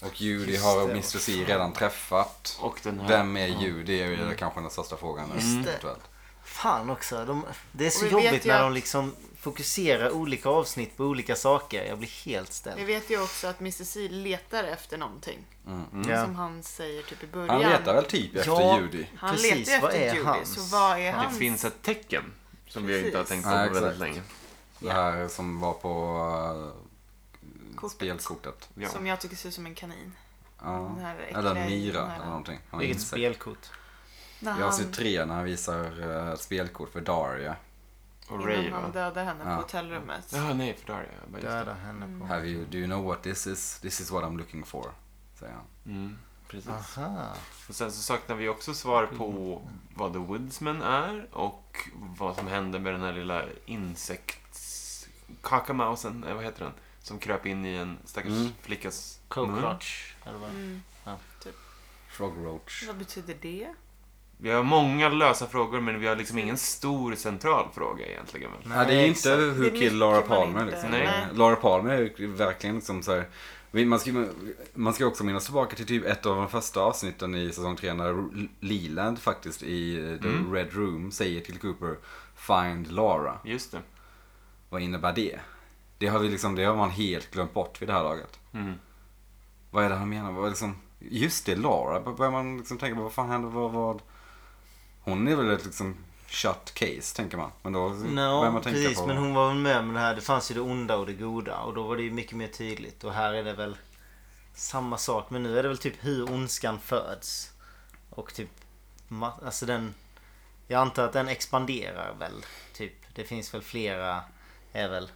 Speaker 1: Och Judy
Speaker 3: Just
Speaker 1: har
Speaker 3: det,
Speaker 1: Mr. C redan träffat.
Speaker 2: Och den här...
Speaker 1: Vem är Judy? Det är ju kanske den största frågan.
Speaker 3: Just det.
Speaker 1: eventuellt.
Speaker 3: Fan också. De, det är så
Speaker 5: Och vi vet
Speaker 3: jobbigt
Speaker 5: ju
Speaker 3: när
Speaker 5: att-
Speaker 3: de liksom fokuserar olika avsnitt på olika saker. Jag blir helt
Speaker 5: Vi
Speaker 3: ställd.
Speaker 5: vet ju också att Mr. C letar efter någonting.
Speaker 1: Mm.
Speaker 3: Ja.
Speaker 5: Som han säger typ i början.
Speaker 1: Han letar väl typ efter
Speaker 3: Ja.
Speaker 1: Judy?
Speaker 5: Han
Speaker 3: Precis,
Speaker 5: letar ju
Speaker 3: vad
Speaker 5: efter
Speaker 3: är
Speaker 5: Judy.
Speaker 3: hans?
Speaker 5: Så vad är
Speaker 2: Det
Speaker 5: hans?
Speaker 2: finns ett tecken som vi inte har
Speaker 5: Precis.
Speaker 2: tänkt på
Speaker 1: Ja,
Speaker 2: på väldigt
Speaker 1: exakt.
Speaker 2: länge.
Speaker 1: Det här som var på eh,
Speaker 5: Kortet.
Speaker 1: spelkortet.
Speaker 2: Ja.
Speaker 5: Som jag tycker ser ut som en kanin.
Speaker 1: Ja.
Speaker 5: Den här äckliga-
Speaker 1: Eller en myra
Speaker 5: den här-
Speaker 1: eller någonting. Han har
Speaker 3: Vilket
Speaker 1: insekt.
Speaker 3: spelkort.
Speaker 5: När
Speaker 1: Jag
Speaker 5: han,
Speaker 1: ser tre när han visar eh, spelkort för Daria.
Speaker 6: Och Ray,
Speaker 5: innan han
Speaker 6: va?
Speaker 5: dödade henne
Speaker 1: Ja.
Speaker 5: på hotellrummet.
Speaker 6: Ja, nej, för Daria. Bara just det.
Speaker 3: Döda henne på.
Speaker 1: Have you, do you know what this is? This is what I'm looking for. Säger han.
Speaker 2: Mm, precis.
Speaker 3: Aha.
Speaker 2: Och sen så saknar vi också svar på vad The Woodsman är och vad som hände med den här lilla insekts... Kakamausen, eh, vad heter den? Som kröp in i en stackars
Speaker 1: Mm.
Speaker 2: flickas mun.
Speaker 3: Cockroach. Eller vad?
Speaker 5: Mm.
Speaker 1: Frog Roach.
Speaker 5: Vad betyder det?
Speaker 2: Vi har många lösa frågor men vi har liksom ingen stor central fråga egentligen. väl?
Speaker 3: Mm.
Speaker 1: Nej, det är ju inte
Speaker 3: exakt.
Speaker 1: hur
Speaker 5: Det
Speaker 1: kill
Speaker 5: mycket
Speaker 1: Laura
Speaker 5: man
Speaker 1: Palmer
Speaker 5: inte-
Speaker 1: liksom.
Speaker 2: Nej.
Speaker 1: Eh, Laura Palmer är ju verkligen liksom så här. vi- Man ska, ju- man ska ju också minnas tillbaka till typ ett av de första avsnitten i säsong 3 när L- Leland faktiskt i eh, The
Speaker 2: Mm.
Speaker 1: Red Room säger till Cooper Find Laura.
Speaker 2: Just det.
Speaker 1: Vad innebär det? Det har, vi liksom, det har man helt glömt bort vid det här laget.
Speaker 2: Mm.
Speaker 1: Vad är det han menar? Vad är liksom, just det, Laura. Då Börjar man liksom tänka på vad fan hände? Vad, vad? Hon är väl ett liksom shut case, tänker man. Men då börjar
Speaker 3: No,
Speaker 1: man tänka
Speaker 3: precis.
Speaker 1: på...
Speaker 3: Men hon var väl med om det här. Det fanns ju det onda och det goda. Och då var det ju mycket mer tydligt. Och här är det väl samma sak. Men nu är det väl typ hur ondskan föds. Och typ... ma- Alltså den... Jag antar att den expanderar väl. Typ. Det finns väl flera... Är väl...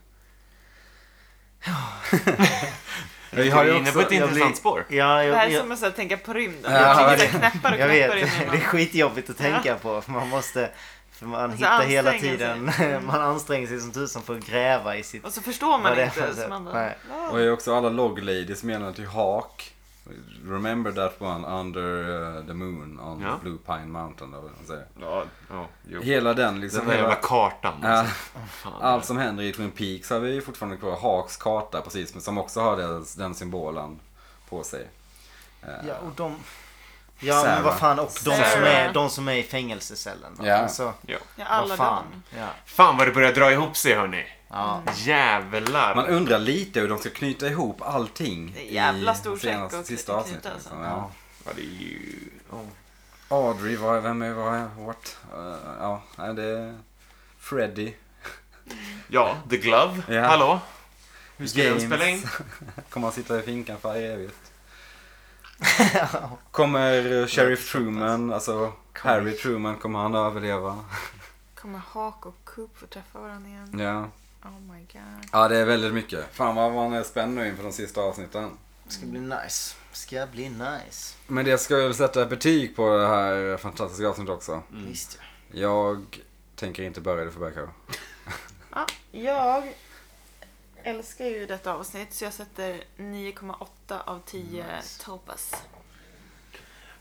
Speaker 1: Vi
Speaker 2: Vi
Speaker 1: har ju
Speaker 2: är inne på
Speaker 1: också-
Speaker 2: ett
Speaker 1: jag
Speaker 2: intressant
Speaker 1: blir-
Speaker 2: spår.
Speaker 3: Ja,
Speaker 5: Det här
Speaker 3: jag,
Speaker 5: är
Speaker 3: jag,
Speaker 5: som att så här, tänka på
Speaker 1: Ja,
Speaker 5: rymden. Jag trycker
Speaker 1: verkligen.
Speaker 5: så här knappar och
Speaker 3: jag
Speaker 5: knappar
Speaker 3: vet.
Speaker 5: in.
Speaker 3: (laughs) Det är
Speaker 5: i varandra.
Speaker 3: skitjobbigt att tänka på. För man måste... För man
Speaker 5: Alltså,
Speaker 3: hittar hela
Speaker 5: anstränga sig.
Speaker 3: tiden... (laughs) Man anstränger sig som tusan för att gräva i sitt...
Speaker 5: Och så förstår
Speaker 3: Vad
Speaker 5: man
Speaker 3: det
Speaker 5: inte.
Speaker 3: är
Speaker 5: Så
Speaker 3: för-
Speaker 5: man bara,
Speaker 3: Nej.
Speaker 5: "Va?"
Speaker 1: Och är också alla log ladies menade till Hawk. Remember that one under uh, the moon on
Speaker 2: Ja.
Speaker 1: Blue Pine Mountain. Eller vad man säger.
Speaker 2: Ja, ja, jo.
Speaker 1: Hela den liksom.
Speaker 2: Den där
Speaker 1: hela,
Speaker 2: jävla kartan. liksom.
Speaker 1: Ja,
Speaker 2: Fan.
Speaker 1: allt som händer i Twin Peaks har vi ju fortfarande kvar. Hawks karta precis. Men som också har den, den symbolen på sig. Eh,
Speaker 3: Ja, och de... Ja,
Speaker 1: Sarah.
Speaker 3: men vad fan. Och de
Speaker 5: Sarah.
Speaker 3: som, är, de som är i fängelsecellen. va?
Speaker 1: Ja.
Speaker 3: Alltså,
Speaker 2: Ja.
Speaker 5: Ja,
Speaker 3: vad
Speaker 5: alla dem.
Speaker 3: fan. Ja.
Speaker 2: Fan vad det börjar dra ihop sig hörni.
Speaker 1: Mm.
Speaker 3: Ja.
Speaker 2: Jävlar.
Speaker 1: Man undrar lite hur de ska knyta ihop allting
Speaker 5: Det är jävla
Speaker 1: i
Speaker 5: stor
Speaker 1: senaste-
Speaker 5: säck att
Speaker 1: sista
Speaker 5: knyta,
Speaker 1: avsnittet.
Speaker 5: alltså.
Speaker 1: Liksom. Ja.
Speaker 2: Ja, det är ju... oh. ja.
Speaker 1: Audrey, vad, vem är vad? är- What? Eh, ja, nej, det är Freddy.
Speaker 2: Ja, The Glove.
Speaker 1: Ja.
Speaker 2: Hallå? Hur ska den
Speaker 1: James.
Speaker 2: spela in?
Speaker 1: Kommer han sitta i finkan för evigt? Kommer eh, Sheriff Truman, alltså Harry Truman, kommer han överleva?
Speaker 5: Kommer Hawk och Coop få träffa varandra igen?
Speaker 1: Ja.
Speaker 5: Oh my god.
Speaker 1: ja, det är väldigt mycket. Fan vad man är spänd nu inför de sista avsnitten.
Speaker 3: Ska bli nice. Ska bli nice.
Speaker 1: Men det ska jag väl sätta ett betyg på det här fantastiska avsnittet också.
Speaker 3: Visst ja.
Speaker 1: Jag tänker inte börja det för Berghav.
Speaker 5: Ja, jag älskar ju detta avsnitt så jag sätter 9,8 av 10 topas.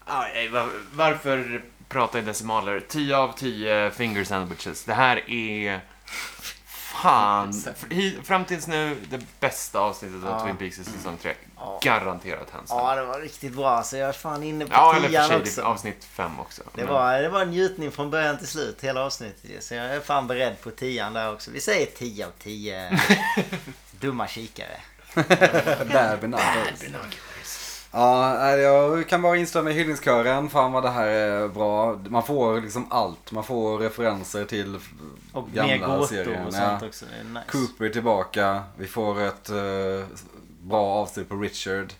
Speaker 2: Ah, nej, va- varför prata i decimaler? 10 av 10 finger sandwiches. Det här är...
Speaker 3: (laughs)
Speaker 2: Fan. Hi- Fram tills nu, det bästa avsnittet av
Speaker 3: Ja.
Speaker 2: Twin Peaks i säsong 3.
Speaker 3: Ja.
Speaker 2: Garanterat hands down.
Speaker 3: Ja, det var riktigt bra. Så jag är fan inne på
Speaker 2: Ja, eller för
Speaker 3: tian
Speaker 2: sig, det är
Speaker 3: också.
Speaker 2: avsnitt 5 också.
Speaker 3: Det
Speaker 2: Men-
Speaker 3: var, det var en njutning från början till slut, hela avsnittet ju. Så jag är fan beredd på tian där också. Vi säger 10 av
Speaker 1: (laughs)
Speaker 3: 10 dumma kikare.
Speaker 1: Bad binoculars. Ja, nej, jag kan bara instämma i hyllningskören. Fan vad det här är bra. Man får liksom allt. Man får referenser till
Speaker 3: Och mer
Speaker 1: gamla
Speaker 3: gåtor
Speaker 1: serien.
Speaker 3: och
Speaker 1: Ja.
Speaker 3: sånt också. Det är nice.
Speaker 1: Cooper är tillbaka. Vi får ett eh, bra avslut på Richard.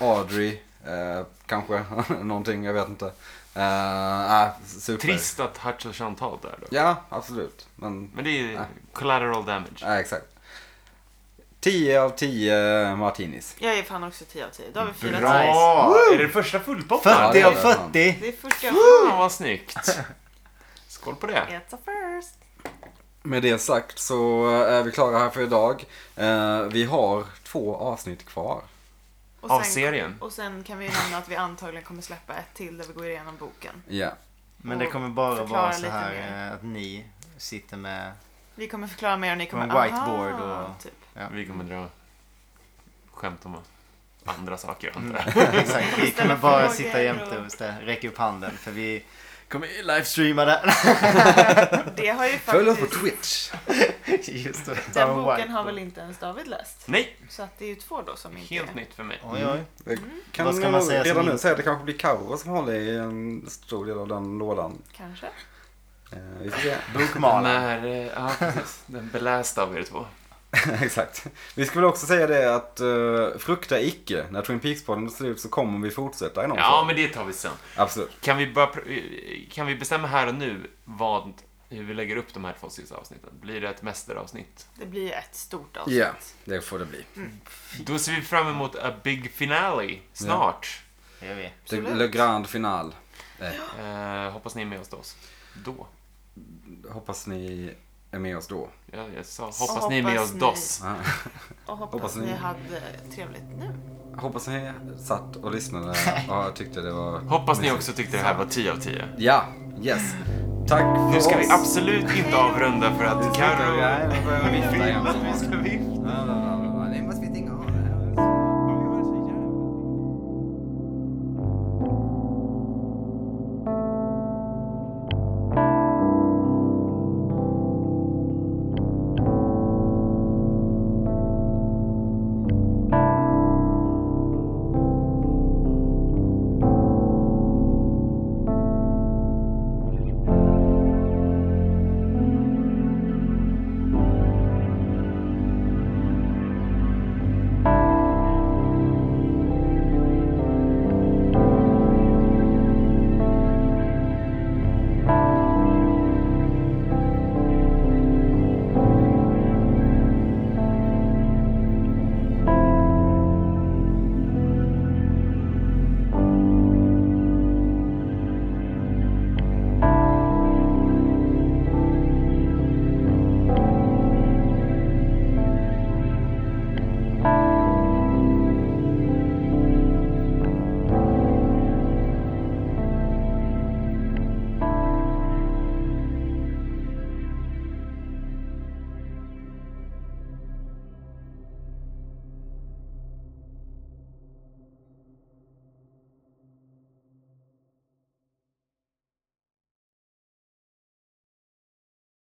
Speaker 1: Audrey, (laughs) eh, kanske. (laughs) Någonting, jag vet inte. Eh, äh, super.
Speaker 2: Trist att Hutch och Chantal dör då.
Speaker 1: Ja, absolut. Men,
Speaker 2: Men det är
Speaker 1: Nej.
Speaker 2: collateral damage.
Speaker 1: ja, exakt. 10 av 10 Martinis.
Speaker 5: Jag är fan också 10 av 10. Då har vi firat
Speaker 3: Bra.
Speaker 5: nice.
Speaker 2: Är det första fullpoppen?
Speaker 3: 40
Speaker 1: Ja,
Speaker 3: av
Speaker 1: det är fan.
Speaker 3: 40!
Speaker 5: Det är första
Speaker 2: Fan vad snyggt. Skål på det.
Speaker 5: It's a first.
Speaker 1: Med det sagt så eh, är vi klara här för idag. Eh, vi har två avsnitt kvar.
Speaker 5: Och
Speaker 2: Av
Speaker 5: sen-
Speaker 2: serien.
Speaker 5: Och sen kan vi ju nämna att vi antagligen kommer släppa ett till där vi går igenom boken.
Speaker 1: Ja.
Speaker 3: Men det kommer bara
Speaker 5: Oh, Förklara
Speaker 3: vara så
Speaker 5: lite
Speaker 3: här
Speaker 5: mer.
Speaker 3: eh, att ni sitter med...
Speaker 5: Vi kommer förklara mer och ni kommer...
Speaker 3: Och en whiteboard
Speaker 5: aha,
Speaker 3: och-
Speaker 5: Typ.
Speaker 2: Vi kommer dra skämt om andra saker. antar jag.
Speaker 3: Exakt, vi kommer bara
Speaker 5: frågor
Speaker 3: sitta jämte
Speaker 5: och-
Speaker 3: och stä- räcka upp handen. För vi Kommer livestreama det.
Speaker 5: Det har ju
Speaker 1: Följ oss på
Speaker 5: faktiskt...
Speaker 1: Twitch.
Speaker 3: (laughs) Just det.
Speaker 5: Den boken har väl inte ens David läst?
Speaker 6: Nej,
Speaker 5: Så att det är ju två då som inte
Speaker 2: Helt
Speaker 5: är.
Speaker 2: nytt för mig.
Speaker 3: Oj, oj.
Speaker 1: Kan
Speaker 3: Vad ska
Speaker 1: jag
Speaker 3: man säga
Speaker 1: redan
Speaker 3: som
Speaker 1: nu
Speaker 3: inte-
Speaker 1: säga att det kanske blir Karo som håller i en stor del av den lådan.
Speaker 5: Kanske.
Speaker 1: Eh, vi får
Speaker 3: (laughs)
Speaker 1: se.
Speaker 2: Den
Speaker 3: Bokmalan.
Speaker 2: är, eh, ja precis, den belästa av er två.
Speaker 1: (laughs) Exakt. Vi ska väl också säga det att eh, frukta icke. När Twin Peaks-podden är slut så kommer vi fortsätta i någon
Speaker 2: Ja,
Speaker 1: form.
Speaker 2: men det tar vi sen.
Speaker 1: Absolut.
Speaker 2: Kan vi, bara, pr- eh, kan vi bestämma här och nu vad, hur vi lägger upp de här två sista avsnitten? Blir det ett mästeravsnitt?
Speaker 5: Det blir ett stort
Speaker 1: Ja,
Speaker 5: avsnitt.
Speaker 1: det får det bli.
Speaker 2: Då ser vi fram emot a big finale snart.
Speaker 3: Det gör vi.
Speaker 1: Det
Speaker 5: Absolut.
Speaker 1: Le Grand Final. Eh,
Speaker 2: Eh, hoppas ni är med oss då. då.
Speaker 1: hoppas ni är med oss då.
Speaker 2: Ja, jag sa hoppas,
Speaker 5: Och
Speaker 2: ni är med
Speaker 5: hoppas
Speaker 2: oss
Speaker 5: ni-
Speaker 2: dos.
Speaker 1: Ah.
Speaker 5: Och hoppas,
Speaker 1: Hoppas ni-
Speaker 5: ni hade trevligt nu.
Speaker 1: (laughs) Hoppas ni satt och lyssnade och tyckte det var...
Speaker 2: Hoppas ni också tyckte det här var 10 av 10.
Speaker 1: Ja, yes. Tack för
Speaker 2: Nu ska
Speaker 1: oss.
Speaker 2: vi absolut inte avrunda för att
Speaker 1: Nu slutar vi.
Speaker 2: Carro...
Speaker 1: Nej, nu börjar vi vifta igen.
Speaker 2: Vi ska vifta.
Speaker 1: Ja, ja, ja.